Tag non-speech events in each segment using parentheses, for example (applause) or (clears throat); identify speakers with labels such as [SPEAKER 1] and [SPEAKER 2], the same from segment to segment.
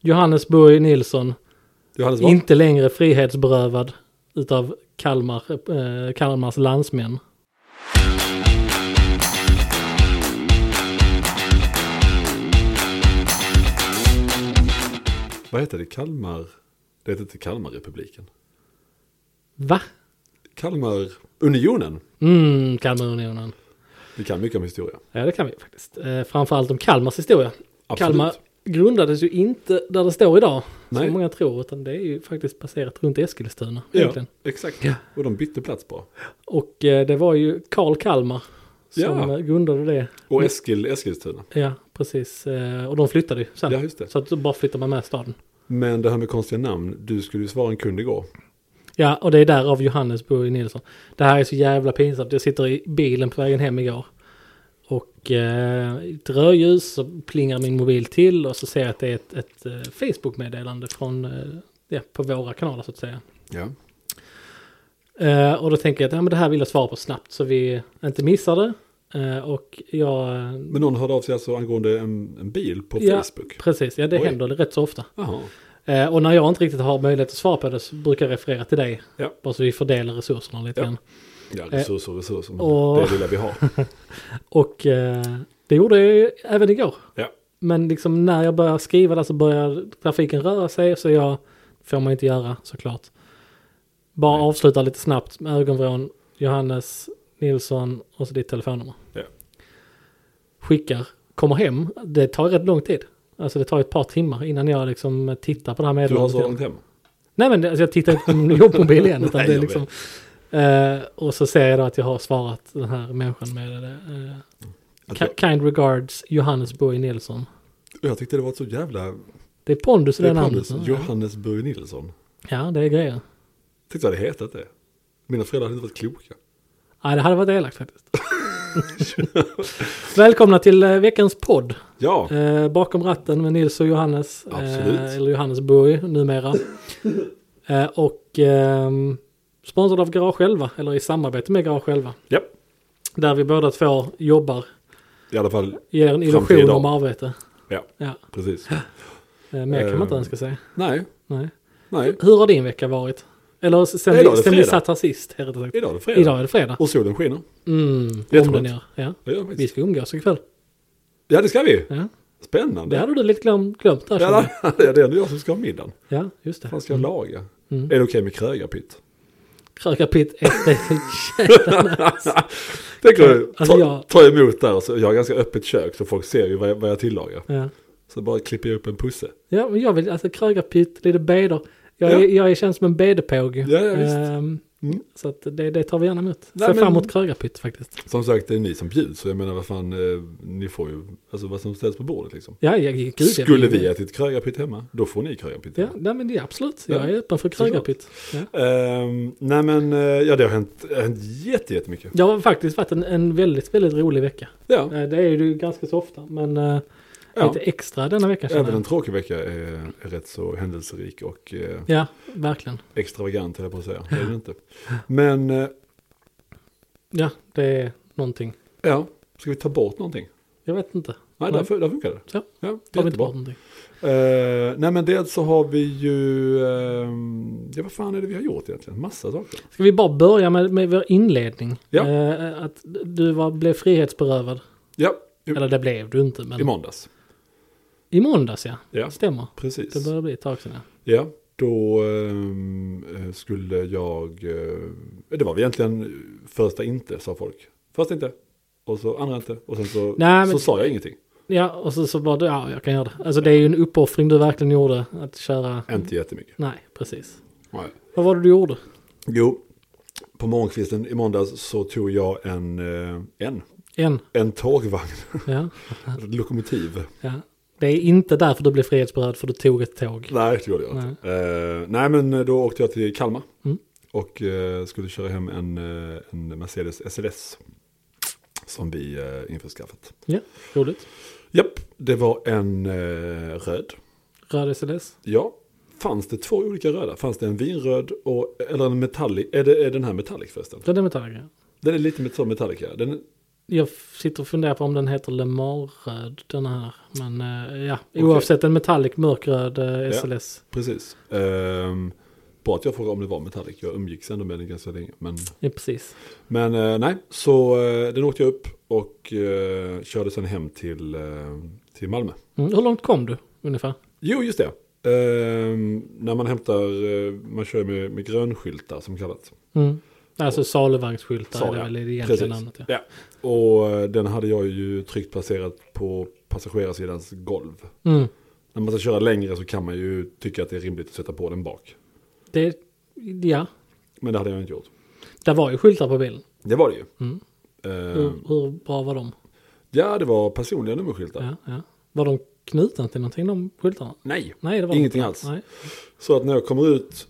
[SPEAKER 1] Johannes Börje Nilsson,
[SPEAKER 2] Johannes Wahl.
[SPEAKER 1] inte längre frihetsberövad utav Kalmar, eh, Kalmars landsmän.
[SPEAKER 2] Vad heter det? Kalmar? Det heter inte Kalmarrepubliken.
[SPEAKER 1] Va?
[SPEAKER 2] Kalmarunionen.
[SPEAKER 1] Mm, Kalmarunionen.
[SPEAKER 2] Vi kan mycket om historia.
[SPEAKER 1] Ja, det kan vi faktiskt. Eh, framförallt om Kalmars historia.
[SPEAKER 2] Absolut.
[SPEAKER 1] Kalmar grundades ju inte där det står idag,
[SPEAKER 2] Nej.
[SPEAKER 1] som många tror, utan det är ju faktiskt baserat runt Eskilstuna.
[SPEAKER 2] Ja,
[SPEAKER 1] Egentligen.
[SPEAKER 2] exakt. Och de bytte plats bara.
[SPEAKER 1] Och eh, det var ju Karl Kalmar som
[SPEAKER 2] Ja.
[SPEAKER 1] eh, grundade det.
[SPEAKER 2] Och Eskil, Eskilstuna.
[SPEAKER 1] Ja, precis. Eh, Och de flyttade ju sen.
[SPEAKER 2] Ja, just det.
[SPEAKER 1] Så att då bara flyttar man med staden.
[SPEAKER 2] Men det här med konstiga namn, du skulle ju svara en kund igår.
[SPEAKER 1] Ja, och det är därav Johannes Börje Nilsson. Det här är så jävla pinsamt. Jag sitter i bilen på vägen hem igår. Och eh, ett rödljus så plingar min mobil till och så ser jag att det är ett, ett eh, Facebook-meddelande från, eh, ja, på våra kanaler så att säga.
[SPEAKER 2] Ja.
[SPEAKER 1] Eh, och då tänker jag att ja, men det här vill jag svara på snabbt så vi inte missar det. Eh, och jag... eh,
[SPEAKER 2] Men någon hörde av sig alltså angående en, en bil på
[SPEAKER 1] ja,
[SPEAKER 2] Facebook.
[SPEAKER 1] precis. Ja, det
[SPEAKER 2] Oj.
[SPEAKER 1] händer rätt så ofta.
[SPEAKER 2] Jaha.
[SPEAKER 1] Eh, och när jag inte riktigt har möjlighet att svara på det så brukar jag referera till dig.
[SPEAKER 2] Ja.
[SPEAKER 1] Bara så vi fördelar resurserna lite
[SPEAKER 2] Ja.
[SPEAKER 1] grann.
[SPEAKER 2] Ja, resurser, resurser. Men
[SPEAKER 1] Eh. och-
[SPEAKER 2] Det är det lilla
[SPEAKER 1] (laughs)
[SPEAKER 2] vi har.
[SPEAKER 1] Och eh, det gjorde jag ju även igår.
[SPEAKER 2] Ja.
[SPEAKER 1] Men liksom när jag börjar skriva där så börjar trafiken röra sig så jag får man inte göra såklart. Bara
[SPEAKER 2] Nej.
[SPEAKER 1] avsluta lite snabbt med ögonvrån, Johannes, Nilsson och så ditt telefonnummer.
[SPEAKER 2] Ja.
[SPEAKER 1] Skickar, kommer hem, det tar rätt lång tid. Alltså det tar ett par timmar innan jag liksom tittar på det här
[SPEAKER 2] Du har
[SPEAKER 1] meddelandet.
[SPEAKER 2] så
[SPEAKER 1] igen.
[SPEAKER 2] långt hem.
[SPEAKER 1] Nej men det- alltså, jag tittar inte på min jobbmobil igen. Utan
[SPEAKER 2] Nej,
[SPEAKER 1] det är
[SPEAKER 2] jag
[SPEAKER 1] liksom, eh, och så ser jag då att jag har svarat den här människan med eh,
[SPEAKER 2] Att
[SPEAKER 1] ki- Kind regards Johannes Boy Nilsson.
[SPEAKER 2] Jag, jag tyckte det var ett så jävla...
[SPEAKER 1] Det är Mm. pondus i det, namnet.
[SPEAKER 2] Johannes, Johannes Börje Nilsson.
[SPEAKER 1] Ja, det är grejer.
[SPEAKER 2] Tänkte jag hade hetat det. Mina föräldrar hade inte varit kloka.
[SPEAKER 1] Ja, det hade varit elakt faktiskt. (laughs) Välkomna till eh, veckans podd.
[SPEAKER 2] Ja,
[SPEAKER 1] Eh, bakom ratten med Nils och Johannes.
[SPEAKER 2] Absolut.
[SPEAKER 1] Eh, eller Johannes Boy
[SPEAKER 2] (laughs)
[SPEAKER 1] numera. eh, och ehm, sponsrad av Garage Själva, eller i samarbete med Garage Själva.
[SPEAKER 2] ja.
[SPEAKER 1] Där vi båda två jobbar
[SPEAKER 2] i alla fall.
[SPEAKER 1] ger en
[SPEAKER 2] Fram till
[SPEAKER 1] illusion
[SPEAKER 2] idag.
[SPEAKER 1] om arbete.
[SPEAKER 2] Ja,
[SPEAKER 1] Ja,
[SPEAKER 2] precis.
[SPEAKER 1] eh, mer kan man inte
[SPEAKER 2] Eh.
[SPEAKER 1] önska sig.
[SPEAKER 2] Nej,
[SPEAKER 1] Nej.
[SPEAKER 2] nej.
[SPEAKER 1] Hur har din vecka varit? Eller sen,
[SPEAKER 2] Idag är
[SPEAKER 1] vi,
[SPEAKER 2] det
[SPEAKER 1] sen vi
[SPEAKER 2] fredag.
[SPEAKER 1] satt här sist, helt enkelt.
[SPEAKER 2] Idag är det fredag.
[SPEAKER 1] Idag är det fredag.
[SPEAKER 2] Och solen skiner.
[SPEAKER 1] Mm, om
[SPEAKER 2] Jätteskönt.
[SPEAKER 1] den gör. Ja.
[SPEAKER 2] Det gör det
[SPEAKER 1] Vi
[SPEAKER 2] faktiskt.
[SPEAKER 1] ska umgås ikväll.
[SPEAKER 2] Ja, det ska vi.
[SPEAKER 1] Ja.
[SPEAKER 2] Spännande.
[SPEAKER 1] Det hade du lite glöm, glömt där.
[SPEAKER 2] (laughs) Ja,
[SPEAKER 1] känner jag.
[SPEAKER 2] det är det ändå jag som ska ha middagen.
[SPEAKER 1] ja, just det.
[SPEAKER 2] Vad ska jag laga?
[SPEAKER 1] Mm.
[SPEAKER 2] Är det okej med krögarpytt?
[SPEAKER 1] Krögarpitt är helt
[SPEAKER 2] Tänker du,
[SPEAKER 1] Alltså,
[SPEAKER 2] ta,
[SPEAKER 1] jag-
[SPEAKER 2] ta emot där och så, jag har ganska öppet kök så folk ser ju vad jag, vad jag tillagar.
[SPEAKER 1] (laughs) ja.
[SPEAKER 2] Så bara klipper jag upp en pusse.
[SPEAKER 1] ja, men jag vill, alltså krögarpitt, lite beder. Jag, är,
[SPEAKER 2] Ja.
[SPEAKER 1] jag är känns som en bedepåg.
[SPEAKER 2] Ja, ja, visst.
[SPEAKER 1] Ehm,
[SPEAKER 2] Mm.
[SPEAKER 1] Så att det, det tar vi gärna emot.
[SPEAKER 2] Nej,
[SPEAKER 1] Ser
[SPEAKER 2] men-
[SPEAKER 1] fram emot krögarpitt faktiskt.
[SPEAKER 2] Som sagt, det är ni som bjuds, så jag menar vad fan, eh, ni får ju, alltså vad som ställs på bordet liksom.
[SPEAKER 1] Ja, jag, gud, jag
[SPEAKER 2] Skulle vi ätit krögarpytt hemma, då får ni krögarpytt
[SPEAKER 1] Ja,
[SPEAKER 2] hemma.
[SPEAKER 1] nej, men det är absolut.
[SPEAKER 2] Ja,
[SPEAKER 1] Jag är öppen för
[SPEAKER 2] såklart.
[SPEAKER 1] krögarpitt. Ja.
[SPEAKER 2] Ehm, nej men, eh, ja det har hänt, det har hänt jätte, jättemycket.
[SPEAKER 1] Det har faktiskt varit en, en väldigt, väldigt rolig vecka.
[SPEAKER 2] Ja,
[SPEAKER 1] Eh, Det är ju ganska så ofta, men eh,
[SPEAKER 2] ja.
[SPEAKER 1] lite extra denna vecka känner
[SPEAKER 2] Även en
[SPEAKER 1] jag.
[SPEAKER 2] tråkig vecka är, är rätt så händelserik och eh,
[SPEAKER 1] Ja, verkligen.
[SPEAKER 2] extravagant höll jag på
[SPEAKER 1] (laughs)
[SPEAKER 2] att säga. Det är det inte. Men, eh,
[SPEAKER 1] Ja, det är någonting.
[SPEAKER 2] ja, ska vi ta bort någonting?
[SPEAKER 1] Jag vet inte.
[SPEAKER 2] Nej, där, fu- där funkar det.
[SPEAKER 1] Så,
[SPEAKER 2] Ja,
[SPEAKER 1] Tar vi inte
[SPEAKER 2] jättebra.
[SPEAKER 1] bort någonting?
[SPEAKER 2] Eh, nej men dels så har vi ju, ehm, ja vad fan är det vi har gjort egentligen? Massa saker.
[SPEAKER 1] Ska vi bara börja med, med vår inledning?
[SPEAKER 2] Ja.
[SPEAKER 1] Eh, att du var, blev frihetsberövad.
[SPEAKER 2] Ja, i,
[SPEAKER 1] Eller det blev du inte, men
[SPEAKER 2] i måndags.
[SPEAKER 1] i måndags ja.
[SPEAKER 2] Ja,
[SPEAKER 1] Stämmer.
[SPEAKER 2] precis.
[SPEAKER 1] Det börjar bli ett tag sedan ja.
[SPEAKER 2] Ja, då ehm, eh, skulle jag, eh, det var väl egentligen första inte sa folk. Första inte, och så andra inte, och sen så,
[SPEAKER 1] Nej, men-
[SPEAKER 2] så sa jag ingenting.
[SPEAKER 1] Ja, och så, så bara du, ja jag kan göra det. Alltså det är ju en uppoffring du verkligen gjorde att köra.
[SPEAKER 2] Inte jättemycket.
[SPEAKER 1] Nej, precis.
[SPEAKER 2] Nej.
[SPEAKER 1] Vad var det du gjorde?
[SPEAKER 2] Jo, på morgonkvisten i måndags så tog jag en, eh, en,
[SPEAKER 1] En.
[SPEAKER 2] en tågvagn, (laughs)
[SPEAKER 1] Ja.
[SPEAKER 2] ett lokomotiv.
[SPEAKER 1] ja. Det är inte därför du blev frihetsberövad för du tog ett tåg.
[SPEAKER 2] Nej, det gjorde jag inte. Nej. Eh, nej, men då åkte jag till Kalmar
[SPEAKER 1] Mm.
[SPEAKER 2] och eh, skulle köra hem en, eh, en Mercedes SLS som vi eh, införskaffat.
[SPEAKER 1] Ja, roligt.
[SPEAKER 2] Japp, det var en eh, röd.
[SPEAKER 1] Röd SLS.
[SPEAKER 2] Ja, fanns det två olika röda? Fanns det en vinröd och, eller en metallic? Är, det, är den här metallic förresten?
[SPEAKER 1] Den är metallgrej.
[SPEAKER 2] Den är lite met- som metallic, ja. Den,
[SPEAKER 1] Jag sitter och funderar på om den heter Le Mans-röd den här. Men eh, ja, oavsett en metallic mörkröd eh, SLS.
[SPEAKER 2] Precis. Ehm, bra att jag frågade om det var Metallic. Jag umgicks ändå med den ganska länge. Men,
[SPEAKER 1] Ja, precis.
[SPEAKER 2] men eh, nej, så eh, den åkte jag upp och eh, körde sen hem till, eh, till Malmö.
[SPEAKER 1] Mm, hur långt kom du ungefär?
[SPEAKER 2] Jo, just det. Ehm, när man hämtar, eh, man kör med, med grönskyltar som kallat.
[SPEAKER 1] Mm. Alltså saluvagnsskyltar
[SPEAKER 2] Sa
[SPEAKER 1] är det
[SPEAKER 2] jag.
[SPEAKER 1] väl egentligen
[SPEAKER 2] Precis.
[SPEAKER 1] namnet. Ja.
[SPEAKER 2] Ja. Och eh, den hade jag ju tryggt placerat på passagerarsidans golv.
[SPEAKER 1] Mm.
[SPEAKER 2] När man ska köra längre så kan man ju tycka att det är rimligt att sätta på den bak.
[SPEAKER 1] Det, ja,
[SPEAKER 2] Men det hade jag inte gjort.
[SPEAKER 1] det var ju skyltar på bilen.
[SPEAKER 2] Det var det ju.
[SPEAKER 1] Mm.
[SPEAKER 2] Ehm,
[SPEAKER 1] Hur, hur bra var de?
[SPEAKER 2] Ja, det var personliga nummerskyltar.
[SPEAKER 1] Ja, ja. Var de knutna till någonting de skyltarna?
[SPEAKER 2] Nej.
[SPEAKER 1] Nej, det var de
[SPEAKER 2] Ingenting
[SPEAKER 1] inte.
[SPEAKER 2] alls.
[SPEAKER 1] Nej.
[SPEAKER 2] Så att när jag kommer ut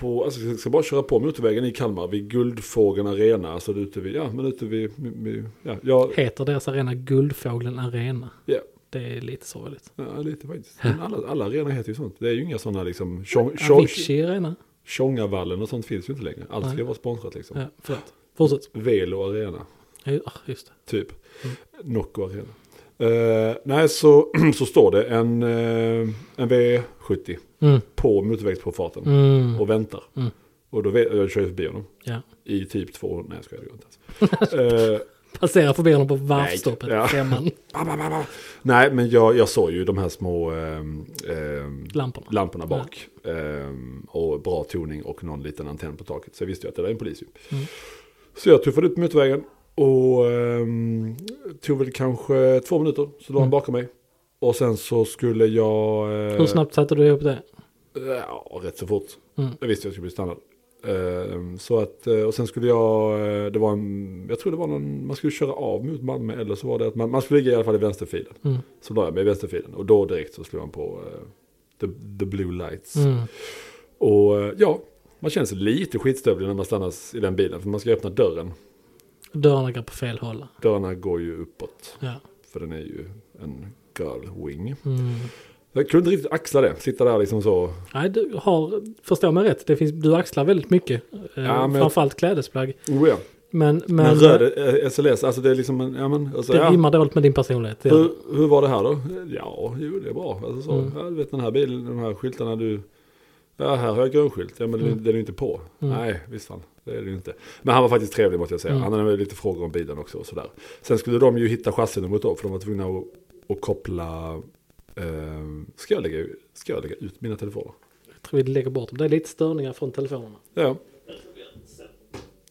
[SPEAKER 2] på, alltså jag ska bara köra på motorvägen i Kalmar vid Guldfågeln Arena, alltså ute vid, ja men ute vid, vid ja, jag,
[SPEAKER 1] Heter deras arena Guldfågeln Arena?
[SPEAKER 2] ja,
[SPEAKER 1] Det är lite sorgligt.
[SPEAKER 2] ja, lite faktiskt. Men alla, alla arenor heter ju sånt. Det är ju inga sådana liksom, tjong- tjong-
[SPEAKER 1] Avicii Arena?
[SPEAKER 2] Tjongavallen och sånt finns ju inte längre. Allt ska
[SPEAKER 1] Nej.
[SPEAKER 2] ju vara sponsrat liksom.
[SPEAKER 1] Ja, förlåt. (laughs) Fortsätt.
[SPEAKER 2] Velo Arena.
[SPEAKER 1] Ja, just det.
[SPEAKER 2] Typ.
[SPEAKER 1] Mm.
[SPEAKER 2] Nocco Arena. Eh, nej, så, (clears throat) så står det en, eh, en V70
[SPEAKER 1] Mm.
[SPEAKER 2] på motorvägspåfarten
[SPEAKER 1] Mm.
[SPEAKER 2] och väntar.
[SPEAKER 1] Mm.
[SPEAKER 2] Och då vet, jag kör ju förbi honom
[SPEAKER 1] Ja.
[SPEAKER 2] i typ två, nej jag skojar, det går inte
[SPEAKER 1] (laughs)
[SPEAKER 2] ens. Eh,
[SPEAKER 1] Passera förbi honom på varvstoppet.
[SPEAKER 2] Ja.
[SPEAKER 1] Femman.
[SPEAKER 2] ba, ba, ba, ba. nej, men jag, jag såg ju de här små ehm, ehm,
[SPEAKER 1] Lamporna.
[SPEAKER 2] lamporna bak. Ehm, och bra toning och någon liten antenn på taket. Så jag visste ju att det där är en polis ju.
[SPEAKER 1] Mm.
[SPEAKER 2] Så jag tuffade ut på motorvägen och ehm, tog väl kanske två minuter. Så låg han
[SPEAKER 1] Mm.
[SPEAKER 2] bakom mig. Och sen så skulle jag... eh,
[SPEAKER 1] Hur snabbt satte du ihop det?
[SPEAKER 2] Ja, rätt så fort.
[SPEAKER 1] Mm.
[SPEAKER 2] Jag visste jag skulle bli stannad. Ehm, Så att, eh, och sen skulle jag, eh, det var en, jag tror det var någon, man skulle köra av mot Malmö eller så var det att man, man skulle ligga i alla fall i vänsterfilen.
[SPEAKER 1] Mm.
[SPEAKER 2] Så la jag mig i vänsterfilen och då direkt så slog han på eh, the, the blue lights.
[SPEAKER 1] Mm.
[SPEAKER 2] Och eh, ja, man känner sig lite skitstövlig när man stannas i den bilen för man ska öppna dörren.
[SPEAKER 1] Dörrarna går på fel håll.
[SPEAKER 2] Dörrarna går ju uppåt
[SPEAKER 1] Ja.
[SPEAKER 2] för den är ju en girl wing.
[SPEAKER 1] Mm.
[SPEAKER 2] Jag kunde inte riktigt axla det, sitta där liksom så.
[SPEAKER 1] Nej, du har, förstår mig rätt, det finns, du axlar väldigt mycket. Ja,
[SPEAKER 2] Ja, men-
[SPEAKER 1] Framförallt klädesplagg.
[SPEAKER 2] Oh ja.
[SPEAKER 1] Men, men,
[SPEAKER 2] Men, röd eh, SLS, alltså det är liksom en, ja men. Alltså,
[SPEAKER 1] det
[SPEAKER 2] ja.
[SPEAKER 1] rimmar dåligt med din personlighet. Ja.
[SPEAKER 2] Hur, hur var det här då? Ja, jo det är bra. Alltså så,
[SPEAKER 1] Mm.
[SPEAKER 2] ja, du vet den här bilen, de här skyltarna du... Ja, här har jag grönskylt. Ja, men den, är-
[SPEAKER 1] Mm.
[SPEAKER 2] den är ju inte på.
[SPEAKER 1] Mm.
[SPEAKER 2] Nej, visst fan. Det är det ju inte. Men han var faktiskt trevlig måste jag säga.
[SPEAKER 1] Mm.
[SPEAKER 2] Han hade väl lite frågor om bilen också och sådär. Sen skulle de ju hitta chassinumret då, för de var tvungna att, att koppla... Eh, ska, jag lägga, ska jag lägga ut mina telefoner?
[SPEAKER 1] Jag tror vi lägger bort dem. Det är lite störningar från telefonerna.
[SPEAKER 2] Ja.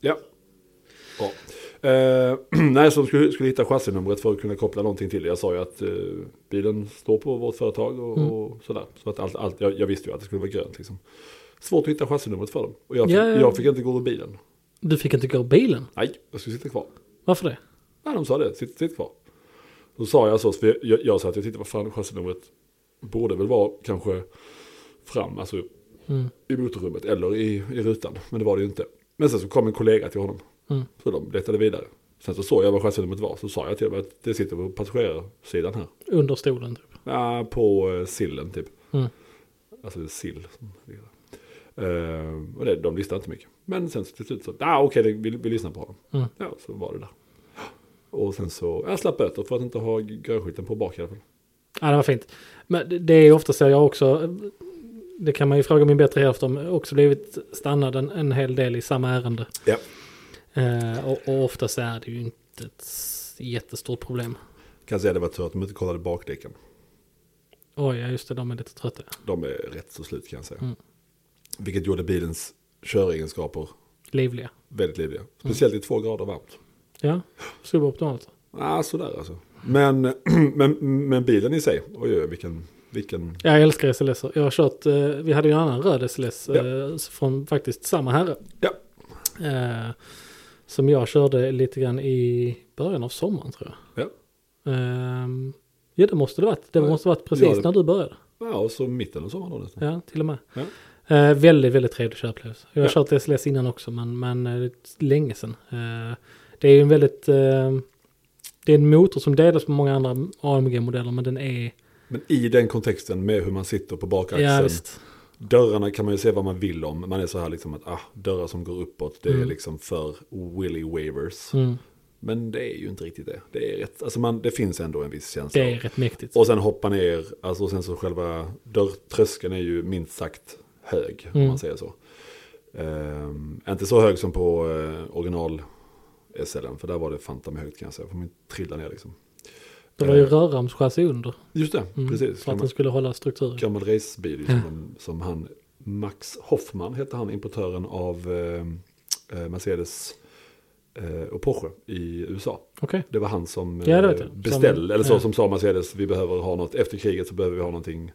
[SPEAKER 2] Ja. ja. Eh, (clears throat) nej, så de skulle, skulle hitta chassinumret för att kunna koppla någonting till det. Jag sa ju att eh, bilen står på vårt företag och,
[SPEAKER 1] Mm.
[SPEAKER 2] och sådär. Så att allt, allt, jag, jag visste ju att det skulle vara grönt liksom. Svårt att hitta chassinumret för dem. Och jag, fick-
[SPEAKER 1] Ja, ja.
[SPEAKER 2] jag fick inte gå ur bilen.
[SPEAKER 1] Du fick inte gå ur bilen.
[SPEAKER 2] Nej, jag skulle sitta kvar.
[SPEAKER 1] Varför det?
[SPEAKER 2] Nej, de sa det. Sitt, sitt kvar. Då sa jag så, för jag, jag, jag sa att jag tittade, vad fan chassinumret borde väl vara kanske fram, alltså
[SPEAKER 1] Mm.
[SPEAKER 2] i motorrummet eller i, i rutan. Men det var det ju inte. Men sen så kom en kollega till honom.
[SPEAKER 1] Mm.
[SPEAKER 2] Så de letade vidare. Sen så såg jag vad chassinumret var. Så sa jag till dem att det sitter på passagerarsidan här.
[SPEAKER 1] Under stolen typ.
[SPEAKER 2] Ja, på eh, sillen typ.
[SPEAKER 1] Mm.
[SPEAKER 2] Alltså det är sill som ligger där. Eh, och det, de lyssnade inte mycket. Men sen så till slut så, ah, okej det- vi, vi lyssnar på honom.
[SPEAKER 1] Mm.
[SPEAKER 2] Ja, så var det där. Och sen så, jag slapp böter för att inte ha grönskylten på bak i alla fall.
[SPEAKER 1] Ja, det var fint. Men det- det är ju ofta så jag också, det kan man ju fråga min bättre hälft om, också blivit stannad en, en hel del i samma ärende.
[SPEAKER 2] Ja.
[SPEAKER 1] Eh, och, och ofta så är det ju inte ett s- jättestort problem.
[SPEAKER 2] Kan säga det var tur att de inte kollade bakdäcken.
[SPEAKER 1] Oj, ja just det, de är lite trötta.
[SPEAKER 2] De är rätt så slut kan jag säga.
[SPEAKER 1] Mm.
[SPEAKER 2] Vilket gjorde bilens köregenskaper
[SPEAKER 1] Livliga.
[SPEAKER 2] väldigt livliga. Speciellt i två grader varmt.
[SPEAKER 1] Ja, suboptimalt.
[SPEAKER 2] Ja, ah, sådär alltså. Men, (clears throat) men, men bilen i sig, oj, oj vilken, vilken...
[SPEAKER 1] Jag älskar SLS. Jag har kört, eh, vi hade ju en annan röd SLS eh, från faktiskt samma herre.
[SPEAKER 2] Ja.
[SPEAKER 1] Eh, som jag körde lite grann i början av sommaren tror jag.
[SPEAKER 2] Ja,
[SPEAKER 1] Ehm, ja, det måste det varit. Det
[SPEAKER 2] Ja.
[SPEAKER 1] måste varit precis
[SPEAKER 2] Ja, det-
[SPEAKER 1] när du började.
[SPEAKER 2] ja och så mitten av sommaren då nästan.
[SPEAKER 1] Ja, till och med.
[SPEAKER 2] Ja.
[SPEAKER 1] Eh, väldigt, väldigt trevlig körupplevelse. Jag har
[SPEAKER 2] Ja.
[SPEAKER 1] kört SLS innan också, men, men eh, det är länge sedan. Eh, det är ju en väldigt... Eh, det är en motor som delas med många andra AMG-modeller, men den är...
[SPEAKER 2] Men i den kontexten med hur man sitter på
[SPEAKER 1] Ja,
[SPEAKER 2] bakaxeln.
[SPEAKER 1] visst.
[SPEAKER 2] dörrarna kan man ju säga vad man vill om. Man är så här liksom att ah, dörrar som går uppåt, det är
[SPEAKER 1] Mm.
[SPEAKER 2] liksom för willy wavers.
[SPEAKER 1] Mm.
[SPEAKER 2] Men det är ju inte riktigt det. Det, är rätt, alltså man, det finns ändå en viss känsla.
[SPEAKER 1] Det är rätt mäktigt.
[SPEAKER 2] Och sen hoppa ner, alltså och sen så själva dörrtröskeln är ju minst sagt hög, om
[SPEAKER 1] Mm.
[SPEAKER 2] man säger så. Ehm, inte så hög som på eh, original SLM, för där var det fanta med högt kan jag säga, för man trillade ner liksom.
[SPEAKER 1] Det var ju
[SPEAKER 2] Eh,
[SPEAKER 1] rörramschassi under.
[SPEAKER 2] Just det,
[SPEAKER 1] Mm,
[SPEAKER 2] precis.
[SPEAKER 1] För att
[SPEAKER 2] Gammal,
[SPEAKER 1] den skulle hålla strukturen.
[SPEAKER 2] gammal racebil ju, som,
[SPEAKER 1] Ja.
[SPEAKER 2] han- som han, Max Hoffman hette han, importören av eh, eh, Mercedes eh, och Porsche i USA.
[SPEAKER 1] Okej.
[SPEAKER 2] Det var han som
[SPEAKER 1] Ja, det
[SPEAKER 2] eh,
[SPEAKER 1] vet jag.
[SPEAKER 2] beställde,
[SPEAKER 1] Som-
[SPEAKER 2] eller så
[SPEAKER 1] ja.
[SPEAKER 2] som sa Mercedes, vi behöver ha något, efter kriget så behöver vi ha någonting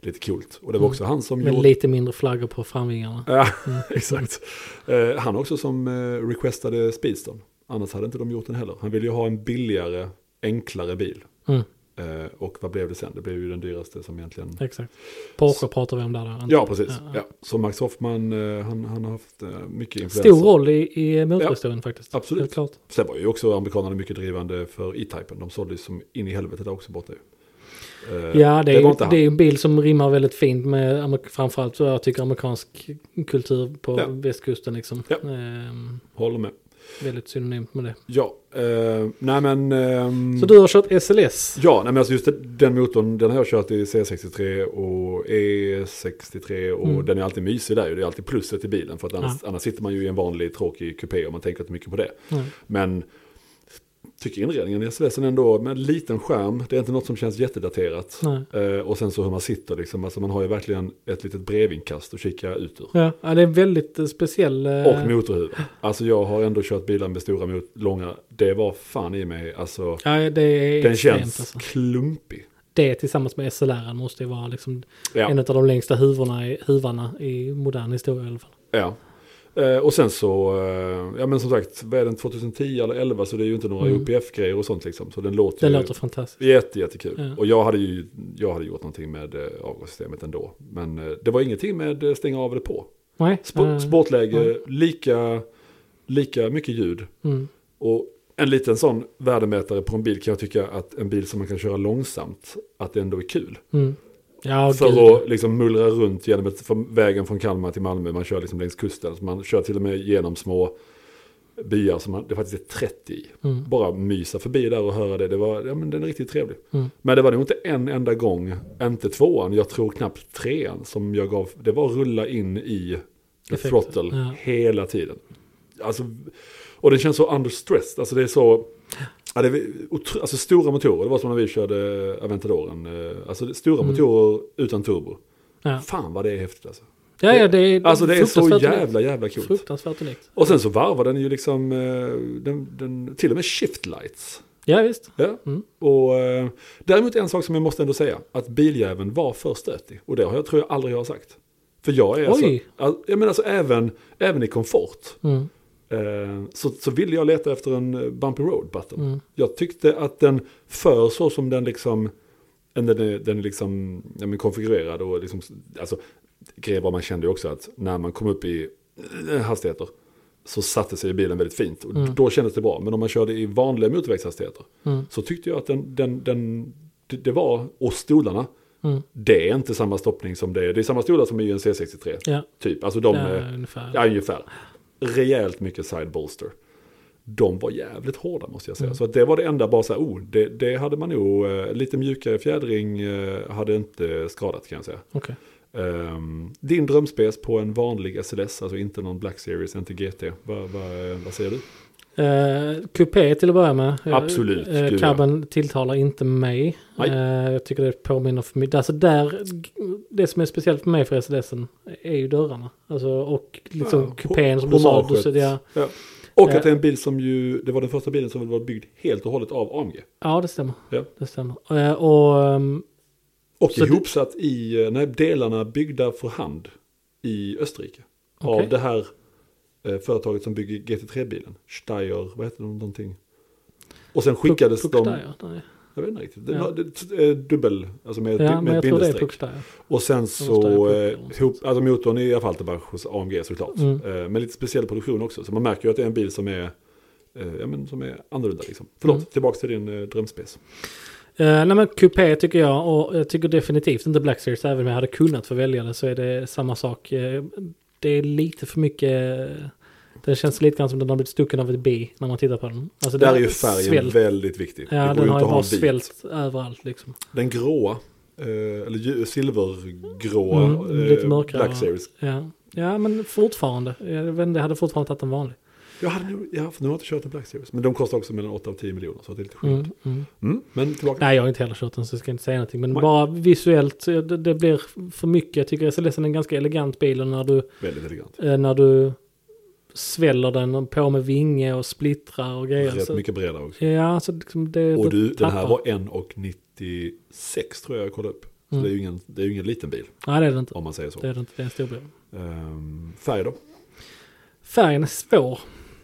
[SPEAKER 2] lite coolt. Och det var
[SPEAKER 1] Mm.
[SPEAKER 2] också han som
[SPEAKER 1] Med Mm.
[SPEAKER 2] gjorde...
[SPEAKER 1] lite mindre flaggor på framvingarna.
[SPEAKER 2] Ja, (laughs) exakt. Eh, han också som eh, requestade Speedstone. Annars hade inte de gjort den heller. Han ville ju ha en billigare, enklare bil.
[SPEAKER 1] Mm,
[SPEAKER 2] Eh, och vad blev det sen? Det blev ju den dyraste som egentligen...
[SPEAKER 1] exakt. Porsche pratar vi om där. då.
[SPEAKER 2] Ja, precis.
[SPEAKER 1] Ja,
[SPEAKER 2] Ja,
[SPEAKER 1] ja.
[SPEAKER 2] Så Max Hoffman, eh, han, han har haft eh, mycket influenser.
[SPEAKER 1] Stor roll i, i motorhistorien faktiskt.
[SPEAKER 2] absolut.
[SPEAKER 1] Helt klart.
[SPEAKER 2] Sen var ju också amerikanerna mycket drivande för E-Typen. De sålde ju som in i helvete där också borta ju. Eh,
[SPEAKER 1] Ja, det är,
[SPEAKER 2] var
[SPEAKER 1] ju-
[SPEAKER 2] inte han.
[SPEAKER 1] det är ju en bil som rimmar väldigt fint med amer- framförallt så jag tycker amerikansk kultur på
[SPEAKER 2] Ja.
[SPEAKER 1] västkusten. Liksom.
[SPEAKER 2] Ja.
[SPEAKER 1] Ehm,
[SPEAKER 2] Håller med.
[SPEAKER 1] väldigt synonymt med det.
[SPEAKER 2] Ja, eh, nej men... ehm,
[SPEAKER 1] Så du har kört SLS?
[SPEAKER 2] Ja, nej men alltså just den- den motorn, den har jag kört i C63 och E63 och
[SPEAKER 1] Mm.
[SPEAKER 2] den är alltid mysig där ju. Det är alltid plusset i bilen för att annars, annars sitter man ju i en vanlig tråkig kupé och man tänker inte mycket på det.
[SPEAKER 1] Nej.
[SPEAKER 2] Men tycker inredningen i SLS ändå, med en liten skärm, det är inte något som känns jättedaterat.
[SPEAKER 1] Nej.
[SPEAKER 2] Eh, och sen så hur man sitter liksom, alltså man har ju verkligen ett litet brevinkast att kika ut ur.
[SPEAKER 1] Ja, ja, det är en väldigt eh, speciell... eh,
[SPEAKER 2] Och motorhuven. Alltså jag har ändå kört bilar med stora, mot- långa, det var fan i mig, alltså
[SPEAKER 1] Ja, det är
[SPEAKER 2] den
[SPEAKER 1] extremt
[SPEAKER 2] känns
[SPEAKER 1] alltså.
[SPEAKER 2] klumpig.
[SPEAKER 1] Det tillsammans med SLR måste ju vara liksom
[SPEAKER 2] Ja.
[SPEAKER 1] en av de längsta huvorna i, huvarna i modern historia i alla fall.
[SPEAKER 2] Ja. Eh, och sen så, eh, ja men som sagt, vad är den 2010 eller 11 så det är ju inte några
[SPEAKER 1] Mm.
[SPEAKER 2] OPF-grejer och sånt liksom. Så den låter,
[SPEAKER 1] Den
[SPEAKER 2] ju
[SPEAKER 1] låter fantastisk.
[SPEAKER 2] jätte, jättekul.
[SPEAKER 1] Ja.
[SPEAKER 2] Och jag hade ju jag hade gjort någonting med eh, avgassystemet ändå. Men eh, det var ingenting med eh, stänga av eller på.
[SPEAKER 1] Nej,
[SPEAKER 2] Sp-
[SPEAKER 1] eh,
[SPEAKER 2] Sportläge,
[SPEAKER 1] Mm.
[SPEAKER 2] lika, lika mycket ljud.
[SPEAKER 1] Mm,
[SPEAKER 2] Och en liten sån värdemätare på en bil kan jag tycka att en bil som man kan köra långsamt, att det ändå är kul.
[SPEAKER 1] mm. Ja,
[SPEAKER 2] För
[SPEAKER 1] gud.
[SPEAKER 2] att liksom mullra runt genom ett, från vägen från Kalmar till Malmö. Man kör liksom längs kusten. Så man kör till och med genom små byar som man, det faktiskt är 30 i.
[SPEAKER 1] Mm.
[SPEAKER 2] Bara mysa förbi där och höra det. Det var, ja men den är riktigt trevlig.
[SPEAKER 1] Mm.
[SPEAKER 2] Men det var nog inte en enda gång, inte tvåan, jag tror knappt trean som jag gav. Det var rulla in i the
[SPEAKER 1] Effekten,
[SPEAKER 2] throttle
[SPEAKER 1] ja.
[SPEAKER 2] hela tiden. Alltså, och den känns så under stress. Alltså det är så... Ja, det är otro, alltså stora motorer, det var som när vi körde Aventadoren. eh, Alltså det- stora motorer utan turbo.
[SPEAKER 1] Mm. Ja.
[SPEAKER 2] Fan vad det är häftigt alltså.
[SPEAKER 1] Ja, ja, det är,
[SPEAKER 2] Alltså det är så
[SPEAKER 1] fruktansvärt unikt.
[SPEAKER 2] jävla jävla coolt.
[SPEAKER 1] Fruktansvärt unikt.
[SPEAKER 2] Och sen så varvar den ju liksom, eh, den, den, till och med shift lights.
[SPEAKER 1] Ja, visst.
[SPEAKER 2] Ja.
[SPEAKER 1] Mm.
[SPEAKER 2] Och, eh, däremot en sak som jag måste ändå säga, att biljäveln var för stötig. Och det har jag, tror jag aldrig jag har sagt. För jag är
[SPEAKER 1] Oj.
[SPEAKER 2] alltså, jag menar alltså även, även i komfort.
[SPEAKER 1] Mm.
[SPEAKER 2] Eh, så, så ville jag leta efter en eh, bumpy road button.
[SPEAKER 1] Mm.
[SPEAKER 2] Jag tyckte att den för så som den liksom, den är, den är liksom ja, men konfigurerad och liksom, alltså, grejen var man kände ju också att när man kom upp i eh, hastigheter så satte sig bilen väldigt fint och
[SPEAKER 1] Mm.
[SPEAKER 2] då kändes det bra. Men om man körde i vanliga motorvägshastigheter
[SPEAKER 1] Mm.
[SPEAKER 2] så tyckte jag att den, den, den det, det var, och stolarna,
[SPEAKER 1] Mm.
[SPEAKER 2] det är inte samma stoppning som det är. Det är samma stolar som i en C63,
[SPEAKER 1] Ja,
[SPEAKER 2] typ. Alltså de,
[SPEAKER 1] ja,
[SPEAKER 2] eh,
[SPEAKER 1] ungefär.
[SPEAKER 2] Ja, ungefär. Rejält mycket side bolster. De var jävligt hårda måste jag säga.
[SPEAKER 1] Mm.
[SPEAKER 2] Så att det var det enda bara så här, oh, det, det hade man nog, eh, lite mjukare fjädring eh, hade inte skadat kan jag säga.
[SPEAKER 1] Okej.
[SPEAKER 2] Ehm, din drömspec på en vanlig SLS, alltså inte någon Black Series, inte GT. Vad, vad, vad säger du?
[SPEAKER 1] Eh, Coupé till att börja med. Eh,
[SPEAKER 2] Absolut,
[SPEAKER 1] eh,
[SPEAKER 2] gud,
[SPEAKER 1] cabben tilltalar inte mig.
[SPEAKER 2] Nej.
[SPEAKER 1] Eh, jag tycker det påminner för mycket. Alltså där, det som är speciellt för mig för SDSen är ju dörrarna. Alltså, och liksom
[SPEAKER 2] Ja,
[SPEAKER 1] kupén som
[SPEAKER 2] ho-
[SPEAKER 1] du sa. Du,
[SPEAKER 2] homaget.
[SPEAKER 1] sa- ja,
[SPEAKER 2] Ja. Och att
[SPEAKER 1] Eh.
[SPEAKER 2] det är en bil som ju, det var den första bilen som var byggd helt och hållet av AMG.
[SPEAKER 1] ja, det stämmer.
[SPEAKER 2] Ja.
[SPEAKER 1] Det stämmer. Eh, och ehm,
[SPEAKER 2] Och
[SPEAKER 1] Så det-
[SPEAKER 2] ihopsatt i, eh, nej, delarna byggda för hand i Österrike.
[SPEAKER 1] Okej.
[SPEAKER 2] Av det här eh, företaget som bygger GT3-bilen. Steyr, vad heter de någonting? Och sen skickades
[SPEAKER 1] Puck-
[SPEAKER 2] de,
[SPEAKER 1] Pucksteyr, nej.
[SPEAKER 2] jag vet inte riktigt,
[SPEAKER 1] Ja.
[SPEAKER 2] det, det, eh, dubbel, alltså med,
[SPEAKER 1] Ja,
[SPEAKER 2] med,
[SPEAKER 1] men
[SPEAKER 2] med
[SPEAKER 1] jag tror det är
[SPEAKER 2] bindestreck.
[SPEAKER 1] Puckstyle.
[SPEAKER 2] Och sen
[SPEAKER 1] Steyr
[SPEAKER 2] så,
[SPEAKER 1] Puck eller
[SPEAKER 2] eh,
[SPEAKER 1] någonstans.
[SPEAKER 2] ihop, alltså motorn är i alla fall tillbaka hos AMG såklart.
[SPEAKER 1] Mm.
[SPEAKER 2] Eh, men lite speciell produktion också, så man märker ju att det är en bil som är, eh, ja, men som är annorlunda liksom. Förlåt,
[SPEAKER 1] Mm.
[SPEAKER 2] tillbaka till din eh, drömspec.
[SPEAKER 1] Eh, nej men Coupé tycker jag och jag tycker definitivt inte Black Series. Även om jag hade kunnat få välja det så är det samma sak. Eh, det är lite för mycket eh, Den känns lite grann som den har blivit stucken av ett bi när man tittar på den. Alltså,
[SPEAKER 2] Där
[SPEAKER 1] den
[SPEAKER 2] är ju färgen
[SPEAKER 1] svält-
[SPEAKER 2] väldigt viktig. Det
[SPEAKER 1] Ja,
[SPEAKER 2] går
[SPEAKER 1] den
[SPEAKER 2] ju
[SPEAKER 1] har ju
[SPEAKER 2] inte att ha
[SPEAKER 1] bara
[SPEAKER 2] en vit.
[SPEAKER 1] svällt överallt liksom.
[SPEAKER 2] Den gråa, eh, eller ju- silvergråa,
[SPEAKER 1] Mm, lite
[SPEAKER 2] eh,
[SPEAKER 1] mörkare,
[SPEAKER 2] Black
[SPEAKER 1] va?
[SPEAKER 2] Series.
[SPEAKER 1] Ja. ja, men fortfarande. Jag, vet inte, jag hade fortfarande tagit en vanlig.
[SPEAKER 2] Jag hade, nog- ja, för nu har jag inte kört en Black Series. Men de kostar också mellan 8 och 10 miljoner. Så det är lite skönt.
[SPEAKER 1] Mm, mm.
[SPEAKER 2] Mm, men tillbaka.
[SPEAKER 1] Nej, jag har inte heller kört den så jag ska inte säga någonting. Men
[SPEAKER 2] Nej.
[SPEAKER 1] bara visuellt, eh, det, det blir för mycket. Jag tycker SLS är en ganska elegant bil och när du,
[SPEAKER 2] Väldigt elegant.
[SPEAKER 1] eh, när du sväller den och på med vinge och splittrar och grejer.
[SPEAKER 2] Rätt
[SPEAKER 1] så-
[SPEAKER 2] mycket bredare också.
[SPEAKER 1] Ja, så liksom det...
[SPEAKER 2] Och
[SPEAKER 1] det
[SPEAKER 2] du, den här
[SPEAKER 1] tappar.
[SPEAKER 2] var 1,96 tror jag jag kollade upp. Så
[SPEAKER 1] Mm.
[SPEAKER 2] det, är ju ingen, det är ju ingen liten bil
[SPEAKER 1] Nej, det är det inte.
[SPEAKER 2] om man säger så.
[SPEAKER 1] Det är det inte. Det är en stor bil.
[SPEAKER 2] Ehm, färg då?
[SPEAKER 1] Färgen är svår.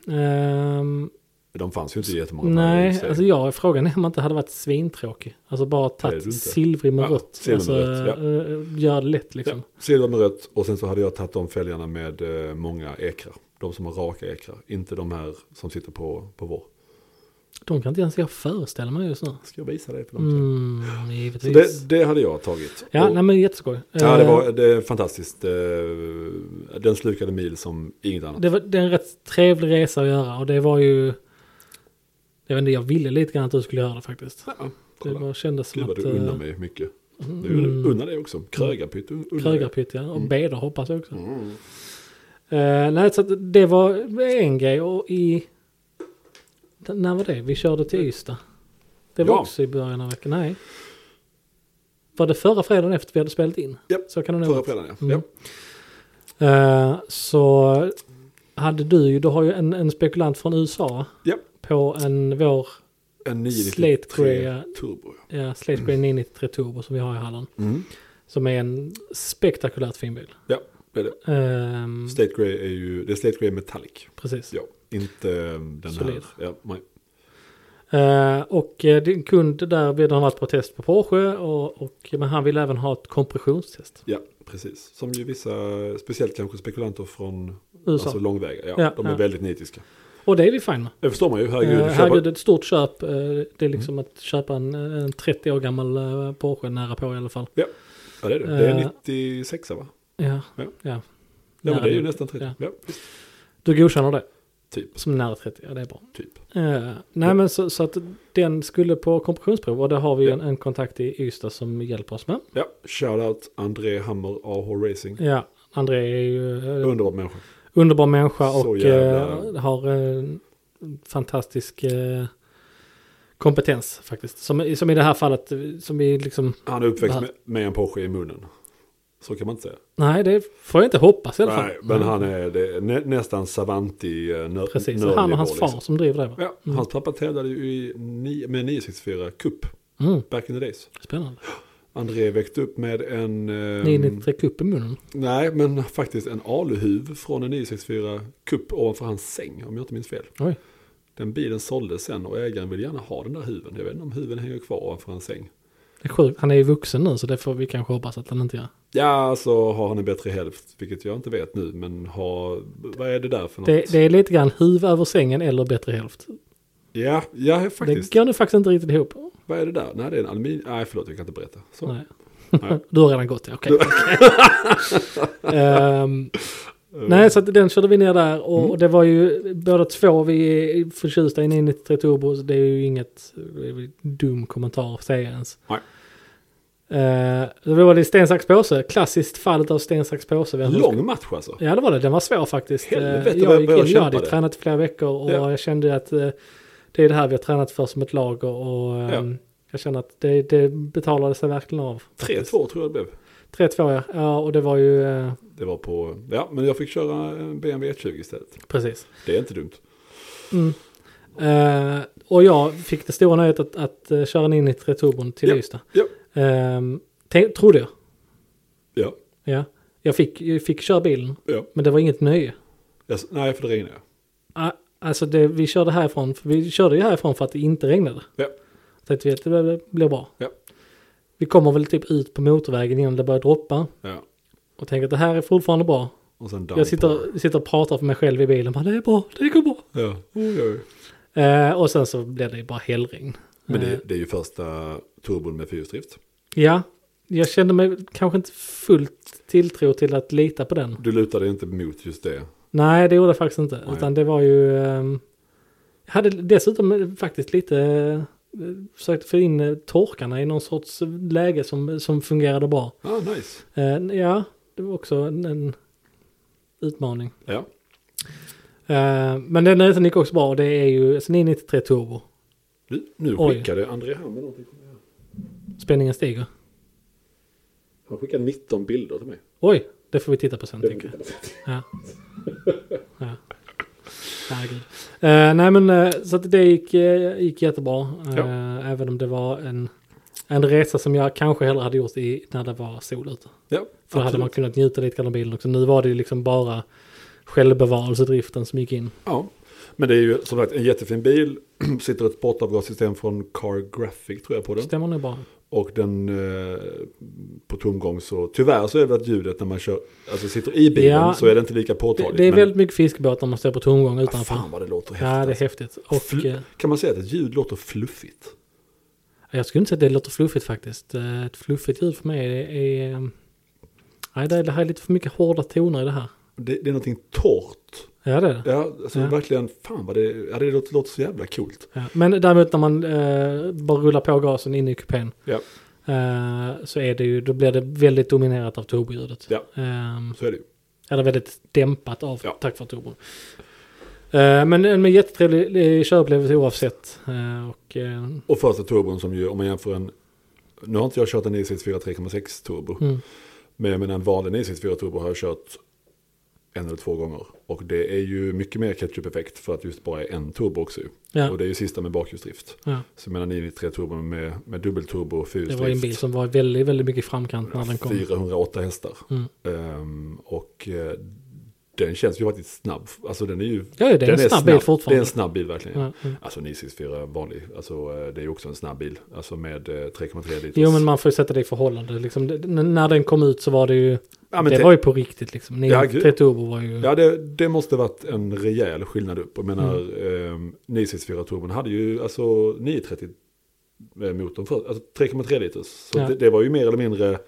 [SPEAKER 1] Ehm,
[SPEAKER 2] De fanns ju inte jättemånga färger i
[SPEAKER 1] nej,
[SPEAKER 2] serien.
[SPEAKER 1] alltså jag frågan är om man inte hade varit svintråkig. Alltså bara
[SPEAKER 2] är du
[SPEAKER 1] tagit
[SPEAKER 2] inte.
[SPEAKER 1] silvrig med
[SPEAKER 2] Ja,
[SPEAKER 1] rött.
[SPEAKER 2] silver med
[SPEAKER 1] alltså,
[SPEAKER 2] rött,
[SPEAKER 1] eh, Gör det lätt liksom.
[SPEAKER 2] ja, silver med rött och sen så hade jag tagit de fälgarna med eh, många ekrar. De som har raka ekrar, inte de här som sitter på, på vår.
[SPEAKER 1] De kan inte ens jag föreställa mig just nu.
[SPEAKER 2] Ska jag visa dig på dem? sen?
[SPEAKER 1] Mm,
[SPEAKER 2] Så
[SPEAKER 1] givetvis.
[SPEAKER 2] det, det hade jag tagit.
[SPEAKER 1] ja,
[SPEAKER 2] Och-
[SPEAKER 1] nej men jätteskoj.
[SPEAKER 2] ja, det
[SPEAKER 1] Eh,
[SPEAKER 2] var det är fantastiskt. Eh, Den slukade mil som inget annat.
[SPEAKER 1] Eh, det var det är en rätt trevlig resa att göra och det var ju... Jag vet inte, jag ville lite grann att du skulle göra det faktiskt.
[SPEAKER 2] Ja,
[SPEAKER 1] Det
[SPEAKER 2] kolla.
[SPEAKER 1] bara kändes som
[SPEAKER 2] Gud vad
[SPEAKER 1] att...
[SPEAKER 2] du
[SPEAKER 1] eh,
[SPEAKER 2] unnar mig mycket. Du
[SPEAKER 1] mm.
[SPEAKER 2] unnar dig också. Krögarpytt un- unnar dig.
[SPEAKER 1] Krögarpytt ja. Och
[SPEAKER 2] Mm.
[SPEAKER 1] Beder hoppas jag också.
[SPEAKER 2] Mm.
[SPEAKER 1] Eh, nej, så att det var en grej och i... När var det? Vi körde till Ystad. Det var
[SPEAKER 2] Ja.
[SPEAKER 1] också i början av veckan. Nej. Var det förra fredagen efter vi hade spelat in?
[SPEAKER 2] Japp,
[SPEAKER 1] Så kan det nog
[SPEAKER 2] Förra
[SPEAKER 1] vara.
[SPEAKER 2] fredagen ja.
[SPEAKER 1] Mm.
[SPEAKER 2] ja.
[SPEAKER 1] Eh, så hade du ju, du har ju en, en spekulant från USA
[SPEAKER 2] Ja.
[SPEAKER 1] på en vår
[SPEAKER 2] En
[SPEAKER 1] Slate
[SPEAKER 2] 993
[SPEAKER 1] Korea.
[SPEAKER 2] turbo. ja.
[SPEAKER 1] ja, Slate Green 993 Turbo som vi har i Halland.
[SPEAKER 2] Mm.
[SPEAKER 1] Som är en spektakulärt fin bil.
[SPEAKER 2] Ja, det är det.
[SPEAKER 1] Ehm,
[SPEAKER 2] Slate Grey är ju, det är Slate Grey Metallic.
[SPEAKER 1] precis.
[SPEAKER 2] Ja, inte eh, den
[SPEAKER 1] Solid.
[SPEAKER 2] här. Ja, nej.
[SPEAKER 1] Eh, och eh, din kund där, vi- han har varit på test på Porsche, och, och, men han vill även ha ett kompressionstest.
[SPEAKER 2] ja, precis. Som ju vissa, speciellt kanske spekulanter från
[SPEAKER 1] USA.
[SPEAKER 2] alltså, långväga. Ja,
[SPEAKER 1] Ja,
[SPEAKER 2] de är
[SPEAKER 1] ja.
[SPEAKER 2] väldigt nitiska.
[SPEAKER 1] Och det är vi fine Eh, med.
[SPEAKER 2] Det förstår man ju, herregud. Mm.
[SPEAKER 1] Herregud,
[SPEAKER 2] köpa-
[SPEAKER 1] herregud ett stort köp. eh, Det är liksom att köpa en, en 30 år gammal eh, Porsche nära på i alla fall.
[SPEAKER 2] Ja, det är det. Det är
[SPEAKER 1] eh,
[SPEAKER 2] 96 va?
[SPEAKER 1] Ja,
[SPEAKER 2] Ja.
[SPEAKER 1] ja.
[SPEAKER 2] Ja, men
[SPEAKER 1] Nära
[SPEAKER 2] det är ju
[SPEAKER 1] nog.
[SPEAKER 2] nästan 30.
[SPEAKER 1] Ja.
[SPEAKER 2] Ja, visst.
[SPEAKER 1] Du godkänner det
[SPEAKER 2] typ,
[SPEAKER 1] som nära 30, ja det är bra.
[SPEAKER 2] typ.
[SPEAKER 1] Eh, nej
[SPEAKER 2] Ja.
[SPEAKER 1] men så, så att den skulle på kompressionsprov och det har vi ju
[SPEAKER 2] Ja.
[SPEAKER 1] en, en kontakt i Ystad som hjälper oss med.
[SPEAKER 2] Ja, shoutout André Hammer, AH Racing.
[SPEAKER 1] Ja, André är ju eh,
[SPEAKER 2] Underbar människa.
[SPEAKER 1] underbar människa
[SPEAKER 2] Så
[SPEAKER 1] och
[SPEAKER 2] jävla-
[SPEAKER 1] eh, har en fantastisk eh, kompetens faktiskt. Som, som i det här fallet, eh, som vi liksom,
[SPEAKER 2] Han är uppväxt
[SPEAKER 1] Va?
[SPEAKER 2] med, med en Porsche i munnen. Så kan man inte säga.
[SPEAKER 1] nej det får jag inte hoppas i alla fall. Mm.
[SPEAKER 2] Nej, men han är det, nä, nästan savanti eh, nör,
[SPEAKER 1] Precis,
[SPEAKER 2] nörd
[SPEAKER 1] han
[SPEAKER 2] nivå,
[SPEAKER 1] och hans far Mm.
[SPEAKER 2] liksom.
[SPEAKER 1] som driver det. va?
[SPEAKER 2] Ja, hans pappa tävlade ju i, ni- med 964 Cup,
[SPEAKER 1] Mm,
[SPEAKER 2] back in the days.
[SPEAKER 1] spännande.
[SPEAKER 2] André väckte upp med en... ehm,
[SPEAKER 1] Ni ni tre kupp i munnen.
[SPEAKER 2] nej, men faktiskt en aluhuv från en 964 Cup ovanför hans säng, om jag inte minns fel.
[SPEAKER 1] Oj.
[SPEAKER 2] Den bilen såldes sen och ägaren vill gärna ha den där huven. Jag vet inte om huven hänger kvar ovanför hans säng.
[SPEAKER 1] Det är sjukt, han är ju vuxen nu så det får vi kanske hoppas att han inte gör.
[SPEAKER 2] Ja, så har han en bättre hälft, vilket jag inte vet nu, men har, vad är det där för något?
[SPEAKER 1] Det, det är lite grann huv över sängen eller bättre hälft.
[SPEAKER 2] Ja, ja, faktiskt.
[SPEAKER 1] Det går nu faktiskt inte riktigt ihop.
[SPEAKER 2] Vad är det där? Nej, det är en aluminium... Nej, förlåt, jag kan inte berätta. Så.
[SPEAKER 1] Nej.
[SPEAKER 2] Nej.
[SPEAKER 1] (laughs) Du har redan gått, ja. Okej. (laughs) Ehm,
[SPEAKER 2] Eh.
[SPEAKER 1] nej, så att den körde vi ner där och
[SPEAKER 2] Mm.
[SPEAKER 1] och det var ju båda två vi är förtjusta i 93 Turbo. Så det är ju inget det är väl dum kommentar att säga ens.
[SPEAKER 2] Nej.
[SPEAKER 1] Eh, det var det sten, sax, påse. Klassiskt fallet av sten, sax, påse. Vi har-
[SPEAKER 2] Lång match alltså.
[SPEAKER 1] Ja det var det, den var svår faktiskt. Eh,
[SPEAKER 2] Helvete, vad
[SPEAKER 1] jag,
[SPEAKER 2] jag
[SPEAKER 1] gick in, jag hade
[SPEAKER 2] kämpade.
[SPEAKER 1] tränat i flera veckor och
[SPEAKER 2] Ja.
[SPEAKER 1] jag kände att eh, det är det här vi har tränat för som ett lag och, och ehm, jag kände att det, det betalade sig verkligen av.
[SPEAKER 2] 3-2
[SPEAKER 1] faktiskt.
[SPEAKER 2] tror jag det blev.
[SPEAKER 1] 3-2 ja. ja, och det var ju eh,
[SPEAKER 2] Det var på... Ja, men jag fick köra en BMW 120 istället.
[SPEAKER 1] precis.
[SPEAKER 2] Det är inte dumt.
[SPEAKER 1] Mm. Eh, och jag fick det stora nöjet att, att eh, köra in i turbon till
[SPEAKER 2] Ja.
[SPEAKER 1] Ystad.
[SPEAKER 2] Ja,
[SPEAKER 1] Ehm, tänk- trodde jag.
[SPEAKER 2] ja,
[SPEAKER 1] Ja. Jag fick, jag fick köra bilen,
[SPEAKER 2] ja.
[SPEAKER 1] men det var inget nöje.
[SPEAKER 2] Jag, s- nej, för det regnade.
[SPEAKER 1] Ah, Alltså det, vi körde härifrån, för vi körde ju härifrån för att det inte regnade.
[SPEAKER 2] Ja,
[SPEAKER 1] Så att vi att det blir- blir bra.
[SPEAKER 2] ja,
[SPEAKER 1] Vi kommer väl typ ut på motorvägen innan det börjar droppa.
[SPEAKER 2] ja.
[SPEAKER 1] Och tänker att det här är fortfarande bra.
[SPEAKER 2] Och sen
[SPEAKER 1] Jag sitter, sitter och pratar för mig själv i bilen. Bara, det är bra, det går bra.
[SPEAKER 2] Ja, oj, oj.
[SPEAKER 1] Eh, och sen så blev det ju bara hällregn.
[SPEAKER 2] Men
[SPEAKER 1] Eh,
[SPEAKER 2] det, det är ju första turbon med fyrhjulsdrift.
[SPEAKER 1] ja, jag kände mig kanske inte fullt tilltro till att lita på den.
[SPEAKER 2] Du lutar dig inte mot just det.
[SPEAKER 1] Nej, det gjorde jag faktiskt inte.
[SPEAKER 2] Nej.
[SPEAKER 1] Utan det var ju... ehm, Jag hade dessutom faktiskt lite... eh, Försökt få in eh, torkarna i någon sorts läge som, som fungerade bra.
[SPEAKER 2] Ah, nice.
[SPEAKER 1] Eh, Ja, det var också en, en utmaning.
[SPEAKER 2] Ja.
[SPEAKER 1] Eh, Men den näsan gick också bra. och Det är ju SNI 93 Turbo.
[SPEAKER 2] Du, nu
[SPEAKER 1] Oj.
[SPEAKER 2] skickade André här med någonting. kommer jag ihåg.
[SPEAKER 1] Spänningen stiger.
[SPEAKER 2] Han skickade 19 bilder till mig.
[SPEAKER 1] Oj, det får vi titta på sen
[SPEAKER 2] Det
[SPEAKER 1] tänker jag.
[SPEAKER 2] fick jag.
[SPEAKER 1] Ja. ja. Herregud. Eh, nej men eh, så att det gick, eh, gick jättebra. Eh,
[SPEAKER 2] Ja.
[SPEAKER 1] Även om det var en, en resa som jag kanske hellre hade gjort i, när det var sol ute.
[SPEAKER 2] Ja,
[SPEAKER 1] För då hade
[SPEAKER 2] absolut.
[SPEAKER 1] man kunnat njuta lite grann av bilen också. Nu var det ju liksom bara självbevarelsedriften som gick in.
[SPEAKER 2] Ja, men det är ju som sagt en jättefin bil. (clears throat) Sitter ett sportavgassystem från Car Graphic tror jag på den.
[SPEAKER 1] Stämmer nog bra.
[SPEAKER 2] Och den eh, på tomgång så tyvärr så är det att ljudet när man kör, alltså sitter i bilen
[SPEAKER 1] Ja,
[SPEAKER 2] så är det inte lika
[SPEAKER 1] Det,
[SPEAKER 2] påtagligt.
[SPEAKER 1] det är
[SPEAKER 2] men-
[SPEAKER 1] väldigt mycket fiskebåt när man står på tomgång
[SPEAKER 2] Ah,
[SPEAKER 1] utanför.
[SPEAKER 2] Fan vad det låter häftigt.
[SPEAKER 1] Ja, det är
[SPEAKER 2] alltså.
[SPEAKER 1] häftigt. Och
[SPEAKER 2] Fl-
[SPEAKER 1] eh,
[SPEAKER 2] Kan man säga att ett ljud låter fluffigt?
[SPEAKER 1] jag skulle inte säga att det låter fluffigt faktiskt. Eh, Ett fluffigt ljud för mig är... är eh, nej, det det här är lite för mycket hårda toner i det här.
[SPEAKER 2] Det, det är någonting torrt.
[SPEAKER 1] Ja, det är det.
[SPEAKER 2] Ja, alltså
[SPEAKER 1] Ja.
[SPEAKER 2] verkligen, fan vad det, ja, det låter, låter så jävla coolt.
[SPEAKER 1] Ja. Men däremot när man eh, bara rullar på gasen in i kupén
[SPEAKER 2] Ja,
[SPEAKER 1] eh, så är det ju, då blir det väldigt dominerat av turboljudet.
[SPEAKER 2] Ja.
[SPEAKER 1] Ehm,
[SPEAKER 2] så är det ju.
[SPEAKER 1] eller väldigt dämpat av,
[SPEAKER 2] Ja.
[SPEAKER 1] tack för turbon. Eh, men en men jättetrevlig eh, körupplevelse oavsett. Eh, och, eh,
[SPEAKER 2] Och första turbon som ju, om man jämför en, nu har inte jag kört en E i64 3,6 turbo.
[SPEAKER 1] mm,
[SPEAKER 2] Men jag menar en vanlig E Nissan 4 Turbo har jag kört en eller två gånger. Och det är ju mycket mer ketchup-effekt för att just bara är en turbo också. ju.
[SPEAKER 1] ja,
[SPEAKER 2] Och det är ju sista med bakhjulsdrift.
[SPEAKER 1] ja.
[SPEAKER 2] Så jag menar 993 Turbo med, med dubbelturbo och
[SPEAKER 1] Det var ju en bil
[SPEAKER 2] fyrhjulsdrift.
[SPEAKER 1] som var väldigt, väldigt mycket i framkant när den kom.
[SPEAKER 2] 408 hästar.
[SPEAKER 1] Mm.
[SPEAKER 2] Ehm, och eh, den känns ju faktiskt snabb. Alltså den är ju...
[SPEAKER 1] Ja, det är en snabb bil
[SPEAKER 2] Det är
[SPEAKER 1] fortfarande.
[SPEAKER 2] en snabb bil verkligen.
[SPEAKER 1] Ja, ja.
[SPEAKER 2] Alltså 964 vanlig. Alltså eh, det är ju också en snabb bil. Alltså med eh, 3,3 liters.
[SPEAKER 1] Jo, men man får ju sätta det i förhållande. Liksom, det, n- när den kom ut så var det ju,
[SPEAKER 2] ja, men
[SPEAKER 1] det
[SPEAKER 2] te-
[SPEAKER 1] var ju på riktigt liksom.
[SPEAKER 2] Ja,
[SPEAKER 1] 9
[SPEAKER 2] gud.
[SPEAKER 1] ja, turbo var ju...
[SPEAKER 2] Ja, det, det måste varit en rejäl skillnad upp. Jag menar, mm. 964 turbon hade ju alltså 930 eh, motorn för, alltså 3,3 liters. Så
[SPEAKER 1] Ja.
[SPEAKER 2] det, det var ju mer eller mindre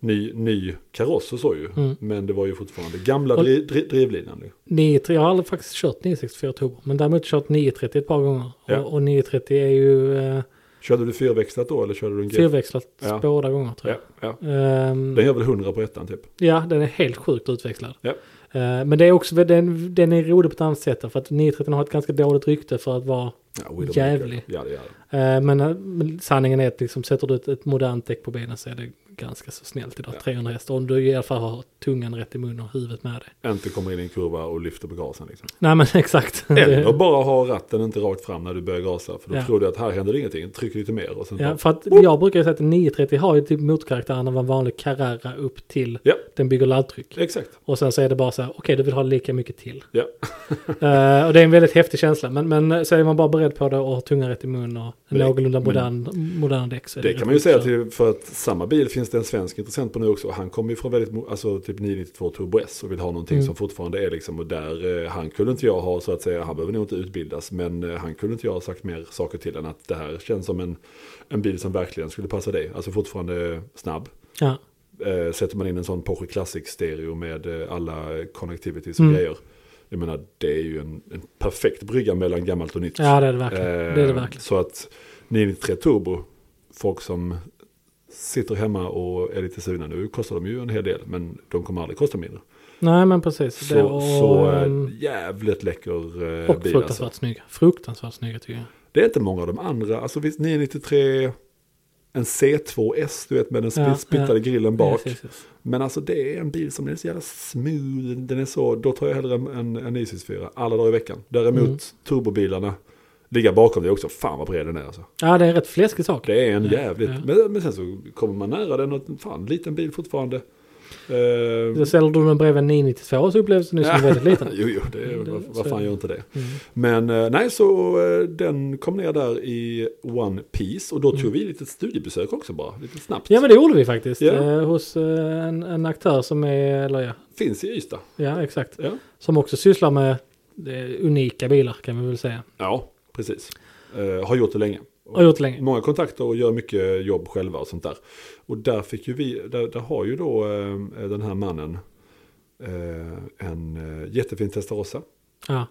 [SPEAKER 2] ny, ny kaross och så ju.
[SPEAKER 1] Mm.
[SPEAKER 2] Men det var ju fortfarande gamla
[SPEAKER 1] Och-
[SPEAKER 2] dri, dri, drivlinan. ju.
[SPEAKER 1] 930, jag har aldrig faktiskt kört 964 turbo, men däremot kört 930 ett par gånger.
[SPEAKER 2] Ja.
[SPEAKER 1] Och, och 930 är ju eh,
[SPEAKER 2] Körde du fyrväxlat då eller körde du en G?
[SPEAKER 1] fyrväxlat
[SPEAKER 2] Ja.
[SPEAKER 1] båda gånger tror
[SPEAKER 2] Ja,
[SPEAKER 1] jag.
[SPEAKER 2] ja.
[SPEAKER 1] Ehm,
[SPEAKER 2] Den gör väl 100 på ettan typ.
[SPEAKER 1] ja, den är helt sjukt utväxlad.
[SPEAKER 2] Ja.
[SPEAKER 1] Ehm, men det är också, den, den är rolig på ett annat sätt, för att 930 har ett ganska dåligt rykte för att vara
[SPEAKER 2] Ja, Widowmaker.
[SPEAKER 1] Jävlig.
[SPEAKER 2] Ja, det gör den.
[SPEAKER 1] Eh, Men eh, men sanningen är att liksom, sätter du ett, ett modernt däck på benen så är det ganska så snällt idag.
[SPEAKER 2] Ja.
[SPEAKER 1] 300 hästar. Om du i alla fall har tungan rätt i munnen och huvudet med dig.
[SPEAKER 2] Inte kommer in i en kurva och lyfter på gasen liksom.
[SPEAKER 1] Nej men (laughs) exakt.
[SPEAKER 2] Eller bara ha ratten inte rakt fram när du börjar gasa. För då
[SPEAKER 1] Ja.
[SPEAKER 2] tror du att här händer ingenting. Tryck lite mer och sen
[SPEAKER 1] ja,
[SPEAKER 2] ja.
[SPEAKER 1] för att jag brukar ju säga att en 930 har ju typ motkaraktären av en vanlig Carrera upp till
[SPEAKER 2] ja,
[SPEAKER 1] den bygger laddtryck.
[SPEAKER 2] exakt.
[SPEAKER 1] Och sen så är det bara så här, okej du vill ha lika mycket till.
[SPEAKER 2] Ja.
[SPEAKER 1] (laughs) Eh, och det är en väldigt häftig känsla. Men, men så är man bara beredd på det och har tungan rätt i munnen och en
[SPEAKER 2] Men-
[SPEAKER 1] någorlunda
[SPEAKER 2] men-
[SPEAKER 1] modern, modern däck. så är
[SPEAKER 2] Det
[SPEAKER 1] rätt
[SPEAKER 2] kan man ju säga
[SPEAKER 1] uppkört.
[SPEAKER 2] till, för att samma bil finns det en svensk intressent på nu också. Han kommer ju från väldigt, mo- alltså typ 992 Turbo S och vill ha någonting
[SPEAKER 1] Mm.
[SPEAKER 2] som fortfarande är liksom, och där, eh, han kunde inte jag ha så att säga, han behöver nog inte utbildas, men eh, han kunde inte jag ha sagt mer saker till än att det här känns som en, en bil som verkligen skulle passa dig. Alltså fortfarande snabb.
[SPEAKER 1] Ja,
[SPEAKER 2] Eh, sätter man in en sån Porsche Classic stereo med eh, alla connectivities och
[SPEAKER 1] Mm.
[SPEAKER 2] grejer. Jag menar, det är ju en, en perfekt brygga mellan gammalt och nytt.
[SPEAKER 1] ja det är det verkligen. det är det
[SPEAKER 2] Eh,
[SPEAKER 1] verkligen.
[SPEAKER 2] Så att 993 Turbo, folk som sitter hemma och är lite sugna nu, kostar de ju en hel del, men de kommer aldrig kosta mindre.
[SPEAKER 1] Nej men precis.
[SPEAKER 2] Så,
[SPEAKER 1] det, och,
[SPEAKER 2] så eh,
[SPEAKER 1] ehm,
[SPEAKER 2] jävligt läcker eh,
[SPEAKER 1] Och
[SPEAKER 2] bil alltså.
[SPEAKER 1] fruktansvärt snygga. Fruktansvärt snygga tycker jag.
[SPEAKER 2] Det är inte många av de andra, alltså visst 993, en C2S du vet med den sp-
[SPEAKER 1] Ja,
[SPEAKER 2] splittade grillen bak.
[SPEAKER 1] Yes, yes, yes.
[SPEAKER 2] Men alltså det är en bil som är så jävla smooth, den är så, då tar jag hellre en, en, en Isis 4 alla dagar i veckan. Däremot
[SPEAKER 1] Mm.
[SPEAKER 2] turbobilarna, ligga bakom det också, fan vad bred den är alltså.
[SPEAKER 1] Ja, det är en rätt fläskig sak.
[SPEAKER 2] Det är en
[SPEAKER 1] Ja,
[SPEAKER 2] jävligt,
[SPEAKER 1] ja.
[SPEAKER 2] Men, men sen så kommer man nära den och fan, liten bil fortfarande. Eh,
[SPEAKER 1] Så säljer du den bredvid en 992 så upplevs den ju som väldigt
[SPEAKER 2] (laughs)
[SPEAKER 1] liten.
[SPEAKER 2] jo, jo, det är,
[SPEAKER 1] Det-
[SPEAKER 2] vad,
[SPEAKER 1] så
[SPEAKER 2] vad
[SPEAKER 1] är
[SPEAKER 2] fan
[SPEAKER 1] det.
[SPEAKER 2] gör inte det.
[SPEAKER 1] Mm.
[SPEAKER 2] Men eh, nej, så eh, den kom ner där i One Piece och då tog vi ett litet studiebesök också bara, lite snabbt.
[SPEAKER 1] Mm. Ja, men det gjorde vi faktiskt.
[SPEAKER 2] Ja.
[SPEAKER 1] Eh, hos eh, en, en aktör som är, eller ja,
[SPEAKER 2] Finns i Ystad.
[SPEAKER 1] ja, exakt.
[SPEAKER 2] Ja,
[SPEAKER 1] Som också sysslar med eh, unika bilar kan vi väl säga.
[SPEAKER 2] ja precis. Eh, har gjort det länge.
[SPEAKER 1] Har gjort länge.
[SPEAKER 2] Många kontakter och gör mycket jobb själva och sånt där. Och där fick ju vi, där, där har ju då eh, den här mannen, eh, eh, en eh, jättefin Testarossa.
[SPEAKER 1] Ja.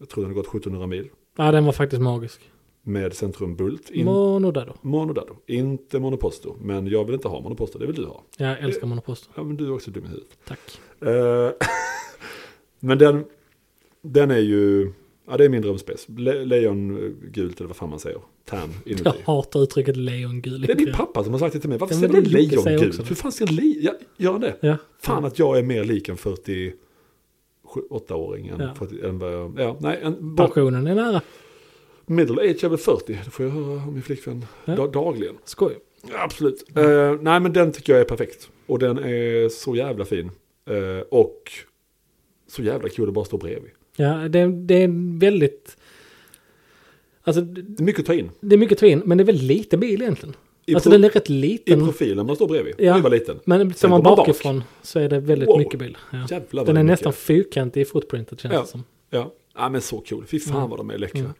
[SPEAKER 2] Jag tror den har gått 1700 mil.
[SPEAKER 1] ja, den var faktiskt magisk.
[SPEAKER 2] Med Centrum Bult. In,
[SPEAKER 1] Monodado.
[SPEAKER 2] Monodado. Inte Monoposto. Men jag vill inte ha Monoposto. Det vill du ha.
[SPEAKER 1] Jag älskar Monoposto.
[SPEAKER 2] Ja, men du är också dum i huvudet.
[SPEAKER 1] Tack.
[SPEAKER 2] Eh, (laughs) men den, den är ju, ja det är min drömspec. Le, lejongult eller vad fan man säger. Tan inuti.
[SPEAKER 1] Jag hatar uttrycket lejongul.
[SPEAKER 2] Det är din pappa som har sagt det till mig. Varför
[SPEAKER 1] Ja,
[SPEAKER 2] säger
[SPEAKER 1] men
[SPEAKER 2] du
[SPEAKER 1] det Jocke säger också.
[SPEAKER 2] lejongult? Hur fan ska en li... Ja, gör han det?
[SPEAKER 1] Ja.
[SPEAKER 2] Fan att jag är mer lik en 48-åring än,
[SPEAKER 1] Ja.
[SPEAKER 2] 40, än vad jag... Ja, nej, en, bara,
[SPEAKER 1] Passionen är nära.
[SPEAKER 2] middle age är väl 40. Det får jag höra av min flickvän
[SPEAKER 1] Ja.
[SPEAKER 2] da- dagligen.
[SPEAKER 1] Skoj.
[SPEAKER 2] Ja, Absolut. Eh, nej, men den tycker jag är perfekt. Och den är så jävla fin. Eh, och så jävla kul att bara stå bredvid.
[SPEAKER 1] Ja, det, det är väldigt... Alltså, det-
[SPEAKER 2] Det är mycket att ta in.
[SPEAKER 1] det är mycket att ta in, men det är väldigt liten bil egentligen.
[SPEAKER 2] I
[SPEAKER 1] alltså
[SPEAKER 2] pro-
[SPEAKER 1] den är rätt
[SPEAKER 2] I
[SPEAKER 1] liten.
[SPEAKER 2] profilen man står bredvid.
[SPEAKER 1] Ja.
[SPEAKER 2] Ja. Den var liten.
[SPEAKER 1] Men ser
[SPEAKER 2] Sen
[SPEAKER 1] man
[SPEAKER 2] går man bak.
[SPEAKER 1] bakifrån så är det väldigt
[SPEAKER 2] Wow.
[SPEAKER 1] mycket bil. Ja.
[SPEAKER 2] Jävlar vad
[SPEAKER 1] Den är
[SPEAKER 2] mycket.
[SPEAKER 1] nästan fyrkantig i footprintet känns
[SPEAKER 2] Ja.
[SPEAKER 1] det som.
[SPEAKER 2] Ja. ja, men så kul. Fy fan
[SPEAKER 1] Mm.
[SPEAKER 2] vad de är läckra.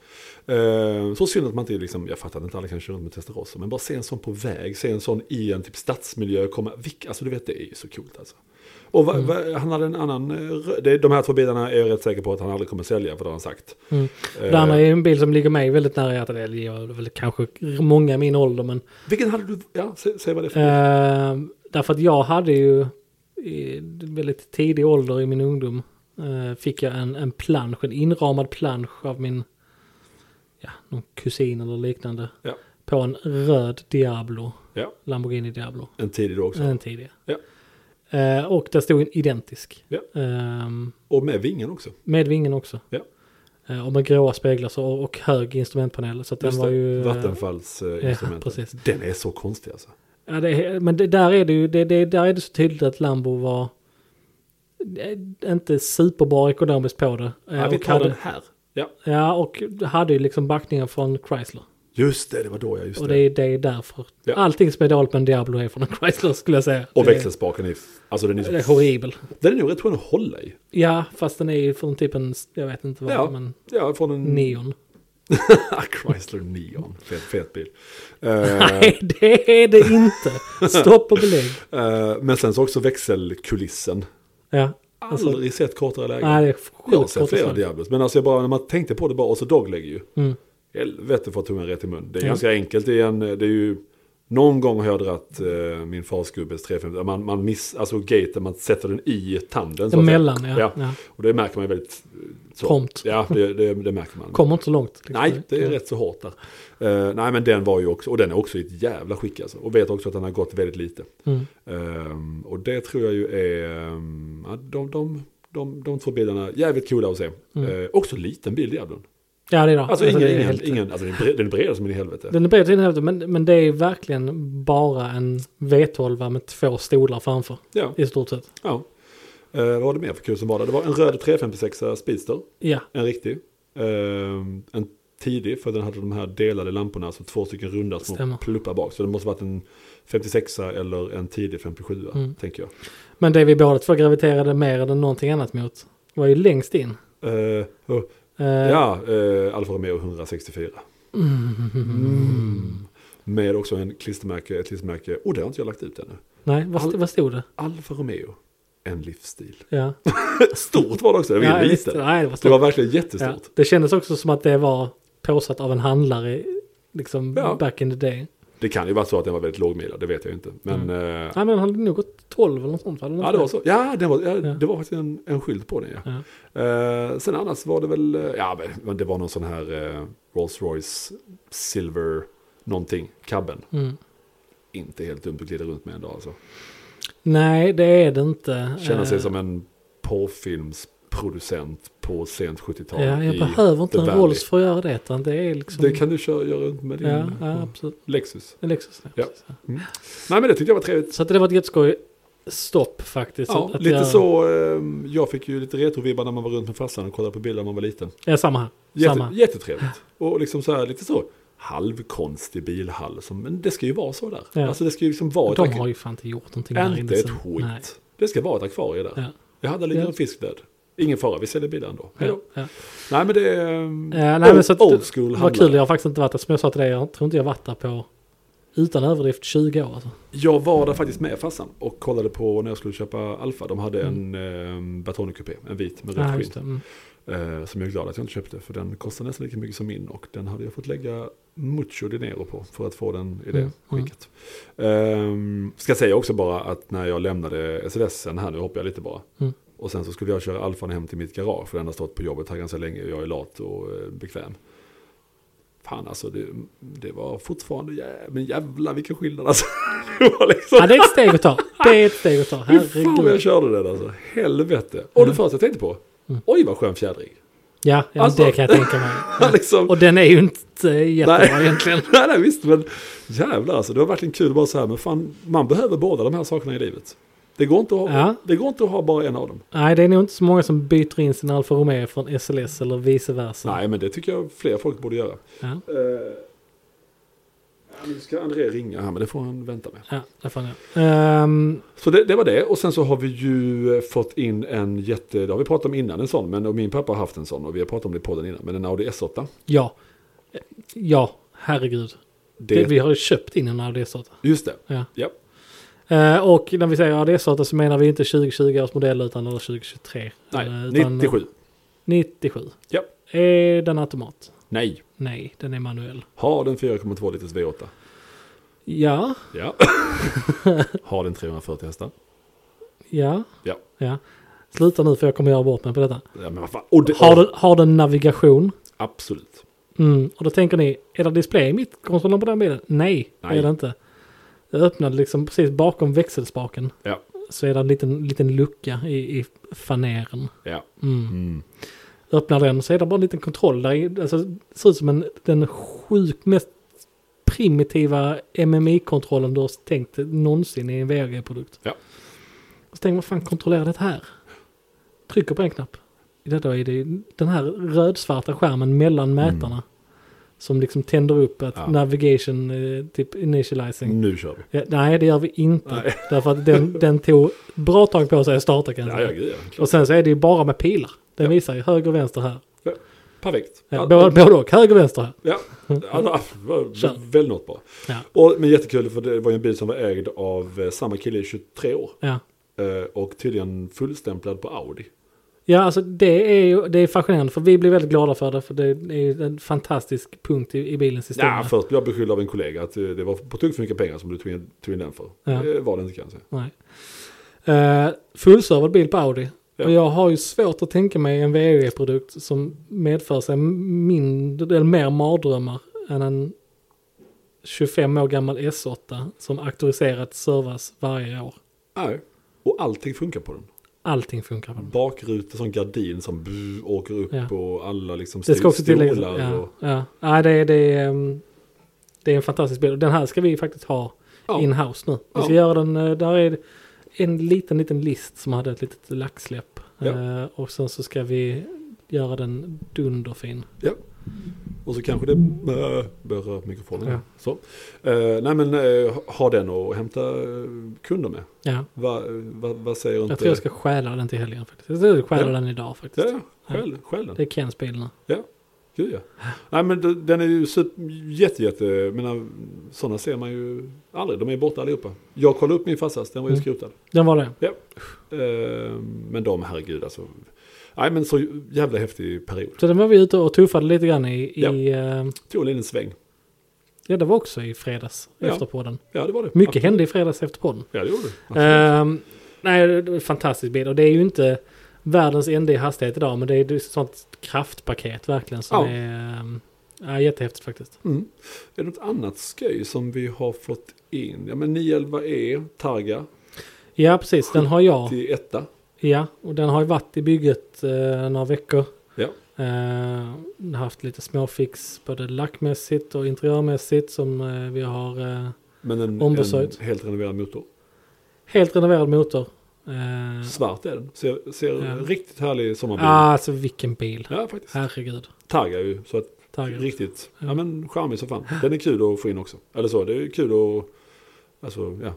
[SPEAKER 2] Eh, så synd att man inte liksom, jag fattar att inte alla kan köra runt med Testarossa, men bara se en sån på väg, se en sån i en typ stadsmiljö komma, vilk, alltså du vet det är ju så coolt alltså. Och
[SPEAKER 1] Mm.
[SPEAKER 2] va, va, han hade en annan, eh, rö- det, de här två bilarna är jag rätt säker på att han aldrig kommer sälja, för det har han sagt.
[SPEAKER 1] Mm.
[SPEAKER 2] Eh,
[SPEAKER 1] Det andra är en bil som ligger mig väldigt nära hjärtat. Eller jag är väl kanske många i min ålder men.
[SPEAKER 2] Vilken hade du, ja, sä, säg vad det är för bil.
[SPEAKER 1] Eh, därför att jag hade ju i väldigt tidig ålder i min ungdom. Eh, fick jag en, en plansch, en inramad plansch av min ja, någon kusin eller liknande.
[SPEAKER 2] Ja.
[SPEAKER 1] På en röd Diablo,
[SPEAKER 2] Ja,
[SPEAKER 1] Lamborghini Diablo.
[SPEAKER 2] en tidig då också.
[SPEAKER 1] Den tidiga.
[SPEAKER 2] Ja.
[SPEAKER 1] Eh, och där stod en identisk.
[SPEAKER 2] Ja.
[SPEAKER 1] Ehm,
[SPEAKER 2] Och med vingen också.
[SPEAKER 1] med vingen också.
[SPEAKER 2] Ja.
[SPEAKER 1] Eh, och med gråa speglar så, och, och hög instrumentpanel. Så att den
[SPEAKER 2] Just
[SPEAKER 1] var
[SPEAKER 2] det.
[SPEAKER 1] ju... eh, ja,
[SPEAKER 2] Vattenfallsinstrumentet.
[SPEAKER 1] precis.
[SPEAKER 2] Den är så konstig alltså.
[SPEAKER 1] Ja, det, är- men det, där är det ju det, det, där är det så tydligt att Lambo var eh, inte superbra ekonomiskt på det. Eh,
[SPEAKER 2] Ja, vi
[SPEAKER 1] och
[SPEAKER 2] tar
[SPEAKER 1] hade,
[SPEAKER 2] den här. Ja,
[SPEAKER 1] ja, och hade ju liksom backningen från Chrysler.
[SPEAKER 2] just det, det var då jag just
[SPEAKER 1] och det är, det är därför.
[SPEAKER 2] Ja.
[SPEAKER 1] Allting som är dåligt med en Diablo är från (laughs) en Chrysler skulle jag säga.
[SPEAKER 2] Och
[SPEAKER 1] Det är-
[SPEAKER 2] växelspaken är, alltså den är,
[SPEAKER 1] Det är
[SPEAKER 2] så,
[SPEAKER 1] horribel.
[SPEAKER 2] den är nog rätt skön att hålla i.
[SPEAKER 1] Ja, fast den är ju från typ en, jag vet inte vad,
[SPEAKER 2] Ja.
[SPEAKER 1] men
[SPEAKER 2] Ja, från en (laughs) Ah,
[SPEAKER 1] neon. (laughs)
[SPEAKER 2] Chrysler Neon, fet, fet bil. Eh,
[SPEAKER 1] Nej, det är det inte. Stopp och belägg.
[SPEAKER 2] eh, men sen så också växelkulissen.
[SPEAKER 1] Ja, Alltså-
[SPEAKER 2] Aldrig sett kortare lägen.
[SPEAKER 1] nej det är
[SPEAKER 2] jag har
[SPEAKER 1] sjukt
[SPEAKER 2] sett
[SPEAKER 1] kort och
[SPEAKER 2] flera
[SPEAKER 1] snabbt.
[SPEAKER 2] Diablos, men alltså jag bara, när man tänkte på det bara, och så doglegger ju.
[SPEAKER 1] Mm.
[SPEAKER 2] Helvete för tungan rätt i mun. Det är
[SPEAKER 1] Ja.
[SPEAKER 2] ganska enkelt i en, det är ju, någon gång har jag dragit eh, min fars gubbes 350, man, man miss, alltså gaten, man sätter den i tanden. så att säga.
[SPEAKER 1] Emellan, ja.
[SPEAKER 2] Ja.
[SPEAKER 1] ja.
[SPEAKER 2] Och det märker man ju väldigt... eh, Så.
[SPEAKER 1] Prompt.
[SPEAKER 2] Ja, det, det, det
[SPEAKER 1] (laughs)
[SPEAKER 2] märker man.
[SPEAKER 1] Kommer inte så långt. liksom.
[SPEAKER 2] Nej, det är rätt så hårt där. Eh, nej, men den var ju också, och den är också i ett jävla skick alltså. Och vet också att den har gått väldigt lite.
[SPEAKER 1] Mm.
[SPEAKER 2] Ehm, och det tror jag ju är, ehm, ja, de, de, de, de två bilarna, jävligt coola att se.
[SPEAKER 1] Mm.
[SPEAKER 2] Eh, också liten bil, Diablon.
[SPEAKER 1] Ja, det är bra.
[SPEAKER 2] Alltså,
[SPEAKER 1] Alltså,
[SPEAKER 2] ingen,
[SPEAKER 1] det är
[SPEAKER 2] ingen,
[SPEAKER 1] helt-
[SPEAKER 2] ingen, alltså den är bred, den är bred som en i helvete.
[SPEAKER 1] Den är bred till den hälften, men, men det är verkligen bara en V12 med två stolar framför.
[SPEAKER 2] Ja,
[SPEAKER 1] I stort sett.
[SPEAKER 2] ja. Eh, vad var det mer för kul som var där? Det var en röd 356 Speedster,
[SPEAKER 1] Ja,
[SPEAKER 2] en riktig. Ehm, en tidig, för den hade de här delade lamporna, alltså två stycken runda små
[SPEAKER 1] Stämmer.
[SPEAKER 2] pluppar bak. Så det måste varit en 56 eller en tidig 57
[SPEAKER 1] Mm.
[SPEAKER 2] tänker jag.
[SPEAKER 1] men det vi båda två graviterade mer än någonting annat mot var ju längst in.
[SPEAKER 2] Eh, och-
[SPEAKER 1] Eh,
[SPEAKER 2] ja, eh, Alfa Romeo 164. Mm. Med också en klistermärke, ett klistermärke, och det har inte jag lagt ut ännu.
[SPEAKER 1] Nej, vad, st-
[SPEAKER 2] All-
[SPEAKER 1] vad stod det?
[SPEAKER 2] Alfa Romeo,
[SPEAKER 1] (laughs)
[SPEAKER 2] en livsstil.
[SPEAKER 1] Ja.
[SPEAKER 2] Stort var det också, det var
[SPEAKER 1] ja,
[SPEAKER 2] ju
[SPEAKER 1] visst.
[SPEAKER 2] litet.
[SPEAKER 1] Nej, det var
[SPEAKER 2] Det
[SPEAKER 1] stort.
[SPEAKER 2] var verkligen jättestort.
[SPEAKER 1] Ja. Det kändes också som att det var påsatt av en handlare liksom
[SPEAKER 2] Ja.
[SPEAKER 1] back in the day.
[SPEAKER 2] Det kan ju vara så att den var väldigt lågmilad, det vet jag inte. Men, eh,
[SPEAKER 1] Nej, men han hade nog gått 12 eller något sånt. va? Eller något
[SPEAKER 2] ja det var
[SPEAKER 1] sånt.
[SPEAKER 2] så. Ja, det var, ja,
[SPEAKER 1] Ja.
[SPEAKER 2] det var faktiskt en, en skylt på den ja. Eh, sen annars var det väl, eh, ja men det var någon sån här eh, Rolls Royce Silver någonting, cabben.
[SPEAKER 1] Ja. Mm.
[SPEAKER 2] Inte helt dumt att glida runt med en dag alltså.
[SPEAKER 1] Nej, det är det inte.
[SPEAKER 2] Känna sig
[SPEAKER 1] Eh,
[SPEAKER 2] som en porrfilmsproducent på sent 70-tal.
[SPEAKER 1] Ja, jag
[SPEAKER 2] i
[SPEAKER 1] behöver
[SPEAKER 2] The
[SPEAKER 1] inte en
[SPEAKER 2] Valley.
[SPEAKER 1] Rolls för att göra det. Utan det är liksom...
[SPEAKER 2] Det kan du köra göra runt med din
[SPEAKER 1] ja, ja,
[SPEAKER 2] eh,
[SPEAKER 1] absolut.
[SPEAKER 2] Lexus.
[SPEAKER 1] En Lexus. Ja.
[SPEAKER 2] Ja.
[SPEAKER 1] precis.
[SPEAKER 2] Nej men det tyckte jag var trevligt.
[SPEAKER 1] Så att det var ett jätteskoj stopp faktiskt.
[SPEAKER 2] Ja,
[SPEAKER 1] att- att
[SPEAKER 2] lite
[SPEAKER 1] göra-
[SPEAKER 2] så, ehm, jag fick ju lite retrovibbar när man var runt med farsan och kollade på bilder när man var liten.
[SPEAKER 1] Ja, samma här.
[SPEAKER 2] Jätte,
[SPEAKER 1] Samma.
[SPEAKER 2] jättetrevligt. Och liksom så här, lite så halvkonstig bilhall. Som, men det ska ju vara så där.
[SPEAKER 1] Ja.
[SPEAKER 2] Alltså det ska ju liksom vara
[SPEAKER 1] De
[SPEAKER 2] ak-
[SPEAKER 1] har ju fan inte gjort någonting där
[SPEAKER 2] Inte
[SPEAKER 1] inne.
[SPEAKER 2] ett
[SPEAKER 1] sen.
[SPEAKER 2] skit.
[SPEAKER 1] Nej.
[SPEAKER 2] Det ska vara ett akvarie där.
[SPEAKER 1] Ja.
[SPEAKER 2] Jag hade lite
[SPEAKER 1] Ja.
[SPEAKER 2] en fisk död. Ingen fara, vi säljer bilar ändå. Hej
[SPEAKER 1] Ja,
[SPEAKER 2] då.
[SPEAKER 1] ja.
[SPEAKER 2] Nej men det är... ehm,
[SPEAKER 1] Eh, nej, men så att,
[SPEAKER 2] old school
[SPEAKER 1] Vad
[SPEAKER 2] handlare.
[SPEAKER 1] kul, jag har faktiskt inte varit där. Som jag sa till dig, jag tror inte jag har varit där på utan överdrift 20 år alltså.
[SPEAKER 2] Jag var där faktiskt med farsan och kollade på när jag skulle köpa Alfa. De hade en eh, Bertone Coupé, en vit med
[SPEAKER 1] Mm. Ja,
[SPEAKER 2] rött
[SPEAKER 1] just det.
[SPEAKER 2] skinn.
[SPEAKER 1] Mm.
[SPEAKER 2] Eh, som jag är glad att jag inte köpte, för den kostar nästan lika mycket som min. Och den hade jag fått lägga mucho dinero på för att få den i det
[SPEAKER 1] Mm, mm.
[SPEAKER 2] skicket. Ehm, ska säga också bara att när jag lämnade SLSen här, nu hoppar jag lite bara.
[SPEAKER 1] Mm.
[SPEAKER 2] Och sen så skulle jag köra Alfan hem till mitt garage, för den har stått på jobbet här ganska länge och jag är lat och eh, bekväm. Fan alltså, det, det var fortfarande, jä- men jävlar vilken skillnad alltså. (laughs) Det var liksom,
[SPEAKER 1] Ja, det är ett steg att ta. Det är ett steg att ta.
[SPEAKER 2] (laughs) Fy fan vad jag
[SPEAKER 1] Herregud. Mm.
[SPEAKER 2] körde den alltså, helvete. Och det första jag tänkte på, oj vad skön fjädring. (laughs)
[SPEAKER 1] Ja, ja
[SPEAKER 2] Alltså.
[SPEAKER 1] det kan jag tänka mig.
[SPEAKER 2] liksom,
[SPEAKER 1] Och den är ju inte jättebra egentligen.
[SPEAKER 2] (laughs) nej, nej, visst, men jävlar alltså. Det var verkligen kul att bara så här, men fan, man behöver båda de här sakerna i livet. Det går inte att ha,
[SPEAKER 1] Ja.
[SPEAKER 2] det går inte att ha bara en av dem.
[SPEAKER 1] Nej, det är nog inte så många som byter in sin Alfa Romeo från SLS eller vice versa.
[SPEAKER 2] Nej, men det tycker jag fler folk borde göra.
[SPEAKER 1] Ja,
[SPEAKER 2] Eh, ja, nu ska André ringa här, men det får han vänta med.
[SPEAKER 1] ja det får jag. Ehm,
[SPEAKER 2] Så det, det var det, och sen så har vi ju eh, fått in en jätte, det har vi pratat om innan en sån, men och min pappa har haft en sån och vi har pratat om det i podden innan, men en Audi S8.
[SPEAKER 1] ja. Ja, herregud.
[SPEAKER 2] Det,
[SPEAKER 1] Det... vi har ju köpt in en Audi S8.
[SPEAKER 2] Just det,
[SPEAKER 1] Ja.
[SPEAKER 2] ja.
[SPEAKER 1] Eh, och när vi säger Audi S8 så menar vi inte 2020 års modell utan eller 2023.
[SPEAKER 2] Nej,
[SPEAKER 1] Eh, utan, eh,
[SPEAKER 2] 97.
[SPEAKER 1] 97.
[SPEAKER 2] Ja.
[SPEAKER 1] Är den automat?
[SPEAKER 2] Nej,
[SPEAKER 1] Nej, den är manuell.
[SPEAKER 2] har den 4,2 liters V8.
[SPEAKER 1] Ja, (laughs)
[SPEAKER 2] Ja. Har den 340 hästar?
[SPEAKER 1] ja,
[SPEAKER 2] Ja.
[SPEAKER 1] ja. Sluta nu för jag kommer göra bort mig på detta.
[SPEAKER 2] ja men vad fan. Och det,
[SPEAKER 1] Har den, har den navigation?
[SPEAKER 2] Absolut.
[SPEAKER 1] Mm. Och då tänker ni, är det display i mittkonsolen på den bilen? Nej, det
[SPEAKER 2] Nej.
[SPEAKER 1] är det inte. Jag öppnade liksom precis bakom växelspaken.
[SPEAKER 2] Ja.
[SPEAKER 1] Så är det en liten, liten lucka i, i faneren.
[SPEAKER 2] Ja.
[SPEAKER 1] Mm.
[SPEAKER 2] Mm.
[SPEAKER 1] öppnar den så är det bara en liten kontroll där. i- Alltså, det ser ut som en, den sjukt mest primitiva MMI-kontrollen du har tänkt någonsin i en VAG-produkt.
[SPEAKER 2] Ja.
[SPEAKER 1] Och så tänker man, vad fan kontrollerar det här? Trycker på en knapp. Detta är det den här rödsvarta skärmen mellan mätarna. Som liksom tänder upp att
[SPEAKER 2] Mm. Ja.
[SPEAKER 1] navigation, eh, typ initializing.
[SPEAKER 2] Nu kör vi.
[SPEAKER 1] Ja, nej, det gör vi inte.
[SPEAKER 2] Nej.
[SPEAKER 1] Därför att den, den tog bra tag på sig att starta kan jag
[SPEAKER 2] Ja,
[SPEAKER 1] säga.
[SPEAKER 2] ja, gud, ja. Klart.
[SPEAKER 1] Och sen så är det ju bara med pilar. Den
[SPEAKER 2] Ja.
[SPEAKER 1] visar ju höger och vänster här.
[SPEAKER 2] Perfekt.
[SPEAKER 1] Ja, både, både och, höger och vänster här.
[SPEAKER 2] ja. ja det var
[SPEAKER 1] Kör.
[SPEAKER 2] väl något bra.
[SPEAKER 1] Ja.
[SPEAKER 2] Och, men jättekul för det var ju en bil som var ägd av eh, samma kille i 23 år.
[SPEAKER 1] Ja.
[SPEAKER 2] Eh, Och tydligen fullstämplad på Audi.
[SPEAKER 1] Ja, alltså det är, ju- det är fascinerande för vi blir väldigt glada för det. För det är ju en fantastisk punkt i, i bilens historia.
[SPEAKER 2] Ja, först blev jag beskylld av en kollega att eh, det var på tok för mycket pengar som du tog in, tog in den för.
[SPEAKER 1] Ja.
[SPEAKER 2] Det var det inte kan jag säga.
[SPEAKER 1] Nej. Eh, fullservad bil på Audi.
[SPEAKER 2] Ja.
[SPEAKER 1] Och jag har ju svårt att tänka mig en VE-produkt som medför sig mindre, eller mer mardrömmar än en 25 år gammal S8 som auktoriserat servas varje år.
[SPEAKER 2] Nej. Och allting funkar på den.
[SPEAKER 1] Allting funkar på den.
[SPEAKER 2] Bakrutor som gardin som bzz, åker upp
[SPEAKER 1] Ja.
[SPEAKER 2] och alla liksom
[SPEAKER 1] Det ska också tilläggas.
[SPEAKER 2] stolar
[SPEAKER 1] Ja,
[SPEAKER 2] och-
[SPEAKER 1] ja. ja det, är- det, är, ehm, det är en fantastisk bil. Och Den här ska vi faktiskt ha
[SPEAKER 2] Ja.
[SPEAKER 1] in-house nu. Vi ska
[SPEAKER 2] Ja.
[SPEAKER 1] göra den, eh, där är en liten, liten list som hade ett litet laxläpp.
[SPEAKER 2] Ja.
[SPEAKER 1] Eh, och sen så ska vi göra den dunderfin.
[SPEAKER 2] Och så kanske det äh, berör mikrofonen.
[SPEAKER 1] Ja.
[SPEAKER 2] Så. Eh, nej men eh, ha- ha den och hämta eh, kunder med.
[SPEAKER 1] Ja.
[SPEAKER 2] Va, va, vad säger inte...
[SPEAKER 1] Jag tror jag ska stjäla den till helgen faktiskt. Jag tror jag stjäler
[SPEAKER 2] Ja.
[SPEAKER 1] den idag faktiskt.
[SPEAKER 2] Ja, ja, själv, själv den.
[SPEAKER 1] Det är Kens bil nu.
[SPEAKER 2] Ja, gud ja. Nej men d- den är ju super, jätte, jätte, jag menar, sådana ser man ju aldrig. De är borta allihopa. Jag kollade upp min farsas, den var ju
[SPEAKER 1] Mm.
[SPEAKER 2] skrotad.
[SPEAKER 1] Den var det.
[SPEAKER 2] Ja. Eh, men de, herregud alltså. Nej men så jävla häftig period.
[SPEAKER 1] Så den var vi ute och tuffade lite grann i, i ja.
[SPEAKER 2] Tog en liten sväng.
[SPEAKER 1] ja det var också i fredags
[SPEAKER 2] Ja.
[SPEAKER 1] efter podden.
[SPEAKER 2] Ja det var det.
[SPEAKER 1] Mycket hände i fredags efter podden.
[SPEAKER 2] Ja det gjorde det.
[SPEAKER 1] Ehm, nej, det är en fantastisk bil. Och det är ju inte världens enda i hastighet idag. Men det är ett sånt kraftpaket verkligen. Som
[SPEAKER 2] Ja.
[SPEAKER 1] är ehm, ja, jättehäftigt faktiskt.
[SPEAKER 2] Mm. Är det något annat skoj som vi har fått in? Ja men 911E, Targa,
[SPEAKER 1] Ja, precis. Den har jag.
[SPEAKER 2] till etta.
[SPEAKER 1] Ja, och den har ju varit i bygget eh, några veckor.
[SPEAKER 2] Ja.
[SPEAKER 1] Eh, den har haft lite småfix både lackmässigt och interiörmässigt som eh, vi har eh,
[SPEAKER 2] Men en, en
[SPEAKER 1] Ombesörjt.
[SPEAKER 2] helt renoverad motor.
[SPEAKER 1] helt renoverad motor. Eh,
[SPEAKER 2] Svart är den. Ser, ser
[SPEAKER 1] Ja.
[SPEAKER 2] riktigt härlig sommarbil.
[SPEAKER 1] ah, alltså vilken bil.
[SPEAKER 2] Ja faktiskt.
[SPEAKER 1] Herregud.
[SPEAKER 2] Targa är ju så att
[SPEAKER 1] Taggad.
[SPEAKER 2] riktigt. Ja.
[SPEAKER 1] Ja.
[SPEAKER 2] men charmig som fan. Den är kul att få in också. Eller så, det är ju kul att... Alltså ja.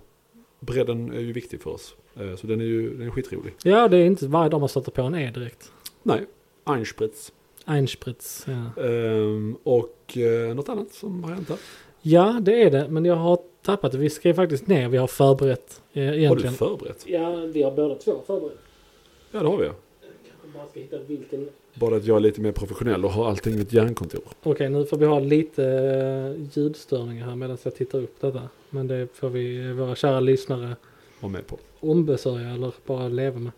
[SPEAKER 2] Bredden är ju viktig för oss. Eh, Så den är ju den är skitrolig.
[SPEAKER 1] Ja, det är inte varje dag man sätter på en E direkt.
[SPEAKER 2] Nej, Einspritz.
[SPEAKER 1] Einspritz. Ja.
[SPEAKER 2] Ehm, och eh, något annat som har hänt här?
[SPEAKER 1] Ja, det är det. Men jag har tappat det. Vi skrev faktiskt ner. Vi har förberett eh,
[SPEAKER 2] Har du
[SPEAKER 1] egentligen.
[SPEAKER 2] förberett?
[SPEAKER 1] Ja, vi har båda två förberett.
[SPEAKER 2] Ja, det har vi. ja.
[SPEAKER 1] Kanske bara ska hitta vilken.
[SPEAKER 2] Bara att jag är lite mer professionell och har allting i ett hjärnkontor.
[SPEAKER 1] Okej, nu får vi ha lite eh, ljudstörningar här medan jag tittar upp detta. Men det får vi eh, våra kära lyssnare
[SPEAKER 2] Var med på.
[SPEAKER 1] ombesörja eller bara leva med.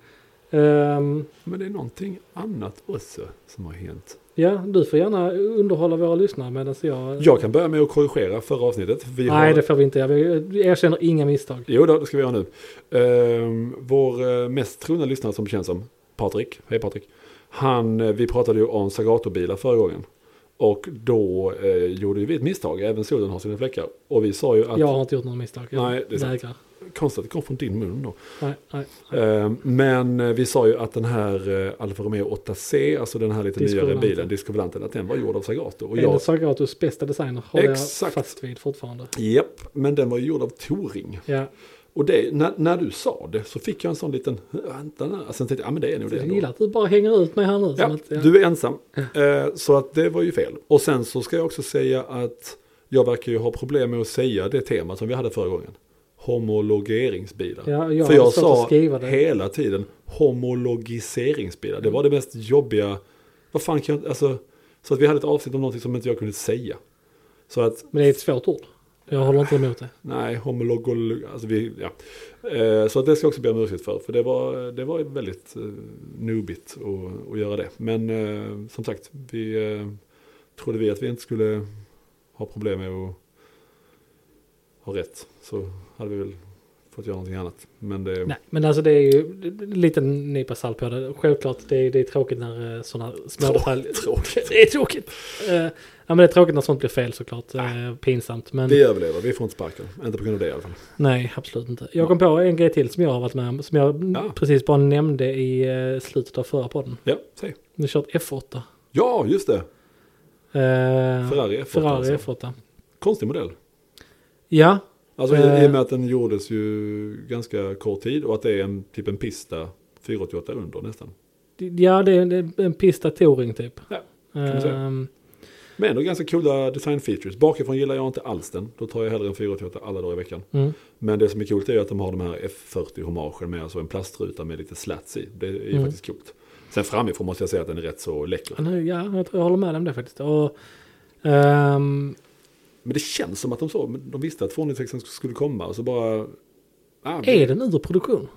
[SPEAKER 1] Ehm,
[SPEAKER 2] Men det är någonting annat också som har hänt.
[SPEAKER 1] ja, du får gärna underhålla våra lyssnare medan jag...
[SPEAKER 2] Jag kan börja med att korrigera förra avsnittet. Vi har...
[SPEAKER 1] Nej, det får vi inte. göra. Vi- eh, Vi erkänner inga misstag.
[SPEAKER 2] Jo, då, det ska vi göra nu. Ehm, vår eh, mest trogna lyssnare som det känns som, Patrik, hej Patrik. Han, eh, vi pratade ju om Sagato-bilar förra gången. Och då eh, gjorde ju vi ett misstag, även solen har sina fläckar. Och vi sa ju att,
[SPEAKER 1] Jag har inte gjort några misstag. Jag
[SPEAKER 2] Nej, det är sant.
[SPEAKER 1] vägrar.
[SPEAKER 2] konstigt att det kom från din mun då.
[SPEAKER 1] Nej, nej.
[SPEAKER 2] Ehm, men eh, vi sa ju att den här eh, Alfa Romeo 8C, alltså den här lite nyare
[SPEAKER 1] Discovolanten.
[SPEAKER 2] bilen, Discovolanten, att den var gjord av Sagato. Och
[SPEAKER 1] En av
[SPEAKER 2] jag,
[SPEAKER 1] Sagatos bästa designer håller jag
[SPEAKER 2] Exakt.
[SPEAKER 1] fast vid fortfarande.
[SPEAKER 2] japp, men den var ju gjord av Touring.
[SPEAKER 1] Ja,
[SPEAKER 2] Och det, när, när du sa det så fick jag en sån liten, vänta nu, Alltså, sen tänkte jag, ja men det är nog det.
[SPEAKER 1] jag
[SPEAKER 2] ändå."
[SPEAKER 1] gillar att du bara hänger ut mig här nu.
[SPEAKER 2] Ja,
[SPEAKER 1] som att, ja.
[SPEAKER 2] Du är ensam. Eh, Så att det var ju fel. Och sen så ska jag också säga att jag verkar ju ha problem med att säga det temat som vi hade förra gången. Homologeringsbilar.
[SPEAKER 1] Ja, jag
[SPEAKER 2] För
[SPEAKER 1] hade
[SPEAKER 2] jag
[SPEAKER 1] svårt att
[SPEAKER 2] sa
[SPEAKER 1] skriva det.
[SPEAKER 2] hela tiden homologiseringsbilar. Det var det mest jobbiga. Vad fan kan jag alltså. Så att vi hade ett avsnitt om någonting som inte jag kunde säga. Så att,
[SPEAKER 1] Men det är ett svårt ord. Jag håller inte emot det.
[SPEAKER 2] nej, homologol, alltså vi, ja. Eh, Så att det ska jag också be om ursäkt för. För det var, det var väldigt eh, noobigt att, att göra det. Men eh, som sagt, vi eh, trodde vi att vi inte skulle ha problem med att ha rätt. Så hade vi väl fått göra någonting annat. Men det,
[SPEAKER 1] Nej, men alltså det är ju det- det- lite nypa salt på det. Självklart, det är, det är tråkigt när sådana små
[SPEAKER 2] Trå-
[SPEAKER 1] detaljer...
[SPEAKER 2] tråkigt.
[SPEAKER 1] (laughs) Det är tråkigt. Eh, ja, men det är tråkigt när sånt blir fel såklart.
[SPEAKER 2] Ah.
[SPEAKER 1] Eh, pinsamt. Men
[SPEAKER 2] vi överlever, vi får inte sparken. Inte på grund av det i alla fall.
[SPEAKER 1] nej, absolut inte. Jag kom på en grej till som jag har varit med om. Som jag
[SPEAKER 2] Ja.
[SPEAKER 1] precis bara nämnde i eh, slutet av förra podden.
[SPEAKER 2] Ja, säg.
[SPEAKER 1] Nu kört F8.
[SPEAKER 2] Ja, just det.
[SPEAKER 1] Eh,
[SPEAKER 2] Ferrari F8.
[SPEAKER 1] Ferrari
[SPEAKER 2] alltså.
[SPEAKER 1] F8.
[SPEAKER 2] Konstig modell.
[SPEAKER 1] Ja,
[SPEAKER 2] Alltså i,
[SPEAKER 1] Eh.
[SPEAKER 2] i och med att den gjordes ju ganska kort tid och att det är en, typ en pista 488 under nästan.
[SPEAKER 1] ja det är en- det är en pista touring typ.
[SPEAKER 2] Ja, man säga.
[SPEAKER 1] Ehm,
[SPEAKER 2] Men ändå ganska coola design features. Bakifrån gillar jag inte alls den. Då tar jag hellre en 488 alla dagar i veckan.
[SPEAKER 1] mm.
[SPEAKER 2] Men det som är coolt är ju att de har de här F40 homagen med alltså en plastruta med lite slats i. Det är ju
[SPEAKER 1] Mm.
[SPEAKER 2] faktiskt coolt. Sen framifrån måste jag säga att den är rätt så läcker.
[SPEAKER 1] Ja, nu- ja, jag tror jag håller med dig om det faktiskt. Och, ehm,
[SPEAKER 2] Men det känns som att de så, men de visste att 296 skulle komma och så bara... Ah,
[SPEAKER 1] är den ur produktion?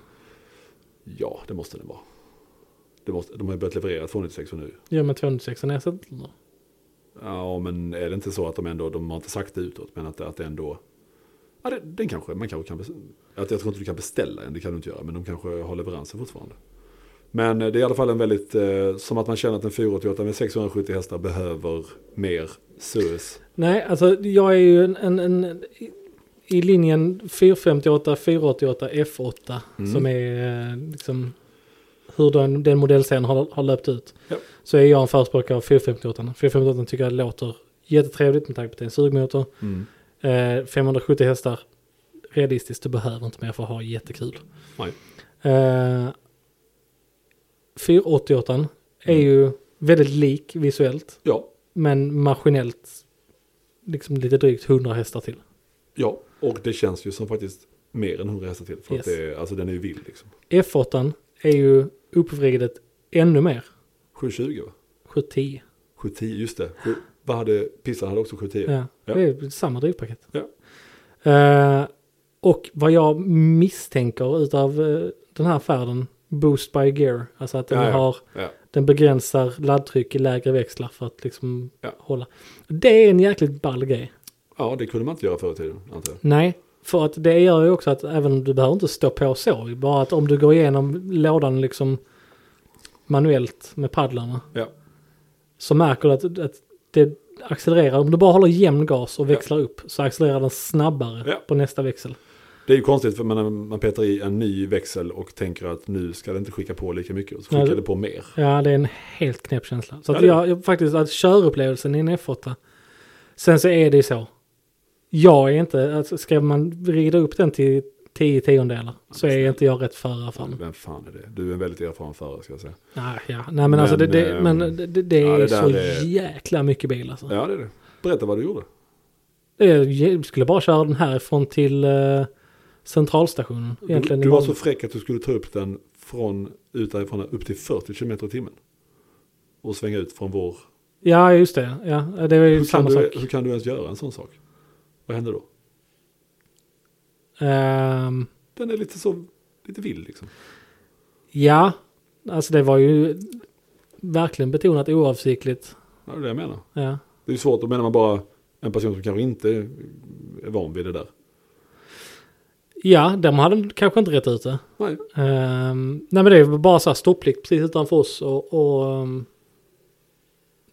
[SPEAKER 2] Ja, det måste den vara. Det måste, de har ju börjat leverera 296 nu.
[SPEAKER 1] Ja, men 216 är sett eller?
[SPEAKER 2] Ja, men är det inte så att de ändå, de har inte sagt det utåt, men att, att det ändå... Ja, det, den kanske, man kanske kan beställa. Att jag tror inte du kan beställa en, det kan du inte göra, men de kanske har leveranser fortfarande. Men eh, det är i alla fall en väldigt, eh, som att man känner att en 488 med 670 hästar behöver mer SUS.
[SPEAKER 1] Nej, alltså jag är ju en, en, en i- i linjen 458, 488, F8
[SPEAKER 2] Mm.
[SPEAKER 1] som är eh, liksom hur den, den modellserien har, har löpt ut.
[SPEAKER 2] Ja.
[SPEAKER 1] Så är jag en förespråkare av 458. 458 tycker jag låter jättetrevligt med tanke på att det är en sugmotor. Eh, 570 hästar, realistiskt, du behöver inte mer för att ha jättekul.
[SPEAKER 2] Nej.
[SPEAKER 1] Eh, 488 är
[SPEAKER 2] Mm.
[SPEAKER 1] ju väldigt lik visuellt,
[SPEAKER 2] Ja,
[SPEAKER 1] men maskinellt liksom lite drygt 100 hästar till.
[SPEAKER 2] ja, och det känns ju som faktiskt mer än 100 hästar till. För
[SPEAKER 1] Yes.
[SPEAKER 2] att det, är- alltså den är ju vild liksom.
[SPEAKER 1] F8 är ju uppvridet ännu mer,
[SPEAKER 2] 720 va?
[SPEAKER 1] 710.
[SPEAKER 2] 710, just det. Sju- Vad hade, Pissan hade också 710.
[SPEAKER 1] Ja.
[SPEAKER 2] Ja.
[SPEAKER 1] Det är samma drivpaket.
[SPEAKER 2] Ja.
[SPEAKER 1] Eh, och vad jag misstänker utav eh, den här färden, Boost by Gear, alltså att den
[SPEAKER 2] Ja, ja.
[SPEAKER 1] har
[SPEAKER 2] Ja.
[SPEAKER 1] Den begränsar laddtryck i lägre växlar för att liksom
[SPEAKER 2] Ja.
[SPEAKER 1] hålla. Det är en jäkligt ball grej.
[SPEAKER 2] ja, det kunde man inte göra förr i tiden, antar jag.
[SPEAKER 1] Nej, för att det gör ju också att även om du behöver inte stå på så, bara att om du går igenom lådan liksom manuellt med paddlarna
[SPEAKER 2] Ja.
[SPEAKER 1] så märker du att, att det accelererar. Om du bara håller jämn gas och
[SPEAKER 2] Ja.
[SPEAKER 1] växlar upp så accelererar den snabbare
[SPEAKER 2] Ja.
[SPEAKER 1] på nästa växel.
[SPEAKER 2] Det är ju konstigt för man, man petar i en ny växel och tänker att nu ska det inte skicka på lika mycket. Och så skickar
[SPEAKER 1] Nej.
[SPEAKER 2] det på mer.
[SPEAKER 1] Ja, det är en helt knäpp känsla. Så att
[SPEAKER 2] Ja, det är
[SPEAKER 1] jag, jag faktiskt, att körupplevelsen i en F8. Sen så är det ju så. Jag är inte, alltså ska man rida upp den till 10 tiondelar så är inte jag rätt förare för den.
[SPEAKER 2] Vem fan är det? Du är en väldigt erfaren förare ska jag säga.
[SPEAKER 1] Nej, ja. Nej men, alltså det,
[SPEAKER 2] Men,
[SPEAKER 1] det,
[SPEAKER 2] ehm,
[SPEAKER 1] men det, det, det
[SPEAKER 2] ja,
[SPEAKER 1] är
[SPEAKER 2] det där
[SPEAKER 1] så
[SPEAKER 2] är-
[SPEAKER 1] jäkla mycket bil alltså.
[SPEAKER 2] Ja, det är det. Berätta vad du gjorde.
[SPEAKER 1] Jag skulle bara köra den härifrån till eh, centralstationen.
[SPEAKER 2] Du,
[SPEAKER 1] Egentligen i
[SPEAKER 2] du var
[SPEAKER 1] Malmö.
[SPEAKER 2] så fräck att du skulle ta upp den från ut därifrån upp till 40 km i timmen. Och svänga ut från vår...
[SPEAKER 1] Ja, just det. Ja, det var ju
[SPEAKER 2] Hur kan,
[SPEAKER 1] samma
[SPEAKER 2] du,
[SPEAKER 1] sak.
[SPEAKER 2] hur kan du ens göra en sån sak? Vad händer då?
[SPEAKER 1] Ehm,
[SPEAKER 2] Den är lite så, lite vild liksom.
[SPEAKER 1] ja, alltså det var ju verkligen betonat oavsiktligt.
[SPEAKER 2] Ja, det är det jag menar.
[SPEAKER 1] Ja.
[SPEAKER 2] Det är ju svårt, då menar man bara en person som kanske inte är van vid det där.
[SPEAKER 1] Ja, de hade kanske inte rätt ut det.
[SPEAKER 2] Nej,
[SPEAKER 1] Ehm, nej men det var bara så här stopplikt precis utanför oss och, och ehm,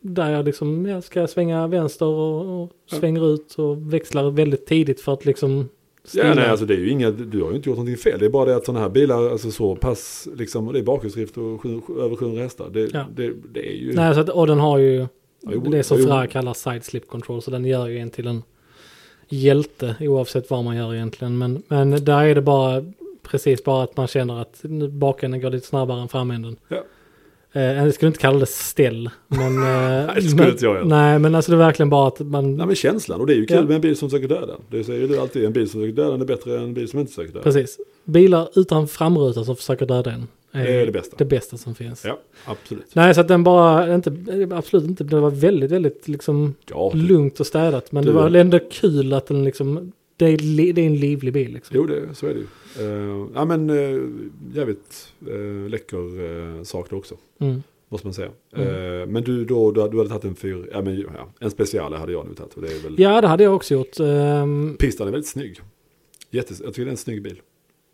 [SPEAKER 1] där jag liksom jag ska svänga vänster och, och
[SPEAKER 2] Ja.
[SPEAKER 1] svänger ut och växlar väldigt tidigt för att liksom stilla.
[SPEAKER 2] ja, nej alltså det är ju inga, du har ju inte gjort någonting fel. Det är bara det att sådana här bilar, alltså så pass, liksom, och det är bakhjulsdrift och sju, sju- över 700 hästar. Det,
[SPEAKER 1] Ja.
[SPEAKER 2] det, det är ju...
[SPEAKER 1] Nej, så att, och den har ju
[SPEAKER 2] jo,
[SPEAKER 1] det som
[SPEAKER 2] jo.
[SPEAKER 1] Ferrari kallar side slip control så den gör ju en till en hjälte oavsett vad man gör egentligen. Men, men där är det bara precis bara att man känner att nu bakänden går lite snabbare än framänden.
[SPEAKER 2] Ja.
[SPEAKER 1] Eh, jag skulle inte kalla det ställ.
[SPEAKER 2] (laughs)
[SPEAKER 1] Men, eh,
[SPEAKER 2] det skulle
[SPEAKER 1] men,
[SPEAKER 2] inte jag heller.
[SPEAKER 1] Nej, men alltså det är verkligen bara att man...
[SPEAKER 2] Nej men känslan, och det är ju kul
[SPEAKER 1] Ja.
[SPEAKER 2] med en bil som söker döden. Det säger ju du alltid, en bil som söker döden är bättre än en bil som inte söker döden.
[SPEAKER 1] precis. Bilar utan framruta som försöker döda en.
[SPEAKER 2] Det är det bästa.
[SPEAKER 1] Det bästa som finns.
[SPEAKER 2] Ja, absolut.
[SPEAKER 1] Nej, så att den bara, inte, absolut inte, det var väldigt, väldigt liksom
[SPEAKER 2] Ja, du,
[SPEAKER 1] lugnt och städat. Men
[SPEAKER 2] Du-
[SPEAKER 1] det var ändå kul att den liksom, det är, li, det är en livlig bil liksom.
[SPEAKER 2] jo det, så är det ju. Eh, ja men uh, jävligt uh, läcker uh, sak det också.
[SPEAKER 1] Mm.
[SPEAKER 2] Måste man säga.
[SPEAKER 1] Mm.
[SPEAKER 2] Eh, men du, då, du, du hade tagit en fyr, ja, men, ja, en special hade jag nu tagit. Och det är väl,
[SPEAKER 1] Ja, det hade jag också gjort. Ehm,
[SPEAKER 2] Pistan är väldigt snygg. Jättes, jag tycker det är en snygg bil.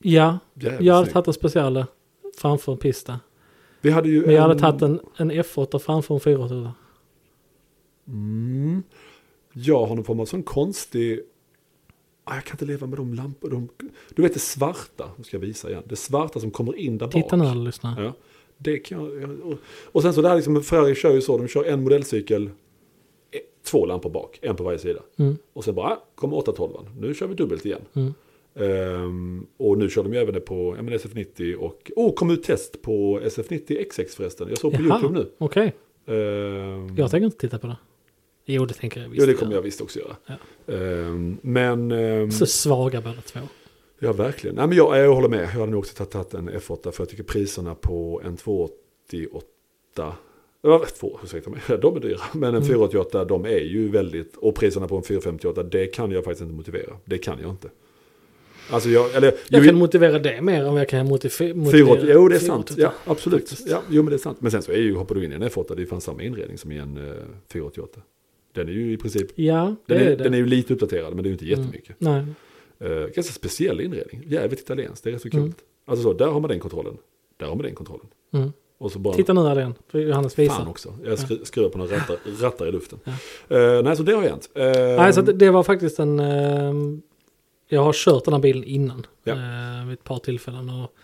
[SPEAKER 1] ja,
[SPEAKER 2] Jävligt
[SPEAKER 1] jag hade
[SPEAKER 2] snygg.
[SPEAKER 1] tagit en special framför en pista.
[SPEAKER 2] Vi hade ju
[SPEAKER 1] Men jag
[SPEAKER 2] en-
[SPEAKER 1] hade tagit en, en F8 framför en 400.
[SPEAKER 2] Mm. Jag har någon form av sån konstig... Ah, jag kan inte leva med de lamporna. De... Du vet det svarta, nu ska jag visa igen. Det svarta som kommer in där bak.
[SPEAKER 1] Titta nu alla lyssnare.
[SPEAKER 2] Ja. Det kan jag... jag- och- Och sen så där liksom, Ferrari kör ju så, de kör en modellcykel, eh, två lampor bak, en på varje sida.
[SPEAKER 1] Mm,
[SPEAKER 2] Och sen bara, ah, kommer 812, nu kör vi dubbelt igen.
[SPEAKER 1] mm.
[SPEAKER 2] Ehm, och nu kör de ju även det på ja, men SF90 och... Oh, kom ut test på SF90 XX förresten. Jag såg på
[SPEAKER 1] Jaha,
[SPEAKER 2] YouTube nu.
[SPEAKER 1] Okej,
[SPEAKER 2] Ehm,
[SPEAKER 1] jag tänker inte titta på det. Jo, det tänker jag visst.
[SPEAKER 2] Jo, det kommer
[SPEAKER 1] göra.
[SPEAKER 2] jag visst också göra.
[SPEAKER 1] Ja.
[SPEAKER 2] Ehm, men... ehm,
[SPEAKER 1] Så svaga båda två.
[SPEAKER 2] ja, verkligen. Nej, men jag, jag håller med. Jag hade nog också tagit- tagit en F8 för jag tycker priserna på en 288... (laughs) Ja, två, ursäkta mig. De är dyra. Men
[SPEAKER 1] Mm.
[SPEAKER 2] en 488, de är ju väldigt... Och priserna på en 458, det kan jag faktiskt inte motivera. Det kan jag inte. Alltså jag... Eller,
[SPEAKER 1] Jag
[SPEAKER 2] jo,
[SPEAKER 1] kan motivera det mer än vad jag kan motiv- motivera...
[SPEAKER 2] 480, jo, det är
[SPEAKER 1] 480.
[SPEAKER 2] sant. Ja, absolut. Ja, jo, men det är sant. Men sen så är ju, hoppar du in i en F8, det är ju fan samma inredning som i en eh, 488. Den är ju i princip...
[SPEAKER 1] Ja, det
[SPEAKER 2] Den
[SPEAKER 1] är
[SPEAKER 2] är,
[SPEAKER 1] det. Mm.
[SPEAKER 2] den är ju lite uppdaterad, men det är ju inte jättemycket.
[SPEAKER 1] Nej.
[SPEAKER 2] Eh, ganska speciell inredning. Jävligt italienskt, det är rätt så kul.
[SPEAKER 1] Mm.
[SPEAKER 2] Alltså så, där har man den kontrollen. Där har man den kontrollen.
[SPEAKER 1] Mm.
[SPEAKER 2] Och så bara...
[SPEAKER 1] Titta nu Adrian, för Johannes
[SPEAKER 2] Fan
[SPEAKER 1] visar.
[SPEAKER 2] också, jag skru, skruvar på några rattar, rattar i luften. Eh, nej, så det har hänt. Uh,
[SPEAKER 1] Nej, så det, det var faktiskt en... Eh, jag har kört den här bilen innan.
[SPEAKER 2] Ja.
[SPEAKER 1] Eh, vid ett par tillfällen. Och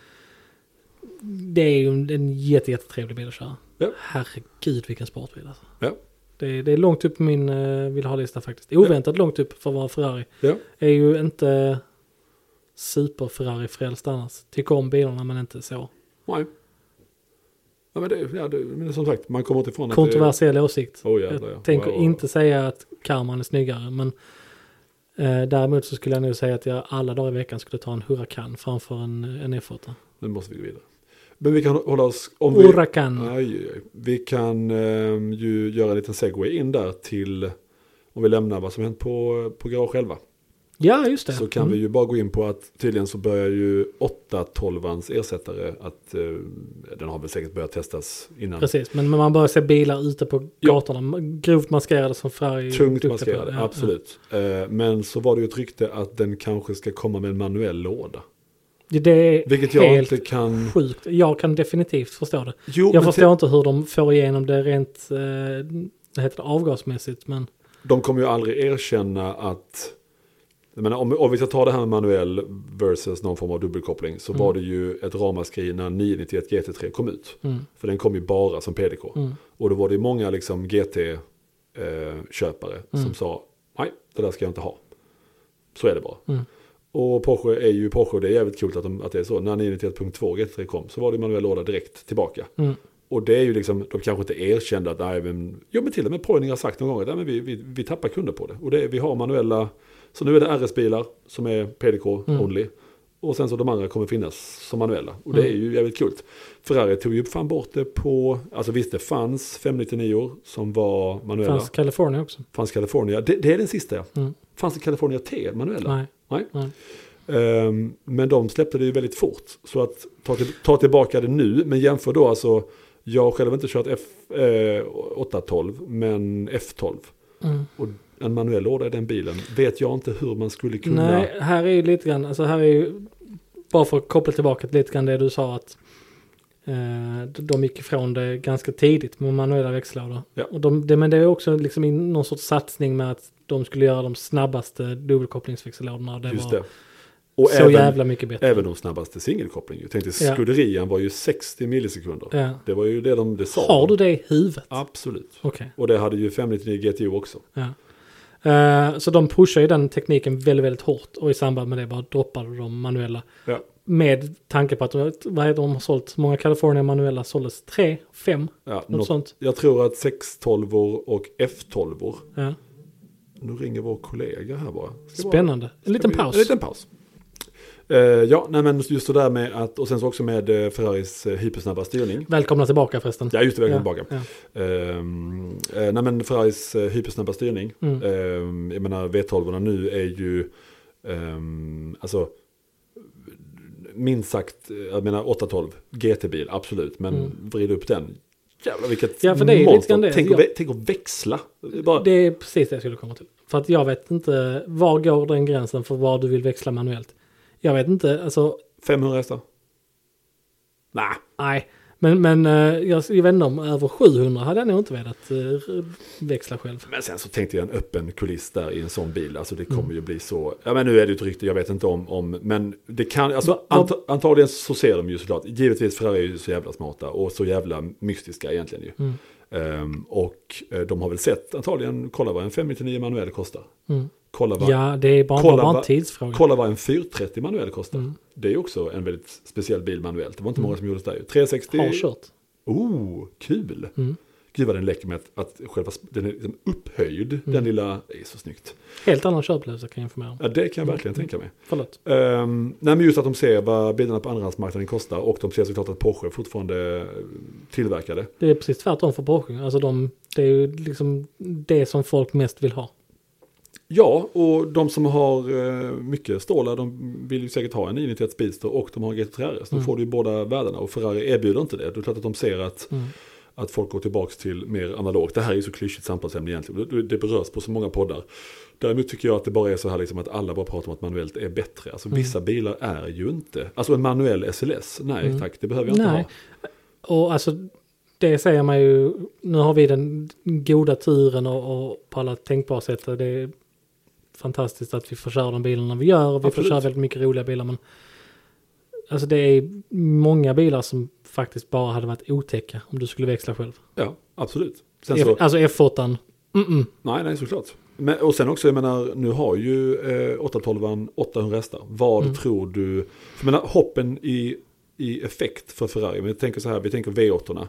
[SPEAKER 1] det är ju en, en jätte, jättetrevlig bil att köra.
[SPEAKER 2] Ja.
[SPEAKER 1] Herregud vilken sportbil alltså.
[SPEAKER 2] Ja.
[SPEAKER 1] Det, är- det är långt upp på min eh, vill ha-lista faktiskt. Oväntat långt upp för att vara Ferrari.
[SPEAKER 2] ja.
[SPEAKER 1] Är ju inte super-Ferrari-frälst annars. Tycker om bilarna men inte så.
[SPEAKER 2] Nej. Ja, men, det, ja, det, men som sagt, man kommer inte ifrån
[SPEAKER 1] Kontroversiell åsikt.
[SPEAKER 2] Åh,
[SPEAKER 1] Jag
[SPEAKER 2] jävlar, ja.
[SPEAKER 1] tänker
[SPEAKER 2] Wow.
[SPEAKER 1] inte säga att Karman är snyggare, men eh, däremot så skulle jag nog säga att jag alla dagar i veckan skulle ta en Huracan framför en, en F8.
[SPEAKER 2] att det, nu måste vi gå vidare. Men vi kan hålla oss... Om vi,
[SPEAKER 1] Huracan.
[SPEAKER 2] Aj, aj, aj. Vi kan eh, ju göra en liten segway in där till om vi lämnar vad som hänt på, på garage själva.
[SPEAKER 1] Ja, Mm. just det.
[SPEAKER 2] Så kan vi ju bara gå in på att tydligen så börjar ju 812ans ersättare att eh, den har väl säkert börjat testas innan.
[SPEAKER 1] Mm, Precis, men men man börjar se bilar ute på
[SPEAKER 2] Ja.
[SPEAKER 1] gatorna. Grovt maskerade som Ferrari. är
[SPEAKER 2] Tungt
[SPEAKER 1] duktiga på.
[SPEAKER 2] maskerade,
[SPEAKER 1] Ja,
[SPEAKER 2] absolut. Eh, men så var det ju ett rykte att den kanske ska komma med en manuell låda.
[SPEAKER 1] Ja. Det är
[SPEAKER 2] Vilket jag
[SPEAKER 1] helt
[SPEAKER 2] inte kan...
[SPEAKER 1] sjukt. Jag kan definitivt förstå det.
[SPEAKER 2] Jo,
[SPEAKER 1] Jag
[SPEAKER 2] men
[SPEAKER 1] förstår inte hur de får igenom det rent eh, det heter det, avgasmässigt, men
[SPEAKER 2] De kommer ju aldrig erkänna att... Jag menar, om, om vi ska ta det här med manuell versus någon form av dubbelkoppling så var det ju ett ramaskri när 991 GT3 kom ut.
[SPEAKER 1] mm,
[SPEAKER 2] För den kom ju bara som PDK.
[SPEAKER 1] mm,
[SPEAKER 2] Och då var det ju många liksom GT-köpare som sa nej, det där ska jag inte ha. Så är det bara.
[SPEAKER 1] mm.
[SPEAKER 2] Och Porsche är ju Porsche, det är jävligt coolt att, de, att det är så. När 991.2 GT3 kom så var det manuell låda direkt tillbaka.
[SPEAKER 1] Mm.
[SPEAKER 2] Och det är ju liksom, de kanske inte erkände att, nej men, jo men till och med Poining har sagt någon gång att, nej men vi, vi, vi tappar kunder på det. Och det, vi har manuella, så nu är det RS-bilar som är PDK
[SPEAKER 1] Mm.
[SPEAKER 2] only. Och sen så de andra kommer finnas som manuella. Och det är ju jävligt kul. Ferrari tog ju fan bort det på, alltså visst det fanns 599 som var manuella.
[SPEAKER 1] Fanns
[SPEAKER 2] Fanns,
[SPEAKER 1] California också?
[SPEAKER 2] California, det, det är den sista ja.
[SPEAKER 1] Mm.
[SPEAKER 2] Fanns det California T manuella?
[SPEAKER 1] Nej.
[SPEAKER 2] Nej.
[SPEAKER 1] Nej.
[SPEAKER 2] Ehm, men de släppte det ju väldigt fort. Så att ta, till, ta tillbaka det nu, men jämför då alltså, jag har själv inte kört F, eh, 812, men F12.
[SPEAKER 1] Mm.
[SPEAKER 2] Och en manuell låda i den bilen vet jag inte hur man skulle kunna...
[SPEAKER 1] Nej, här är ju lite grann, alltså här är ju, bara för att koppla tillbaka till lite grann det du sa att eh, de gick ifrån det ganska tidigt med manuella växellådor.
[SPEAKER 2] Ja.
[SPEAKER 1] Och de, det, men det är också liksom i någon sorts satsning med att de skulle göra de snabbaste dubbelkopplingsväxellådorna. och Det
[SPEAKER 2] just
[SPEAKER 1] var
[SPEAKER 2] det. Och
[SPEAKER 1] så
[SPEAKER 2] även,
[SPEAKER 1] jävla mycket bättre.
[SPEAKER 2] även de snabbaste singelkoppling. Jag tänkte
[SPEAKER 1] Ja.
[SPEAKER 2] skudderian var ju 60 millisekunder.
[SPEAKER 1] Ja.
[SPEAKER 2] Det var ju det de det sa.
[SPEAKER 1] Har du det i huvudet?
[SPEAKER 2] Absolut.
[SPEAKER 1] Okej.
[SPEAKER 2] Och det hade ju 599 GTO också.
[SPEAKER 1] Ja. Eh, så de pushar ju den tekniken väldigt, väldigt hårt och i samband med det bara droppade de manuella.
[SPEAKER 2] Ja.
[SPEAKER 1] Med tanke på att de- vad är det, de har sålt, hur många California manuella såldes? Tre? Fem?
[SPEAKER 2] Ja,
[SPEAKER 1] Något
[SPEAKER 2] något-
[SPEAKER 1] sånt.
[SPEAKER 2] Jag tror att 612 och F12
[SPEAKER 1] Ja.
[SPEAKER 2] Nu ringer vår kollega här bara. Ska bara-
[SPEAKER 1] Spännande. En liten
[SPEAKER 2] Ska vi-
[SPEAKER 1] paus.
[SPEAKER 2] En liten paus. Eh, ja, nej men just det där med att, och sen så också med eh, Ferraris eh, hypersnabba styrning.
[SPEAKER 1] Välkomna tillbaka förresten.
[SPEAKER 2] Ja, just det, välkommen
[SPEAKER 1] Ja,
[SPEAKER 2] tillbaka.
[SPEAKER 1] ja.
[SPEAKER 2] Ehm, eh, nej men Ferraris eh, hypersnabba styrning.
[SPEAKER 1] Mm.
[SPEAKER 2] Ehm, jag menar V12 nu är ju, ehm, alltså, minst sagt, eh, jag menar 812, GT-bil, absolut, men
[SPEAKER 1] Mm.
[SPEAKER 2] vrid upp den. Jävlar vilket
[SPEAKER 1] Ja, för det är lite
[SPEAKER 2] monster.
[SPEAKER 1] grann det.
[SPEAKER 2] Tänk,
[SPEAKER 1] Jag-
[SPEAKER 2] att, vä- tänk att växla. Bara,
[SPEAKER 1] Det är precis det jag skulle komma till. För att jag vet inte, var går den gränsen för vad du vill växla manuellt? Jag vet inte, alltså
[SPEAKER 2] 500 hästar? Nej,
[SPEAKER 1] nej. Men, men eh, jag, jag vet inte om över 700 hade jag nog inte velat eh, växla själv.
[SPEAKER 2] men sen så tänkte jag en öppen kuliss där i en sån bil. Alltså det kommer
[SPEAKER 1] Mm.
[SPEAKER 2] ju bli så. Ja men nu är det ju ett rykte, jag vet inte om, om men det kan, alltså
[SPEAKER 1] Va- va-
[SPEAKER 2] anta, antagligen så ser de ju såklart. Givetvis Ferrari är ju så jävla smarta och så jävla mystiska egentligen ju.
[SPEAKER 1] Mm.
[SPEAKER 2] Ehm, och eh, de har väl sett antagligen, kolla vad en 599 manuell kostar.
[SPEAKER 1] Mm.
[SPEAKER 2] Kolla vad,
[SPEAKER 1] Ja, det är bara,
[SPEAKER 2] Kolla
[SPEAKER 1] bara en
[SPEAKER 2] vad-
[SPEAKER 1] tidsfråga.
[SPEAKER 2] kolla vad en 430 manuell kostar.
[SPEAKER 1] Mm.
[SPEAKER 2] Det är ju också en väldigt speciell bil manuellt. Det var inte många som gjorde det där ju. 360.
[SPEAKER 1] Har kört.
[SPEAKER 2] Oh, kul!
[SPEAKER 1] Mm.
[SPEAKER 2] Gud vad den läcker med att, att själva sp- den är liksom upphöjd, den lilla, det är så snyggt.
[SPEAKER 1] Helt annan köplösa kan jag informera om.
[SPEAKER 2] Ja, det kan jag verkligen tänka mig.
[SPEAKER 1] Förlåt.
[SPEAKER 2] Um, nej, men just att de ser vad bilarna på andrahandsmarknaden kostar och de ser såklart att Porsche fortfarande eh, tillverkar det.
[SPEAKER 1] Det är precis tvärtom för Porsche. Alltså de, det är ju liksom det som folk mest vill ha.
[SPEAKER 2] Ja, och de som har eh, mycket stålar, de vill ju säkert ha en 991 Speedster och de har en GT3 RS. De får du ju båda värdena och Ferrari erbjuder inte det. Då är det klart att de ser att,
[SPEAKER 1] Mm.
[SPEAKER 2] att folk går tillbaka till mer analogt. Det här är ju så klyschigt samtalsämne egentligen. Det- Det berörs på så många poddar. Däremot tycker jag att det bara är så här liksom att alla bara pratar om att manuellt är bättre. Alltså
[SPEAKER 1] Mm.
[SPEAKER 2] vissa bilar är ju inte, alltså en manuell SLS, nej
[SPEAKER 1] Mm.
[SPEAKER 2] tack, det behöver jag inte
[SPEAKER 1] Nej.
[SPEAKER 2] ha.
[SPEAKER 1] Och alltså, det säger man ju, nu har vi den goda turen och, och på alla tänkbara sätt. och Det är fantastiskt att vi får köra de bilarna vi gör och vi
[SPEAKER 2] Absolut.
[SPEAKER 1] får köra väldigt mycket roliga bilar. Men alltså det är många bilar som faktiskt bara hade varit otäcka om du skulle växla själv.
[SPEAKER 2] Ja, absolut. Sen så,
[SPEAKER 1] F, alltså F8, mm-mm.
[SPEAKER 2] Nej, nej, såklart. Men, och sen också, jag menar, nu har ju eh, 812 800 hästar. Vad
[SPEAKER 1] Mm.
[SPEAKER 2] tror du? För jag menar, hoppen i, i effekt för Ferrari, men jag tänker så här, vi tänker V8. -orna.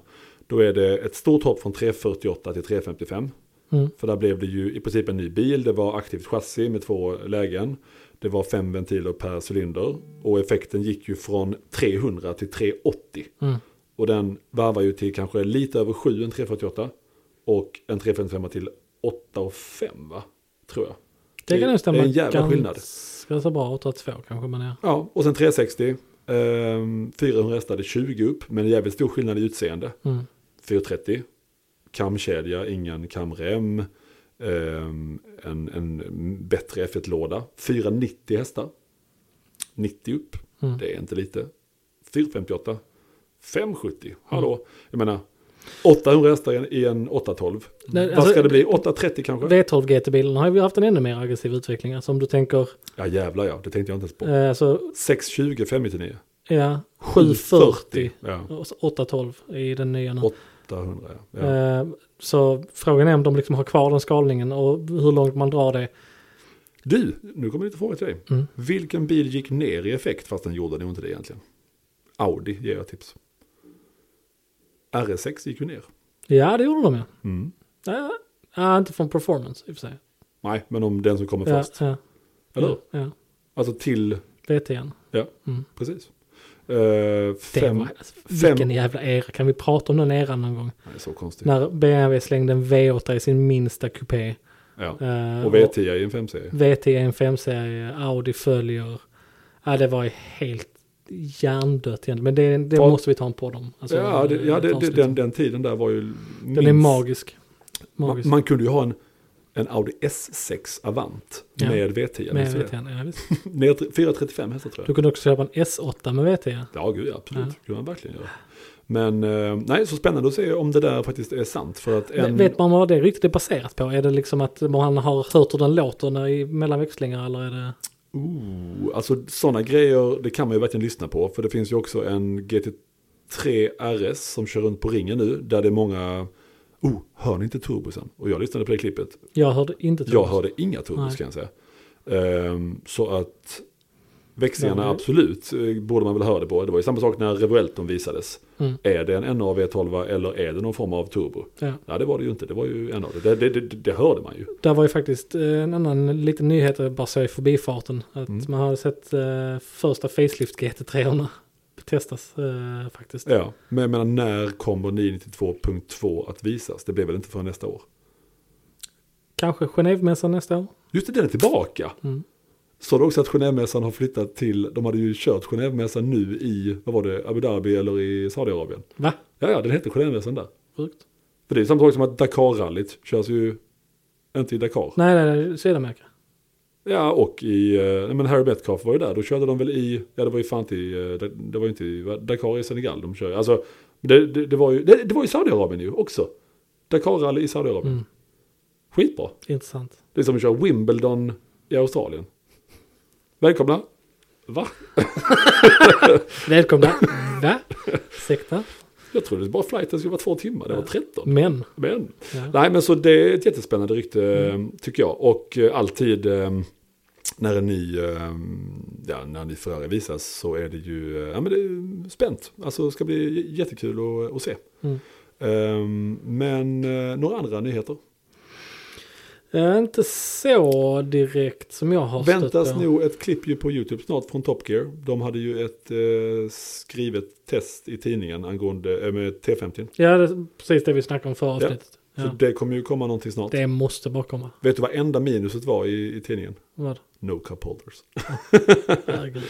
[SPEAKER 2] Då är det ett stort hopp från 348 till 355.
[SPEAKER 1] Mm.
[SPEAKER 2] För där blev det ju i princip en ny bil, det var aktivt chassi med två lägen. Det var fem ventiler per cylinder. Och effekten gick ju från 300 till 380.
[SPEAKER 1] Mm.
[SPEAKER 2] Och den varvar ju till kanske lite över 7, en 348. Och en 355 till 8 och 5 va? Tror jag.
[SPEAKER 1] Det kan nog stämma.
[SPEAKER 2] Det är en jävla skillnad.
[SPEAKER 1] Ganska bra, 802 kanske man är.
[SPEAKER 2] Ja, och sen 360. ehm, 400 hästar, det är 20 upp. Men det är jävligt stor skillnad i utseende.
[SPEAKER 1] Mm.
[SPEAKER 2] 430. Kamkedja, ingen kamrem. ehm, en, en bättre F1-låda. 490 hästar. 90 upp.
[SPEAKER 1] Mm.
[SPEAKER 2] Det är inte lite. 458. 570.
[SPEAKER 1] Mm.
[SPEAKER 2] Hallå. Jag menar, 800 hästar i en- i en 812.
[SPEAKER 1] Nej,
[SPEAKER 2] Vad
[SPEAKER 1] alltså-
[SPEAKER 2] ska det bli? 830 kanske?
[SPEAKER 1] V12 GT-bilarna har ju haft en ännu mer aggressiv utveckling. Alltså om du tänker,
[SPEAKER 2] Ja jävlar ja, det tänkte jag inte ens på.
[SPEAKER 1] eh, alltså
[SPEAKER 2] 620, 599.
[SPEAKER 1] ja, 740
[SPEAKER 2] Ja.
[SPEAKER 1] och så 812 i den nya nu.
[SPEAKER 2] 800 ja. ja.
[SPEAKER 1] Eh, Så frågan är om de liksom har kvar den skalningen och hur långt man drar det.
[SPEAKER 2] Du, nu kommer lite fråga till dig.
[SPEAKER 1] Mm.
[SPEAKER 2] Vilken bil gick ner i effekt fast den gjorde nog inte det egentligen? Audi ger jag tips. RS6 gick ju ner.
[SPEAKER 1] Ja, det gjorde de ja.
[SPEAKER 2] Mm.
[SPEAKER 1] ja. ja, inte från performance i och för sig.
[SPEAKER 2] Nej, men om den som kommer
[SPEAKER 1] Ja,
[SPEAKER 2] först.
[SPEAKER 1] ja,
[SPEAKER 2] Eller hur?
[SPEAKER 1] ja, ja.
[SPEAKER 2] Alltså till,
[SPEAKER 1] VT igen.
[SPEAKER 2] ja,
[SPEAKER 1] Mm.
[SPEAKER 2] precis. Eh,
[SPEAKER 1] Det
[SPEAKER 2] fem,
[SPEAKER 1] var, alltså,
[SPEAKER 2] fem-
[SPEAKER 1] vilken jävla era. Kan vi prata om den eran någon gång?
[SPEAKER 2] Nej, så konstigt.
[SPEAKER 1] När BMW slängde en V8 i sin minsta kupé.
[SPEAKER 2] Ja.
[SPEAKER 1] Eh,
[SPEAKER 2] Och V10 är ju en 5-serie.
[SPEAKER 1] VT är en 5-serie, Audi följer. Ja, det var ju helt hjärndött egentligen. Men det, det
[SPEAKER 2] Vad-
[SPEAKER 1] måste vi ta en podd om. Alltså,
[SPEAKER 2] ja, det, ja
[SPEAKER 1] ett
[SPEAKER 2] det, det,
[SPEAKER 1] avsnitt.
[SPEAKER 2] den, den tiden där var ju...
[SPEAKER 1] den är
[SPEAKER 2] minst-
[SPEAKER 1] magisk.
[SPEAKER 2] Man,
[SPEAKER 1] Magisk.
[SPEAKER 2] man kunde ju ha en, en Audi S6 Avant
[SPEAKER 1] Ja.
[SPEAKER 2] med V10.
[SPEAKER 1] med
[SPEAKER 2] visste du det?
[SPEAKER 1] VT, ja, visst.
[SPEAKER 2] Ner till 435 hästar tror jag.
[SPEAKER 1] Du kunde också köpa en S8 med VT.
[SPEAKER 2] Ja, gud, ja, absolut.
[SPEAKER 1] Ja.
[SPEAKER 2] Det kunde man verkligen göra. Men eh, nej, så spännande att se om det där faktiskt är sant. För att en,
[SPEAKER 1] Vet man vad det ryktet är baserat på? Är det liksom att man har hört hur den låter när i mellan växlingar eller är det...
[SPEAKER 2] Ooh, alltså sådana grejer, det kan man ju verkligen lyssna på. För det finns ju också en GT3 RS som kör runt på ringen nu. Där det är många, oh, hör ni inte turbosen? Och jag lyssnade på det klippet.
[SPEAKER 1] Jag hörde inte
[SPEAKER 2] Jag
[SPEAKER 1] Thomas.
[SPEAKER 2] hörde inga turbos
[SPEAKER 1] Nej.
[SPEAKER 2] kan jag säga. Ehm, så att växlingarna
[SPEAKER 1] Ja, det-
[SPEAKER 2] absolut eh, borde man väl höra det på. Det var ju samma sak när Revuelton visades.
[SPEAKER 1] Mm.
[SPEAKER 2] Är det en NA V12 eller är det någon form av turbo?
[SPEAKER 1] Ja.
[SPEAKER 2] Nej det var det ju inte, det var ju en av det. Det, det, det, det hörde man ju.
[SPEAKER 1] Där var ju faktiskt eh, en annan liten nyhet, jag bara så i förbifarten. Att
[SPEAKER 2] Mm.
[SPEAKER 1] man hade sett eh, första facelift GT3 testas eh, faktiskt.
[SPEAKER 2] Ja, men jag menar när kommer 992.2 att visas? Det blir väl inte förrän nästa år?
[SPEAKER 1] Kanske Genèvemässan nästa år.
[SPEAKER 2] Just det, den är tillbaka!
[SPEAKER 1] Mm.
[SPEAKER 2] Såg du också att Genèvemässan har flyttat till, de hade ju kört Genèvemässan nu i, vad var det, Abu Dhabi eller i Saudiarabien?
[SPEAKER 1] Va?
[SPEAKER 2] Ja, ja, den heter Genèvemässan där.
[SPEAKER 1] Sjukt.
[SPEAKER 2] För det är samma sak som att Dakar-rallyt körs ju inte i Dakar.
[SPEAKER 1] Nej, nej, nej, Sydamerika.
[SPEAKER 2] Ja, och i, eh, nej, men Harry Metcalf var ju där, då körde de väl i, ja det var ju fan inte i, eh, det- det var ju inte i, va? Dakar i Senegal de kör, alltså det, det, det var ju, det, det var ju Saudiarabien ju också. Dakar-rally i Saudiarabien.
[SPEAKER 1] Mm.
[SPEAKER 2] Skitbra.
[SPEAKER 1] Intressant.
[SPEAKER 2] Det är som att köra Wimbledon i Australien. Välkomna. Va? (laughs)
[SPEAKER 1] Välkomna. Va? Ursäkta.
[SPEAKER 2] Jag trodde bara flighten skulle vara två timmar, det var 13.
[SPEAKER 1] Men.
[SPEAKER 2] Men
[SPEAKER 1] Ja.
[SPEAKER 2] Nej men så det är ett jättespännande rykte
[SPEAKER 1] Mm.
[SPEAKER 2] tycker jag. Och eh, alltid eh, när en ny, eh, ja, när en ny Ferrari visas så är det ju eh, ja, men det är spänt. Alltså det ska bli j- jättekul att, att se.
[SPEAKER 1] Mm.
[SPEAKER 2] Eh, men eh, några andra nyheter.
[SPEAKER 1] Eh, Inte så direkt som jag har
[SPEAKER 2] Väntas
[SPEAKER 1] stött på.
[SPEAKER 2] nog ett klipp ju på YouTube snart från Top Gear. De hade ju ett eh, skrivet test i tidningen angående eh, med T50.
[SPEAKER 1] Ja, det är precis det vi snackade om förra avsnittet. Ja.
[SPEAKER 2] Så det kommer ju komma någonting snart.
[SPEAKER 1] Det måste bara komma.
[SPEAKER 2] Vet du vad enda minuset var i, i tidningen?
[SPEAKER 1] Vad?
[SPEAKER 2] No cup holders.
[SPEAKER 1] Herregud.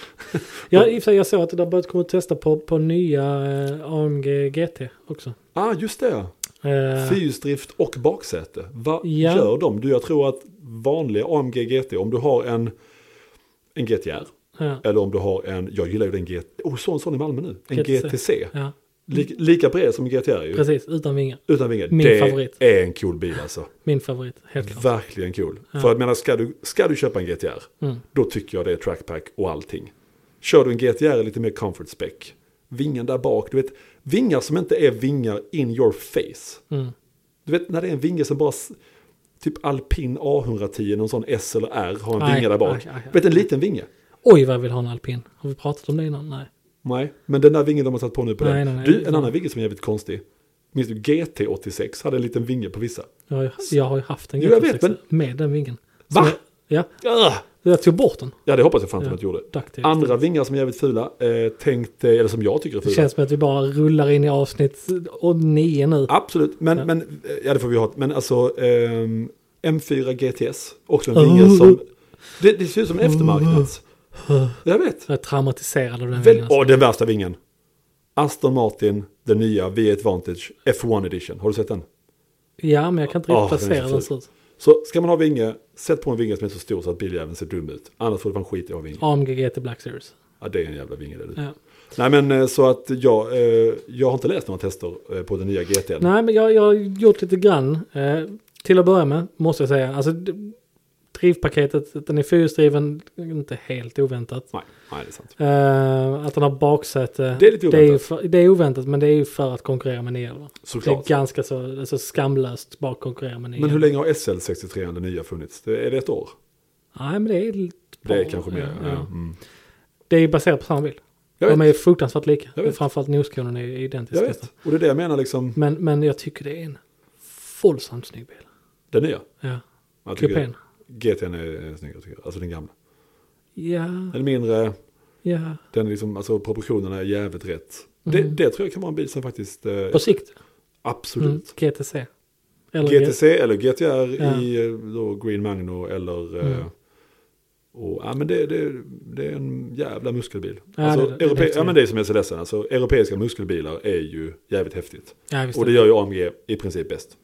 [SPEAKER 1] Jag, i och för sig, jag såg att det där börjat komma att testa på, på nya eh, AMG GT också.
[SPEAKER 2] Ah, just det.
[SPEAKER 1] Eh,
[SPEAKER 2] Fyrhjulsdrift och baksäte. Vad
[SPEAKER 1] Ja.
[SPEAKER 2] gör de? Du, jag tror att vanliga AMG GT, om du har en, en GTR,
[SPEAKER 1] ja,
[SPEAKER 2] eller om du har en, jag gillar ju den GT, oh, så en sån i Malmö nu, en
[SPEAKER 1] GTC.
[SPEAKER 2] GTC.
[SPEAKER 1] ja,
[SPEAKER 2] Lik, lika bred som en GTR ju,
[SPEAKER 1] Mm. precis. Utan vingar.
[SPEAKER 2] utan vingar.
[SPEAKER 1] Min
[SPEAKER 2] det
[SPEAKER 1] favorit.
[SPEAKER 2] är en cool bil alltså.
[SPEAKER 1] Min favorit, helt klart.
[SPEAKER 2] Verkligen cool. För jag menar, ska du, ska du köpa en GTR,
[SPEAKER 1] Mm.
[SPEAKER 2] då tycker jag det är trackpack och allting. Kör du en GTR lite mer comfort spec, vingen där bak, du vet, vingar som inte är vingar in your face.
[SPEAKER 1] Mm.
[SPEAKER 2] Du vet när det är en vinge som bara, s- typ alpin A110, någon sån S eller R har en
[SPEAKER 1] Nej,
[SPEAKER 2] vinge där bak.
[SPEAKER 1] nej, nej, nej.
[SPEAKER 2] Du vet en liten vinge?
[SPEAKER 1] Oj, vad jag vill ha en alpin. Har vi pratat om det innan? Nej.
[SPEAKER 2] Nej, men den där vingen de har satt på nu på
[SPEAKER 1] Nej, nej,
[SPEAKER 2] den.
[SPEAKER 1] nej.
[SPEAKER 2] du, en annan vinge som är jävligt konstig. Minns du GT86 hade en liten vinge på vissa?
[SPEAKER 1] Jag har ju, jag har ju haft en
[SPEAKER 2] Jo, jag vet,
[SPEAKER 1] GT6 med den vingen.
[SPEAKER 2] Va?
[SPEAKER 1] Som Jag, ja,
[SPEAKER 2] Ah!
[SPEAKER 1] jag tog bort den.
[SPEAKER 2] Ja, det hoppas jag fan inte
[SPEAKER 1] Ja.
[SPEAKER 2] att de gjorde.
[SPEAKER 1] Ducktape.
[SPEAKER 2] Andra vingar som är jävligt fula, eh, tänkte, eller som jag tycker är
[SPEAKER 1] Det
[SPEAKER 2] fula.
[SPEAKER 1] känns som att vi bara rullar in i avsnitt och nio nu.
[SPEAKER 2] Absolut, men,
[SPEAKER 1] Ja.
[SPEAKER 2] men, eh, ja det får vi ha. Men alltså, ehm, M4 GTS, också en
[SPEAKER 1] Oh.
[SPEAKER 2] vinge som, det, det ser ut som en eftermarknads. Jag vet.
[SPEAKER 1] Jag är traumatiserad av den
[SPEAKER 2] Väl,
[SPEAKER 1] vingen. alltså.
[SPEAKER 2] åh, den värsta vingen. Aston Martin, den nya V1 Vantage F1 Edition. Har du sett den?
[SPEAKER 1] Ja, men jag kan inte riktigt
[SPEAKER 2] Åh, den är så
[SPEAKER 1] placera den
[SPEAKER 2] ful.
[SPEAKER 1] så ut.
[SPEAKER 2] Så ska man ha vinge, sätt på en vinge som är så stor så att biljäveln ser dum ut. Annars får du fan skit i att ha vinge.
[SPEAKER 1] AMG GT Black Series.
[SPEAKER 2] Ja, det är en jävla vinge det du.
[SPEAKER 1] Ja.
[SPEAKER 2] Nej men eh, så att jag, eh, jag har inte läst några tester eh, på den nya GT. än.
[SPEAKER 1] Nej, men jag, jag har gjort lite grann. Eh, till att börja med, måste jag säga. Alltså, d- drivpaketet, den är fyrhjulsdriven, inte helt oväntat.
[SPEAKER 2] Nej, nej, det är sant.
[SPEAKER 1] Eh, att den har baksäte.
[SPEAKER 2] Det är lite
[SPEAKER 1] Det är, ju
[SPEAKER 2] oväntat.
[SPEAKER 1] för, det är oväntat, men det är ju för att konkurrera med 911. Det är
[SPEAKER 2] Såklart.
[SPEAKER 1] ganska så alltså, skamlöst bara att konkurrera med 911.
[SPEAKER 2] Men hur länge har SL63 den nya funnits? Det- Är det ett år?
[SPEAKER 1] Nej, men det är... Eh, ett
[SPEAKER 2] Det är
[SPEAKER 1] par-
[SPEAKER 2] kanske mer. Ja,
[SPEAKER 1] ja.
[SPEAKER 2] Mm.
[SPEAKER 1] Det är ju baserat på samma bil.
[SPEAKER 2] Jag
[SPEAKER 1] De
[SPEAKER 2] vet.
[SPEAKER 1] är fruktansvärt lika.
[SPEAKER 2] Jag vet.
[SPEAKER 1] Framförallt noskonen är identisk
[SPEAKER 2] Jag
[SPEAKER 1] nästan.
[SPEAKER 2] vet. Och det är det jag menar liksom.
[SPEAKER 1] Men, men jag tycker det är en våldsamt snygg bil.
[SPEAKER 2] Den nya.
[SPEAKER 1] Ja,
[SPEAKER 2] Jag tycker
[SPEAKER 1] kupén.
[SPEAKER 2] GT'n är är snyggare tycker jag. Alltså den gamla.
[SPEAKER 1] Ja,
[SPEAKER 2] Den är mindre.
[SPEAKER 1] ja.
[SPEAKER 2] Den är liksom, alltså proportionerna är jävligt rätt.
[SPEAKER 1] Mhm.
[SPEAKER 2] Det, det tror jag kan vara en bil som faktiskt... Eh,
[SPEAKER 1] På sikt. Mm,
[SPEAKER 2] absolut.
[SPEAKER 1] GTC. Eller
[SPEAKER 2] GTC eller GTR
[SPEAKER 1] Ja.
[SPEAKER 2] i eh, då Green Magno eller... Eh,
[SPEAKER 1] Mm.
[SPEAKER 2] och, ja, men det, det, det är en jävla muskelbil.
[SPEAKER 1] Ja,
[SPEAKER 2] alltså,
[SPEAKER 1] det- det- det
[SPEAKER 2] europe-
[SPEAKER 1] vet jag.
[SPEAKER 2] ja, men det är som jag är så ledsen. Alltså, europeiska muskelbilar är ju jävligt häftigt.
[SPEAKER 1] Ja, visst
[SPEAKER 2] Och det
[SPEAKER 1] det,
[SPEAKER 2] gör ju AMG i princip bäst.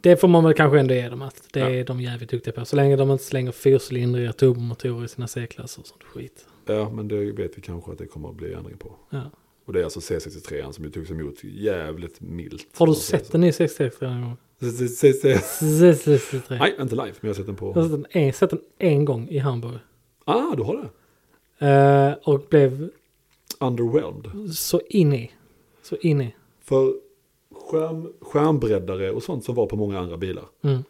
[SPEAKER 1] det får man väl kanske ändå ge dem att det
[SPEAKER 2] Ja.
[SPEAKER 1] är de jävligt duktiga på. Så länge de inte slänger fyrcylindriga turbomotorer i sina C-klasser och sånt skit.
[SPEAKER 2] Ja, men det vet vi kanske att det kommer att bli ändring på.
[SPEAKER 1] Ja.
[SPEAKER 2] Och det är alltså C63 som ju togs emot jävligt milt.
[SPEAKER 1] Har du
[SPEAKER 2] Om man säger
[SPEAKER 1] sett den i 63 någon gång?
[SPEAKER 2] så. C63?
[SPEAKER 1] 63.
[SPEAKER 2] Nej, inte live, men jag har sett den
[SPEAKER 1] Jag har
[SPEAKER 2] på...
[SPEAKER 1] sett den en- sett den en gång i Hamburg.
[SPEAKER 2] Ah, du har det?
[SPEAKER 1] Eh, och blev
[SPEAKER 2] Underwhelmed.
[SPEAKER 1] så in i. Så in i.
[SPEAKER 2] För skärm, skärmbreddare och sånt som var på många andra bilar.
[SPEAKER 1] Mm.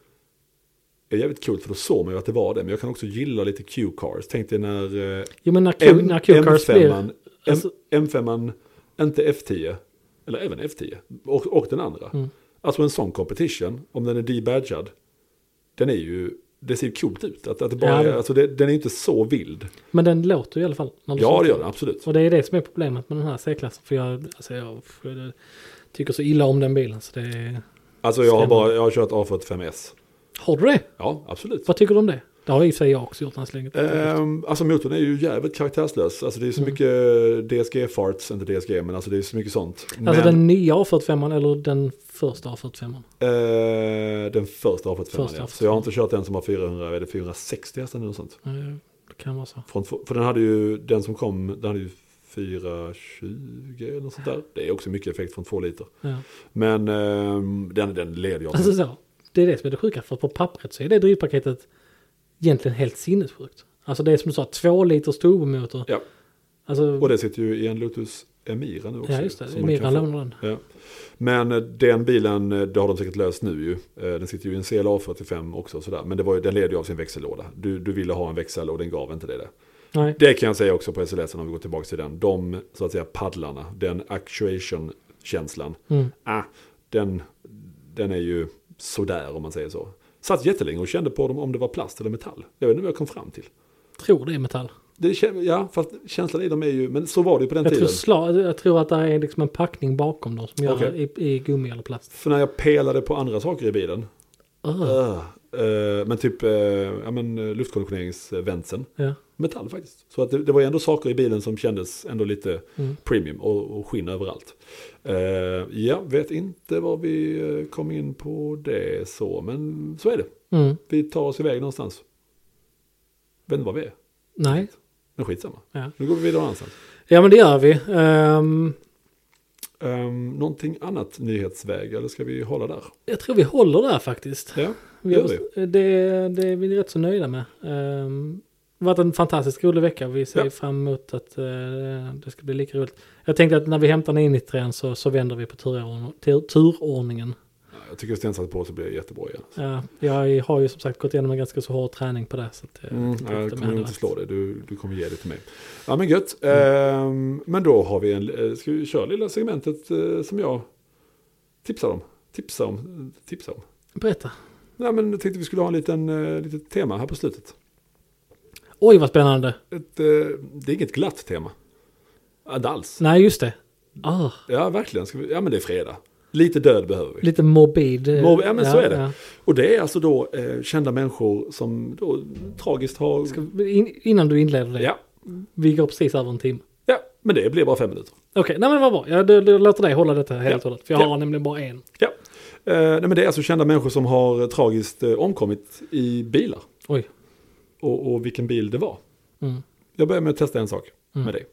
[SPEAKER 2] Det är jävligt coolt för då såg man ju att det var det. Men jag kan också gilla lite Q-cars. Tänk dig när eh,
[SPEAKER 1] Jo men när Q-
[SPEAKER 2] M,
[SPEAKER 1] när Q-cars blir...
[SPEAKER 2] M5,
[SPEAKER 1] alltså-
[SPEAKER 2] M, M5, inte F10, eller även F10, och, och den andra.
[SPEAKER 1] Mm.
[SPEAKER 2] Alltså en sån competition, om den är debadgad, den är ju, det ser ju coolt ut. Att, att det bara
[SPEAKER 1] Ja,
[SPEAKER 2] är,
[SPEAKER 1] det-
[SPEAKER 2] alltså det, den är inte så vild.
[SPEAKER 1] Men den låter ju i alla fall. När du
[SPEAKER 2] Ja,
[SPEAKER 1] sätter
[SPEAKER 2] det gör den,
[SPEAKER 1] den.
[SPEAKER 2] absolut.
[SPEAKER 1] Och det är det som är problemet med den här C-klassen. För jag, alltså, jag, jag tycker så illa om den bilen. Så det är...
[SPEAKER 2] Alltså jag har,
[SPEAKER 1] Stämmer.
[SPEAKER 2] bara, jag har kört A45S.
[SPEAKER 1] Har du det?
[SPEAKER 2] Ja, absolut.
[SPEAKER 1] Vad tycker du om det? Det har i och för sig jag också gjort än så länge.
[SPEAKER 2] Ehm, alltså motorn är ju jävligt karaktärslös. Alltså det är så
[SPEAKER 1] Mm.
[SPEAKER 2] mycket DSG-farts, inte DSG, men alltså det är så mycket sånt.
[SPEAKER 1] alltså
[SPEAKER 2] men,
[SPEAKER 1] den nya A45 eller den första A45?
[SPEAKER 2] eh, den första A45,
[SPEAKER 1] Första
[SPEAKER 2] ja.
[SPEAKER 1] A45.
[SPEAKER 2] Så jag har inte kört den som har 400, är det 460 hästar eller något sånt?
[SPEAKER 1] Ja, Eh, Det kan vara så.
[SPEAKER 2] Från, för den hade ju, den som kom, den hade ju 420 eller något sånt där. Det är också mycket effekt från 2 liter.
[SPEAKER 1] Ja.
[SPEAKER 2] Men ehm, den, den leder jag.
[SPEAKER 1] Alltså så. Det är det som är det sjuka. För på pappret så är det drivpaketet egentligen helt sinnessjukt. Alltså det är som du sa, två liters turbomotor.
[SPEAKER 2] Ja.
[SPEAKER 1] Alltså,
[SPEAKER 2] Och det sitter ju i en Lotus Emira nu också.
[SPEAKER 1] ja just det.
[SPEAKER 2] som man kan
[SPEAKER 1] Mira
[SPEAKER 2] få.
[SPEAKER 1] lånar den.
[SPEAKER 2] Ja. Men eh, den bilen, eh, det har de säkert löst nu ju. Eh, Den sitter ju i en CLA 45 också och sådär. Men det var ju, den led ju av sin växellåda. Du, du ville ha en växel och den gav inte dig det.
[SPEAKER 1] Nej.
[SPEAKER 2] Det kan jag säga också på SLS om vi går tillbaka till den. De, så att säga, paddlarna, den actuation-känslan.
[SPEAKER 1] Mm.
[SPEAKER 2] Ah, den, den är ju sådär om man säger så. Satt jättelänge och kände på dem om det var plast eller metall. Jag vet inte vad jag kom fram till.
[SPEAKER 1] Tror det är metall.
[SPEAKER 2] Det, kä- ja, fast känslan i dem är ju, men så var det ju på den
[SPEAKER 1] Jag tror,
[SPEAKER 2] tiden.
[SPEAKER 1] slag, jag tror att det är liksom en packning bakom dem som gör
[SPEAKER 2] Okej.
[SPEAKER 1] det i, i gummi eller plast.
[SPEAKER 2] För när jag pelade på andra saker i bilen,
[SPEAKER 1] Ugh.
[SPEAKER 2] Eh, men typ eh, ja, men, eh, luftkonditioneringsvänsen.
[SPEAKER 1] Ja.
[SPEAKER 2] Metall faktiskt. Så att det, det var ju ändå saker i bilen som kändes ändå lite
[SPEAKER 1] Mm.
[SPEAKER 2] premium och, och skinn överallt. Eh, ja, vet inte vad vi eh, kom in på det så, men så är det.
[SPEAKER 1] Mm.
[SPEAKER 2] Vi tar oss iväg någonstans. Vet inte var vi är,
[SPEAKER 1] Nej.
[SPEAKER 2] men skitsamma.
[SPEAKER 1] Ja.
[SPEAKER 2] Nu går vi vidare någon annanstans.
[SPEAKER 1] ja men det gör vi. Ehm,
[SPEAKER 2] Um, någonting annat nyhetsväg, eller ska vi hålla där?
[SPEAKER 1] jag tror vi håller där faktiskt. (laughs)
[SPEAKER 2] Ja,
[SPEAKER 1] Vi
[SPEAKER 2] gör
[SPEAKER 1] har, eh, det, det är vi rätt så nöjda med. Ehm, det har varit en fantastiskt rolig vecka. Vi ser
[SPEAKER 2] Ja.
[SPEAKER 1] fram emot att eh, det ska bli lika roligt. Jag tänkte att när vi hämtar in 93 så, så vänder vi på turordning, tur, turordningen.
[SPEAKER 2] jag tycker Sten satte på så blir det jättebra igen.
[SPEAKER 1] Ja, jag har ju som sagt gått igenom en ganska så hård träning på det. Så att, eh,
[SPEAKER 2] Mm,
[SPEAKER 1] tänkte
[SPEAKER 2] jag
[SPEAKER 1] att det
[SPEAKER 2] kommer nog
[SPEAKER 1] hade
[SPEAKER 2] inte
[SPEAKER 1] varit-
[SPEAKER 2] slå dig, du, du kommer ge det till mig. Ja men gött.
[SPEAKER 1] Mm.
[SPEAKER 2] Ehm, men då har vi en, eh, ska vi köra lilla segmentet eh, som jag tipsar om. Tipsar om, eh, tipsar om.
[SPEAKER 1] Berätta.
[SPEAKER 2] Nej men jag tänkte vi skulle ha en liten, eh, litet tema här på slutet.
[SPEAKER 1] Oj vad spännande.
[SPEAKER 2] Ett, eh, det är inget glatt tema. Ja, Inte alls.
[SPEAKER 1] Nej just det. Ah,
[SPEAKER 2] Ja verkligen, ska vi, ja men det är fredag. Lite död behöver vi.
[SPEAKER 1] lite morbid. eh,
[SPEAKER 2] Mob- ja, men så är det. Och det är alltså då eh, kända människor som då tragiskt har...
[SPEAKER 1] Ska, vi- in, innan du inleder det.
[SPEAKER 2] Ja,
[SPEAKER 1] Vi går precis över en timme.
[SPEAKER 2] ja, men det blir bara fem minuter.
[SPEAKER 1] Okej, nej men vad bra. Jag, du, du låter dig hålla detta helt
[SPEAKER 2] Ja.
[SPEAKER 1] och hållet. För jag
[SPEAKER 2] Ja.
[SPEAKER 1] har nämligen bara en.
[SPEAKER 2] Ja, eh, nej, men det är alltså kända människor som har eh, tragiskt eh, omkommit i bilar.
[SPEAKER 1] Oj.
[SPEAKER 2] Och, och vilken bil det var.
[SPEAKER 1] Mm.
[SPEAKER 2] Jag börjar med att testa en sak
[SPEAKER 1] Mm.
[SPEAKER 2] med dig.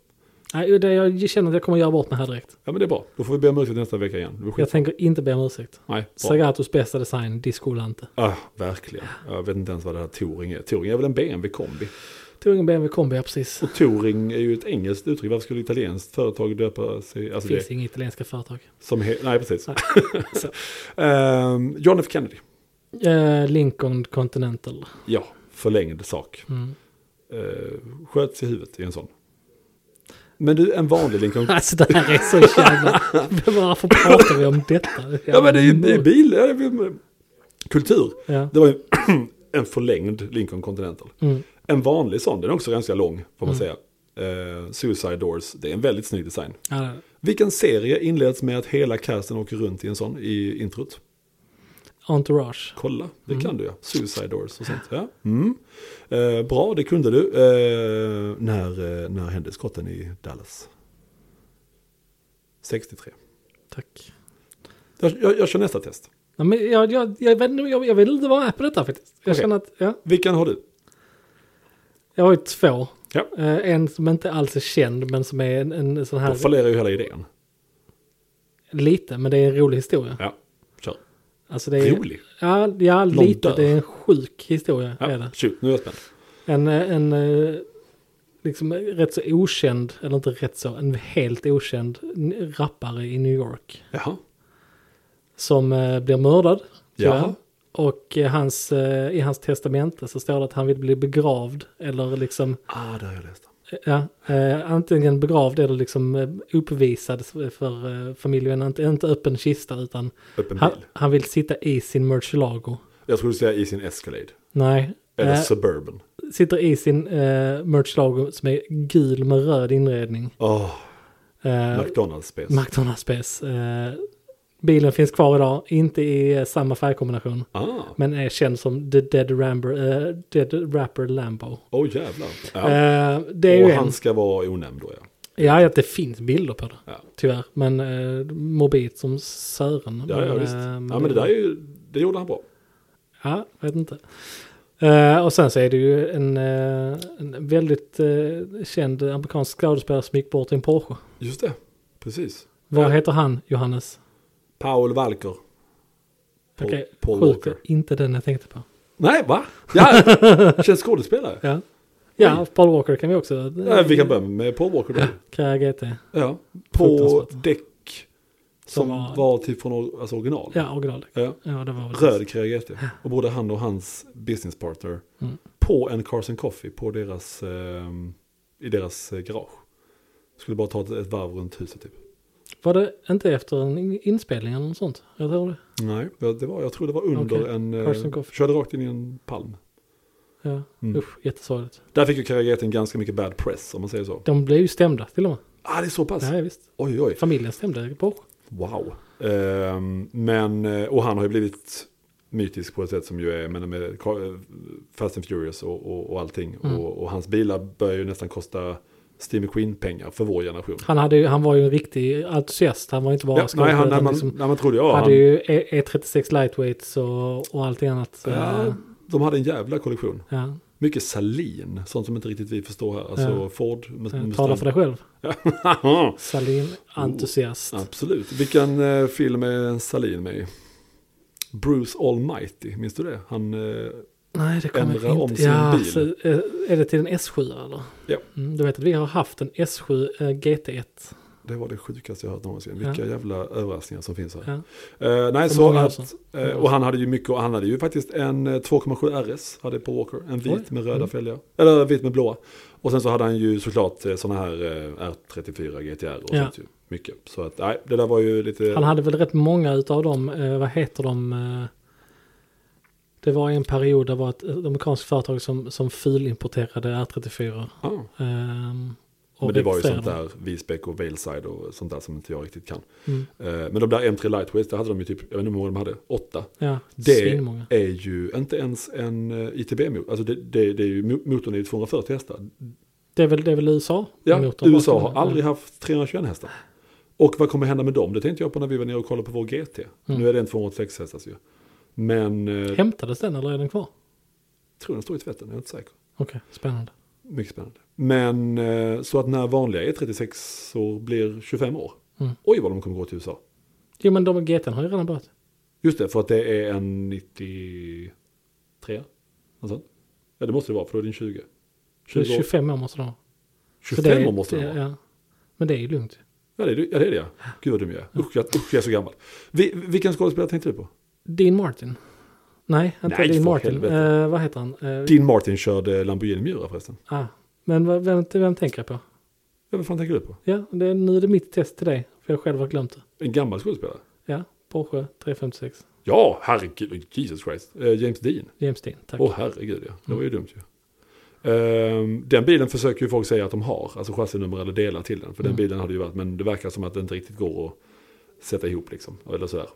[SPEAKER 1] Nej, det, jag känner att jag kommer göra bort mig här direkt.
[SPEAKER 2] Ja men det är bra, då får vi be om ursäkt nästa vecka igen. Det var skit.
[SPEAKER 1] Jag tänker inte be om ursäkt.
[SPEAKER 2] Nej, bra.
[SPEAKER 1] Sagatos bästa design, Disco Lante.
[SPEAKER 2] Ah, verkligen. Jag vet inte ens vad det här Touring är. Touring är väl en BMW kombi.
[SPEAKER 1] Tog en BMW kombi, ja precis.
[SPEAKER 2] Och Touring är ju ett engelskt uttryck. Varför skulle ett italienskt företag döpa sig? Alltså
[SPEAKER 1] Finns
[SPEAKER 2] det,
[SPEAKER 1] inga italienska företag.
[SPEAKER 2] som he- Nej, precis. (laughs)
[SPEAKER 1] Nej.
[SPEAKER 2] Ehm, John F Kennedy.
[SPEAKER 1] Eh, Lincoln Continental. (laughs)
[SPEAKER 2] Ja, förlängd sak.
[SPEAKER 1] Mm.
[SPEAKER 2] Eh, sköts i huvudet i en sån. Men du, en vanlig Lincoln
[SPEAKER 1] Alltså det här är så jävla... (laughs) Varför pratar vi om detta?
[SPEAKER 2] Ja men det är ju det är bil, ja, det är kultur.
[SPEAKER 1] Ja.
[SPEAKER 2] Det var ju (clears throat) en förlängd Lincoln Continental.
[SPEAKER 1] Mm.
[SPEAKER 2] En vanlig sån, den är också ganska lång får man säga. Eh, Suicide Doors, det är en väldigt snygg design.
[SPEAKER 1] Ja, det är det.
[SPEAKER 2] Vilken serie inleds med att hela casten åker runt i en sån i introt?
[SPEAKER 1] Entourage.
[SPEAKER 2] Kolla, det kan du ja. Suicide Doors och sånt. Mm. Ja. Mm. Eh, bra, det kunde du. Eh, när, eh, när hände skotten i Dallas? 63.
[SPEAKER 1] Tack.
[SPEAKER 2] Jag, jag, jag kör nästa test.
[SPEAKER 1] Ja, men jag, jag, jag, vet, inte- jag, jag vill inte vara med på detta faktiskt. Jag
[SPEAKER 2] Okej.
[SPEAKER 1] känner att, ja.
[SPEAKER 2] Vilken har du?
[SPEAKER 1] Jag har ju två.
[SPEAKER 2] Ja.
[SPEAKER 1] Eh, en som inte alls är känd men som är en, en sån
[SPEAKER 2] Då
[SPEAKER 1] här
[SPEAKER 2] fallerar ju hela idén.
[SPEAKER 1] lite, men det är en rolig historia.
[SPEAKER 2] Ja, kör.
[SPEAKER 1] Alltså det är,
[SPEAKER 2] Rolig?
[SPEAKER 1] Ja, ja lite.
[SPEAKER 2] dör.
[SPEAKER 1] Det är en sjuk historia. Är det.
[SPEAKER 2] Ja, shoot, nu är jag spänd.
[SPEAKER 1] En, eh, en eh, liksom eh, rätt så okänd, eller inte rätt så, en helt okänd n- rappare i New York.
[SPEAKER 2] Jaha.
[SPEAKER 1] Som eh, blir mördad. tyvärr.
[SPEAKER 2] Jaha.
[SPEAKER 1] Och eh, hans, eh, i hans testamente så står det att han vill bli begravd eller liksom
[SPEAKER 2] Ah, det har jag läst.
[SPEAKER 1] Ja, eh, antingen begravd eller liksom eh, uppvisad för eh, familjen. Inte, inte öppen kista utan
[SPEAKER 2] Öppen
[SPEAKER 1] han,
[SPEAKER 2] bil.
[SPEAKER 1] han vill sitta i sin Murcielago.
[SPEAKER 2] Jag skulle säga i sin Escalade.
[SPEAKER 1] Nej,
[SPEAKER 2] Eller
[SPEAKER 1] eh,
[SPEAKER 2] Suburban.
[SPEAKER 1] sitter i sin eh, Murcielago som är gul med röd inredning.
[SPEAKER 2] Åh,
[SPEAKER 1] Eh,
[SPEAKER 2] McDonalds space.
[SPEAKER 1] McDonalds Space. Eh, bilen finns kvar idag, inte i eh, samma färgkombination.
[SPEAKER 2] ah,
[SPEAKER 1] Men är känd som The Dead, Ramber, eh, Dead Rapper Lambo.
[SPEAKER 2] åh jävlar. Ja.
[SPEAKER 1] Eh, det är
[SPEAKER 2] och
[SPEAKER 1] ju en.
[SPEAKER 2] han ska vara onämnd då ja.
[SPEAKER 1] Ja, att det finns bilder på det.
[SPEAKER 2] Ja,
[SPEAKER 1] Tyvärr, men eh, mobilt som sören.
[SPEAKER 2] ja, ja
[SPEAKER 1] men,
[SPEAKER 2] visst.
[SPEAKER 1] eh,
[SPEAKER 2] Ja men det där är ju, det gjorde han bra.
[SPEAKER 1] Ja, vet inte. Eh, och sen så är det ju en, eh, en väldigt eh, känd amerikansk skådespelare som gick bort i en Porsche.
[SPEAKER 2] Just det, precis.
[SPEAKER 1] Vad
[SPEAKER 2] Ja.
[SPEAKER 1] heter han, Johannes?
[SPEAKER 2] Paul Walker. Paul,
[SPEAKER 1] Okej,
[SPEAKER 2] Paul
[SPEAKER 1] sjukt,
[SPEAKER 2] Walker.
[SPEAKER 1] inte den jag tänkte på.
[SPEAKER 2] Nej, va? Ja, känns skådespelare.
[SPEAKER 1] Ja, ja Paul Walker kan vi också.
[SPEAKER 2] Ja, vi kan börja med Paul Walker då.
[SPEAKER 1] Ja, Kara GT.
[SPEAKER 2] Ja. På
[SPEAKER 1] Fruktansvärt.
[SPEAKER 2] däck som
[SPEAKER 1] var-
[SPEAKER 2] var, typ från or- alltså original.
[SPEAKER 1] Ja, original.
[SPEAKER 2] Ja.
[SPEAKER 1] Ja, det var väl
[SPEAKER 2] Röd kreaget Och både han och hans businesspartner
[SPEAKER 1] Mm.
[SPEAKER 2] på en Carson Coffee på deras, ehm, i deras eh, garage. Skulle bara ta ett, ett varv runt huset typ.
[SPEAKER 1] Var det inte efter en in- inspelning eller något sånt? Jag tror det.
[SPEAKER 2] Nej, ja, det var, jag tror det var under
[SPEAKER 1] Okej.
[SPEAKER 2] en... eh,
[SPEAKER 1] Carson Coffee.
[SPEAKER 2] Körde rakt in i en palm.
[SPEAKER 1] Ja,
[SPEAKER 2] Mm.
[SPEAKER 1] usch, jättesorgligt.
[SPEAKER 2] Där fick ju Karageten ganska mycket bad press om man säger så.
[SPEAKER 1] De blev ju stämda till och med.
[SPEAKER 2] Ah, det är så pass?
[SPEAKER 1] Ja, visst.
[SPEAKER 2] Oj, oj.
[SPEAKER 1] Familjen stämde Porsche.
[SPEAKER 2] Wow. Ehm, men, eh, och han har ju blivit mytisk på ett sätt som ju är, men med Car- eh, Fast and Furious och, och, och allting.
[SPEAKER 1] Mm.
[SPEAKER 2] Och, och hans bilar börjar ju nästan kosta Steve McQueen-pengar för vår generation.
[SPEAKER 1] Han, hade, ju- han var ju en riktig entusiast. Han var inte bara
[SPEAKER 2] Ja, nej, han, när, man,
[SPEAKER 1] liksom,
[SPEAKER 2] när man trodde, ja,
[SPEAKER 1] hade
[SPEAKER 2] han,
[SPEAKER 1] ju E- E36 lightweights och, och allting annat.
[SPEAKER 2] ja,
[SPEAKER 1] Eh,
[SPEAKER 2] de hade en jävla kollektion.
[SPEAKER 1] Ja,
[SPEAKER 2] Mycket Salin, sånt som inte riktigt vi förstår här. Alltså
[SPEAKER 1] Ja.
[SPEAKER 2] Ford, Mus-
[SPEAKER 1] ja. Tala
[SPEAKER 2] Mustang.
[SPEAKER 1] för dig själv.
[SPEAKER 2] (laughs) Haha,
[SPEAKER 1] Salin-entusiast.
[SPEAKER 2] Absolut. Vilken eh, film är en Salin med i? Bruce Almighty, minns du det? Han, eh,
[SPEAKER 1] Nej, det kommer
[SPEAKER 2] Ändra
[SPEAKER 1] jag inte...
[SPEAKER 2] om sin
[SPEAKER 1] ja,
[SPEAKER 2] bil.
[SPEAKER 1] Så, eh, är det till en S7 eller?
[SPEAKER 2] Ja.
[SPEAKER 1] Mm, du vet att vi har haft en S7 eh, GT1.
[SPEAKER 2] Det var det sjukaste jag hört någonsin. Vilka
[SPEAKER 1] Ja.
[SPEAKER 2] jävla överraskningar som finns här.
[SPEAKER 1] Ja.
[SPEAKER 2] Eh, nej,
[SPEAKER 1] För
[SPEAKER 2] så
[SPEAKER 1] många
[SPEAKER 2] att,
[SPEAKER 1] alltså.
[SPEAKER 2] eh, och han hade ju mycket, och han hade ju faktiskt en eh, 2,7 RS, hade Paul Walker. En vit
[SPEAKER 1] Oj.
[SPEAKER 2] med röda
[SPEAKER 1] Mm.
[SPEAKER 2] fälgar, eller vit med blåa. Och sen så hade han ju såklart eh, sådana här eh, R34 GTR och
[SPEAKER 1] Ja.
[SPEAKER 2] sånt ju. Mycket. Så att, nej, det där var ju lite...
[SPEAKER 1] Han hade väl rätt många utav dem, eh, vad heter de? Eh, det var en period, det var ett, ett amerikanskt företag som, som filimporterade R34.
[SPEAKER 2] ah,
[SPEAKER 1] Ehm, och
[SPEAKER 2] men det var ju
[SPEAKER 1] registrerade
[SPEAKER 2] sånt där Visbeck och Valeside och sånt där som inte jag riktigt kan.
[SPEAKER 1] dem. Mm.
[SPEAKER 2] Eh, men de där M3 Lightweights, där hade de ju typ, jag vet inte hur många de hade, åtta.
[SPEAKER 1] Ja,
[SPEAKER 2] Det-
[SPEAKER 1] svinmånga.
[SPEAKER 2] är ju inte ens en eh, ITB-motor. Alltså det, det, det är ju, mo- motorn är ju 240 hästar.
[SPEAKER 1] Det är väl, det är väl USA?
[SPEAKER 2] Ja,
[SPEAKER 1] motorn,
[SPEAKER 2] USA
[SPEAKER 1] vad ska
[SPEAKER 2] har
[SPEAKER 1] man-
[SPEAKER 2] aldrig haft 321 hästar. Och vad kommer hända med dem? Det tänkte jag på när vi var nere och kollade på vår GT.
[SPEAKER 1] Mm.
[SPEAKER 2] Nu är det en 286 hästars ju. Men eh, jag
[SPEAKER 1] Hämtades den eller är den kvar?
[SPEAKER 2] tror den står i tvätten, jag är inte säker.
[SPEAKER 1] Okej, spännande.
[SPEAKER 2] Mycket spännande. Men eh, så att när vanliga E36 år blir 25 år,
[SPEAKER 1] Mm.
[SPEAKER 2] oj vad de kommer gå till USA.
[SPEAKER 1] Jo men de GT har ju redan börjat.
[SPEAKER 2] Just det, för att det är en 93. Något sånt. Ja, det måste det vara, för då är den 20.
[SPEAKER 1] Så
[SPEAKER 2] 20
[SPEAKER 1] det är
[SPEAKER 2] år.
[SPEAKER 1] 25 år måste de ha. Så
[SPEAKER 2] 25
[SPEAKER 1] det är-
[SPEAKER 2] år måste det vara.
[SPEAKER 1] Ja, ja. Men det är ju lugnt.
[SPEAKER 2] Ja det, är, det- ja, det är det ja. Gud vad dum jag är. Usch, jag, usch, jag är så gammal. Vi, vilken skådespelare tänkte du på?
[SPEAKER 1] Dean Martin? Nej, inte
[SPEAKER 2] Nej,
[SPEAKER 1] Dean
[SPEAKER 2] för
[SPEAKER 1] Martin.
[SPEAKER 2] helvete.
[SPEAKER 1] Eh, vad heter han? Eh,
[SPEAKER 2] Dean Martin körde Lamborghini Miura förresten.
[SPEAKER 1] ah. Men vad- vem, vem tänker jag på?
[SPEAKER 2] Ja, vad fan tänker du på?
[SPEAKER 1] Ja, det är, nu är det mitt test till dig. För jag själv har glömt det.
[SPEAKER 2] En gammal skådespelare?
[SPEAKER 1] Ja, Porsche 356.
[SPEAKER 2] Ja, herregud. Jesus Christ. Eh, James Dean.
[SPEAKER 1] James Dean, tack. Mm.
[SPEAKER 2] Åh herregud ja, det var ju dumt ju. Ehm, den bilen försöker ju folk säga att de har, alltså chassinummer eller delar till den. För den
[SPEAKER 1] Mm.
[SPEAKER 2] bilen hade ju varit, men det verkar som att det inte riktigt går att sätta ihop liksom. Eller sådär.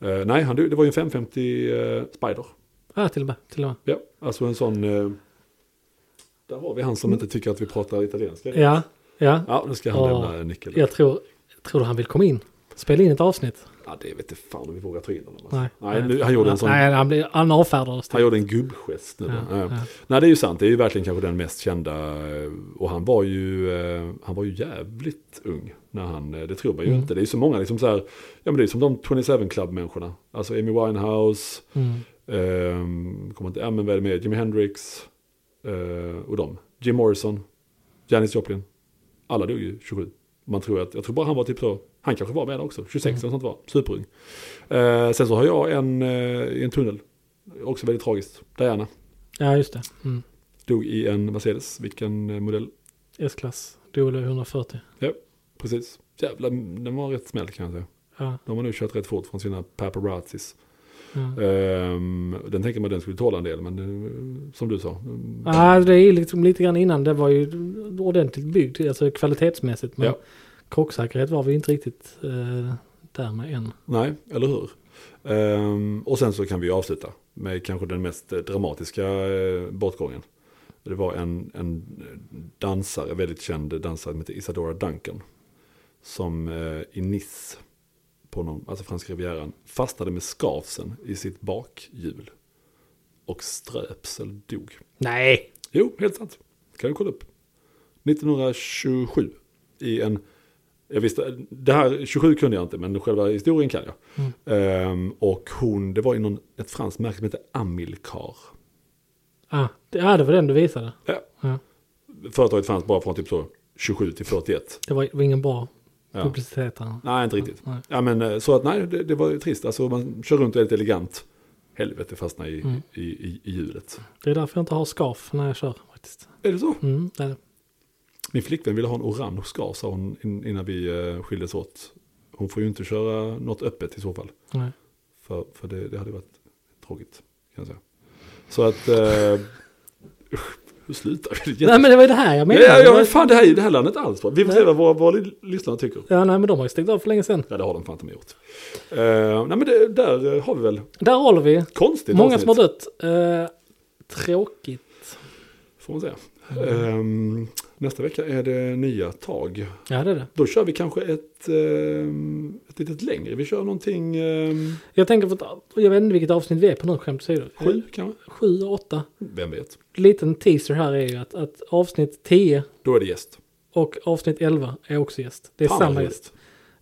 [SPEAKER 1] Mm.
[SPEAKER 2] Ehm, nej, han, det var ju en 550 eh, Spider.
[SPEAKER 1] Ah, till och med. Till och med.
[SPEAKER 2] Ja, alltså en sån... eh, där har vi han som inte tycker att vi pratar italienska.
[SPEAKER 1] Mm. Ja, ja.
[SPEAKER 2] Ja, nu ska han
[SPEAKER 1] Ja.
[SPEAKER 2] lämna en nyckel.
[SPEAKER 1] Jag tror, tror du han vill komma in. Spela in ett avsnitt.
[SPEAKER 2] Ja, det vet inte fan om vi vågar ta in honom. alltså.
[SPEAKER 1] Nej.
[SPEAKER 2] nej nu, han gjorde en sån...
[SPEAKER 1] Nej, han, blir, han avfärdar oss.
[SPEAKER 2] Han gjorde en gubbgest nu.
[SPEAKER 1] Ja,
[SPEAKER 2] då. Eh,
[SPEAKER 1] ja.
[SPEAKER 2] Nej, det är ju sant. Det är ju verkligen kanske den mest kända. eh, Och han var ju, eh, han var ju jävligt ung. När han, eh, det tror man ju
[SPEAKER 1] Mm.
[SPEAKER 2] inte. Det är ju så många liksom så här, ja men det är som de 27 Club-människorna. Alltså Amy Winehouse,
[SPEAKER 1] Mm.
[SPEAKER 2] ehm, kommer inte, ja men vad är det med, Jimi Hendrix eh, och de. Jim Morrison, Janis Joplin. Alla dog ju 27. Man tror att, jag tror bara han var typ så, han kanske var med där också, 26 eller sånt var, superung. Eh, sen så har jag en eh, i en tunnel, också väldigt tragiskt, Diana.
[SPEAKER 1] Ja, just det. Mm.
[SPEAKER 2] Dog i en Mercedes, vilken eh, modell?
[SPEAKER 1] S-klass. Dolo 140.
[SPEAKER 2] Ja, precis. Jävlar, den var rätt smäll kan jag säga.
[SPEAKER 1] Ja,
[SPEAKER 2] De har nu kört rätt fort från sina paparazzis.
[SPEAKER 1] ja.
[SPEAKER 2] Ehm, den tänker man den skulle tåla en del, men eh, som du sa. mm,
[SPEAKER 1] Ah, det är liksom lite grann innan. Det var ju ordentligt byggd, alltså kvalitetsmässigt. Men
[SPEAKER 2] Ja.
[SPEAKER 1] krocksäkerhet var vi inte riktigt eh, där med än.
[SPEAKER 2] Nej, eller hur? Ehm, och sen så kan vi avsluta med kanske den mest eh, dramatiska eh, bortgången. Det var en, en dansare, väldigt känd dansare, som hette Isadora Duncan. Som eh, i Nice, på någon, alltså franska rivieran, fastnade med skavsen i sitt bakhjul. Och ströps eller dog.
[SPEAKER 1] Nej!
[SPEAKER 2] Jo, helt sant. Kan du kolla upp. 1927 i en... Jag visste, det här 27 kunde jag inte, men själva historien kan jag.
[SPEAKER 1] Mm.
[SPEAKER 2] Ehm, och hon, det var i någon, ett franskt märke som hette Amilcar.
[SPEAKER 1] Ah, det, ah, det var den du visade.
[SPEAKER 2] Ja.
[SPEAKER 1] Ja.
[SPEAKER 2] Företaget fanns bara från typ så 27 till 41.
[SPEAKER 1] Det var, var ingen bra
[SPEAKER 2] Ja.
[SPEAKER 1] publicitet. Här.
[SPEAKER 2] Nej, inte riktigt.
[SPEAKER 1] Nej.
[SPEAKER 2] Ja, men, eh, så att nej, det, det var ju trist. Alltså man kör runt väldigt elegant. Helvete fastnar i,
[SPEAKER 1] Mm.
[SPEAKER 2] i, i, i hjulet.
[SPEAKER 1] Det är därför jag inte har scarf när jag kör. faktiskt.
[SPEAKER 2] Är det så?
[SPEAKER 1] Mm, det är det.
[SPEAKER 2] Min flickvän ville ha en orange scarf, sa hon in- innan vi eh, skildes åt. Hon får ju inte köra något öppet i så fall.
[SPEAKER 1] Nej.
[SPEAKER 2] För, för det, det hade varit tråkigt, kan jag säga. Så att... Eh, usch, hur slutar vi? Det är
[SPEAKER 1] Nej men det var ju det här jag
[SPEAKER 2] Ja,
[SPEAKER 1] menade.
[SPEAKER 2] ja, ja, men fan det här, är- det här landet alls bra. Vi får se vad våra, våra lyssnare tycker.
[SPEAKER 1] Ja, nej men de har ju stängt av för länge sedan.
[SPEAKER 2] Ja, det har de fan inte gjort. Eh, nej, men det, där eh, har vi väl
[SPEAKER 1] Där håller vi.
[SPEAKER 2] konstigt
[SPEAKER 1] Många som har
[SPEAKER 2] avsnitt,
[SPEAKER 1] dött. Eh, tråkigt.
[SPEAKER 2] Får man säga. Eh, nästa vecka är det nya tag.
[SPEAKER 1] Ja det är det.
[SPEAKER 2] Då kör vi kanske ett, ehm, ett litet längre. Vi kör någonting ehm,
[SPEAKER 1] Jag tänker på att, jag vet inte vilket avsnitt vi är på nu skämt åsido.
[SPEAKER 2] sju kanske?
[SPEAKER 1] Sju, åtta.
[SPEAKER 2] eh, Vem vet?
[SPEAKER 1] Liten teaser här är ju att, att avsnitt 10
[SPEAKER 2] Då är det gäst.
[SPEAKER 1] och avsnitt 11 är också gäst. Det är
[SPEAKER 2] Fan, vad
[SPEAKER 1] samma
[SPEAKER 2] roligt.
[SPEAKER 1] gäst.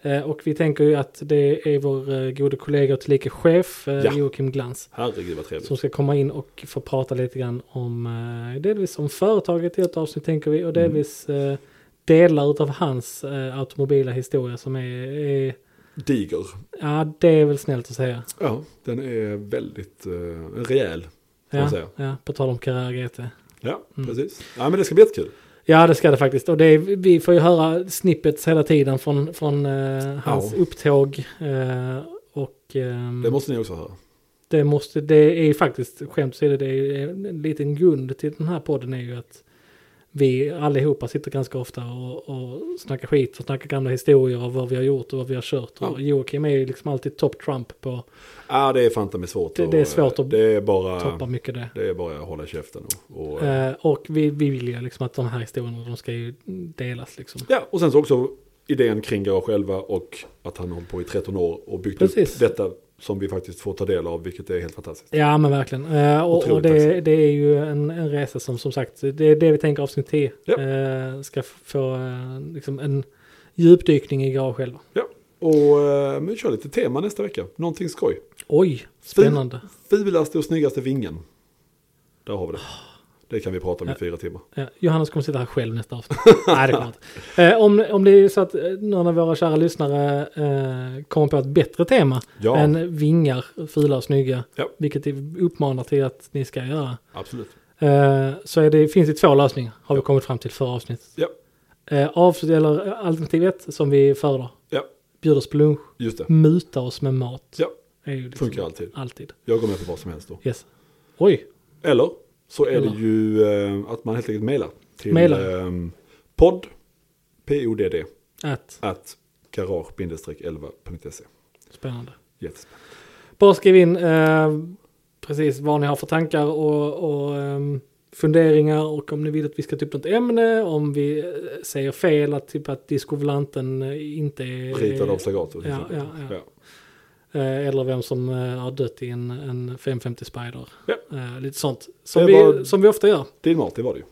[SPEAKER 1] Eh, och vi tänker ju att det är vår eh, gode kollega och tillika chef eh,
[SPEAKER 2] Ja.
[SPEAKER 1] Joakim Glans.
[SPEAKER 2] Herregud vad trevligt.
[SPEAKER 1] Som ska komma in och få prata lite grann om eh, delvis om företaget i ett avsnitt tänker vi
[SPEAKER 2] Mm.
[SPEAKER 1] och delvis eh, delar av hans eh, automobila historia som är, är
[SPEAKER 2] Diger.
[SPEAKER 1] ja det är väl snällt att säga.
[SPEAKER 2] Ja, den är väldigt eh, rejäl. Får man
[SPEAKER 1] Ja,
[SPEAKER 2] säga.
[SPEAKER 1] ja, på tal om Carrera GT.
[SPEAKER 2] Ja, precis. Ja, men det ska bli jättekul.
[SPEAKER 1] Ja det ska det faktiskt och det är, vi får ju höra snippets hela tiden från, från eh, hans
[SPEAKER 2] Ja.
[SPEAKER 1] upptåg. Eh, och ehm,
[SPEAKER 2] Det måste ni också höra.
[SPEAKER 1] Det, måste, det är ju faktiskt, skämt åsido, det är ju en liten grund till den här podden är ju att vi allihopa sitter ganska ofta och, och snackar skit och snackar gamla historier av vad vi har gjort och vad vi har kört. Och
[SPEAKER 2] Ja.
[SPEAKER 1] Joakim är ju liksom alltid top Trump på
[SPEAKER 2] Ja, det är fan med svårt. eh,
[SPEAKER 1] Det- det är svårt att
[SPEAKER 2] det är bara,
[SPEAKER 1] toppa mycket det.
[SPEAKER 2] Det är bara att hålla käften och... och
[SPEAKER 1] Eh, och vi, vi vill ju liksom att de här historierna de ska ju delas liksom.
[SPEAKER 2] Ja, och sen så också idén kring Garage 11 och att han har hållit på i 13 år och byggt
[SPEAKER 1] Precis.
[SPEAKER 2] upp detta som vi faktiskt får ta del av, vilket är helt fantastiskt.
[SPEAKER 1] Ja men verkligen. Eh, och och
[SPEAKER 2] Otroligt
[SPEAKER 1] det,
[SPEAKER 2] tacksam.
[SPEAKER 1] det är ju en, en resa som som sagt, det är det vi tänker avsnitt 10.
[SPEAKER 2] Ja.
[SPEAKER 1] Eh, ska f- få eh, liksom en djupdykning i garage själva.
[SPEAKER 2] Ja, och eh, men vi kör lite tema nästa vecka. Någonting skoj.
[SPEAKER 1] Oj, spännande.
[SPEAKER 2] Fulaste och snyggaste vingen. Där har vi det. Det kan vi prata om i fyra timmar.
[SPEAKER 1] Ja, Johannes kommer sitta här själv nästa avsnitt. Nej,
[SPEAKER 2] (laughs)
[SPEAKER 1] det kommer inte. Eh, om, om det är så att eh, någon av våra kära lyssnare eh, kommer på ett bättre tema
[SPEAKER 2] Ja.
[SPEAKER 1] än vingar, fula och snygga,
[SPEAKER 2] Ja.
[SPEAKER 1] vilket vi uppmanar till att ni ska göra,
[SPEAKER 2] Absolut.
[SPEAKER 1] eh, så är det, finns det två lösningar, har vi kommit fram till förra avsnittet.
[SPEAKER 2] Ja,
[SPEAKER 1] Eh, avslut, eller eh, alternativ ett som vi föredrar.
[SPEAKER 2] Ja.
[SPEAKER 1] Bjuder oss på lunch,
[SPEAKER 2] Just det,
[SPEAKER 1] muta oss med mat.
[SPEAKER 2] Ja.
[SPEAKER 1] Är ju liksom
[SPEAKER 2] funkar alltid.
[SPEAKER 1] alltid.
[SPEAKER 2] Jag går med på vad som helst då.
[SPEAKER 1] Yes. Oj,
[SPEAKER 2] Eller så är
[SPEAKER 1] Eller?
[SPEAKER 2] det ju eh, att man helt enkelt mejlar till
[SPEAKER 1] Mailar.
[SPEAKER 2] ehm, podd, podd,
[SPEAKER 1] att
[SPEAKER 2] att garage-11.se.
[SPEAKER 1] spännande.
[SPEAKER 2] Jättespännande.
[SPEAKER 1] Bara skriv in eh, precis vad ni har för tankar och, och ehm, funderingar och om ni vill att vi ska ta upp något ämne, om vi eh, säger fel, att typ att discovolanten eh, inte är...
[SPEAKER 2] Ritad av Sagato. till
[SPEAKER 1] ja,
[SPEAKER 2] exempel.
[SPEAKER 1] ja, ja. Eh, Eller vem som eh, har dött i en, en 550 Spider.
[SPEAKER 2] Ja.
[SPEAKER 1] Eh, lite sånt. Som
[SPEAKER 2] Det
[SPEAKER 1] vi,
[SPEAKER 2] var-
[SPEAKER 1] som vi ofta gör.
[SPEAKER 2] Din mat, det var det ju.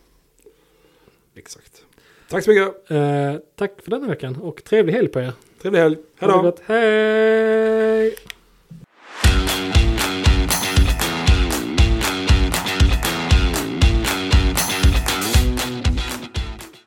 [SPEAKER 2] Exakt. Tack så mycket.
[SPEAKER 1] Eh, tack för denna veckan och trevlig helg på er.
[SPEAKER 2] Trevlig helg. Hej
[SPEAKER 1] Ha det
[SPEAKER 2] då.
[SPEAKER 1] gott. Hej!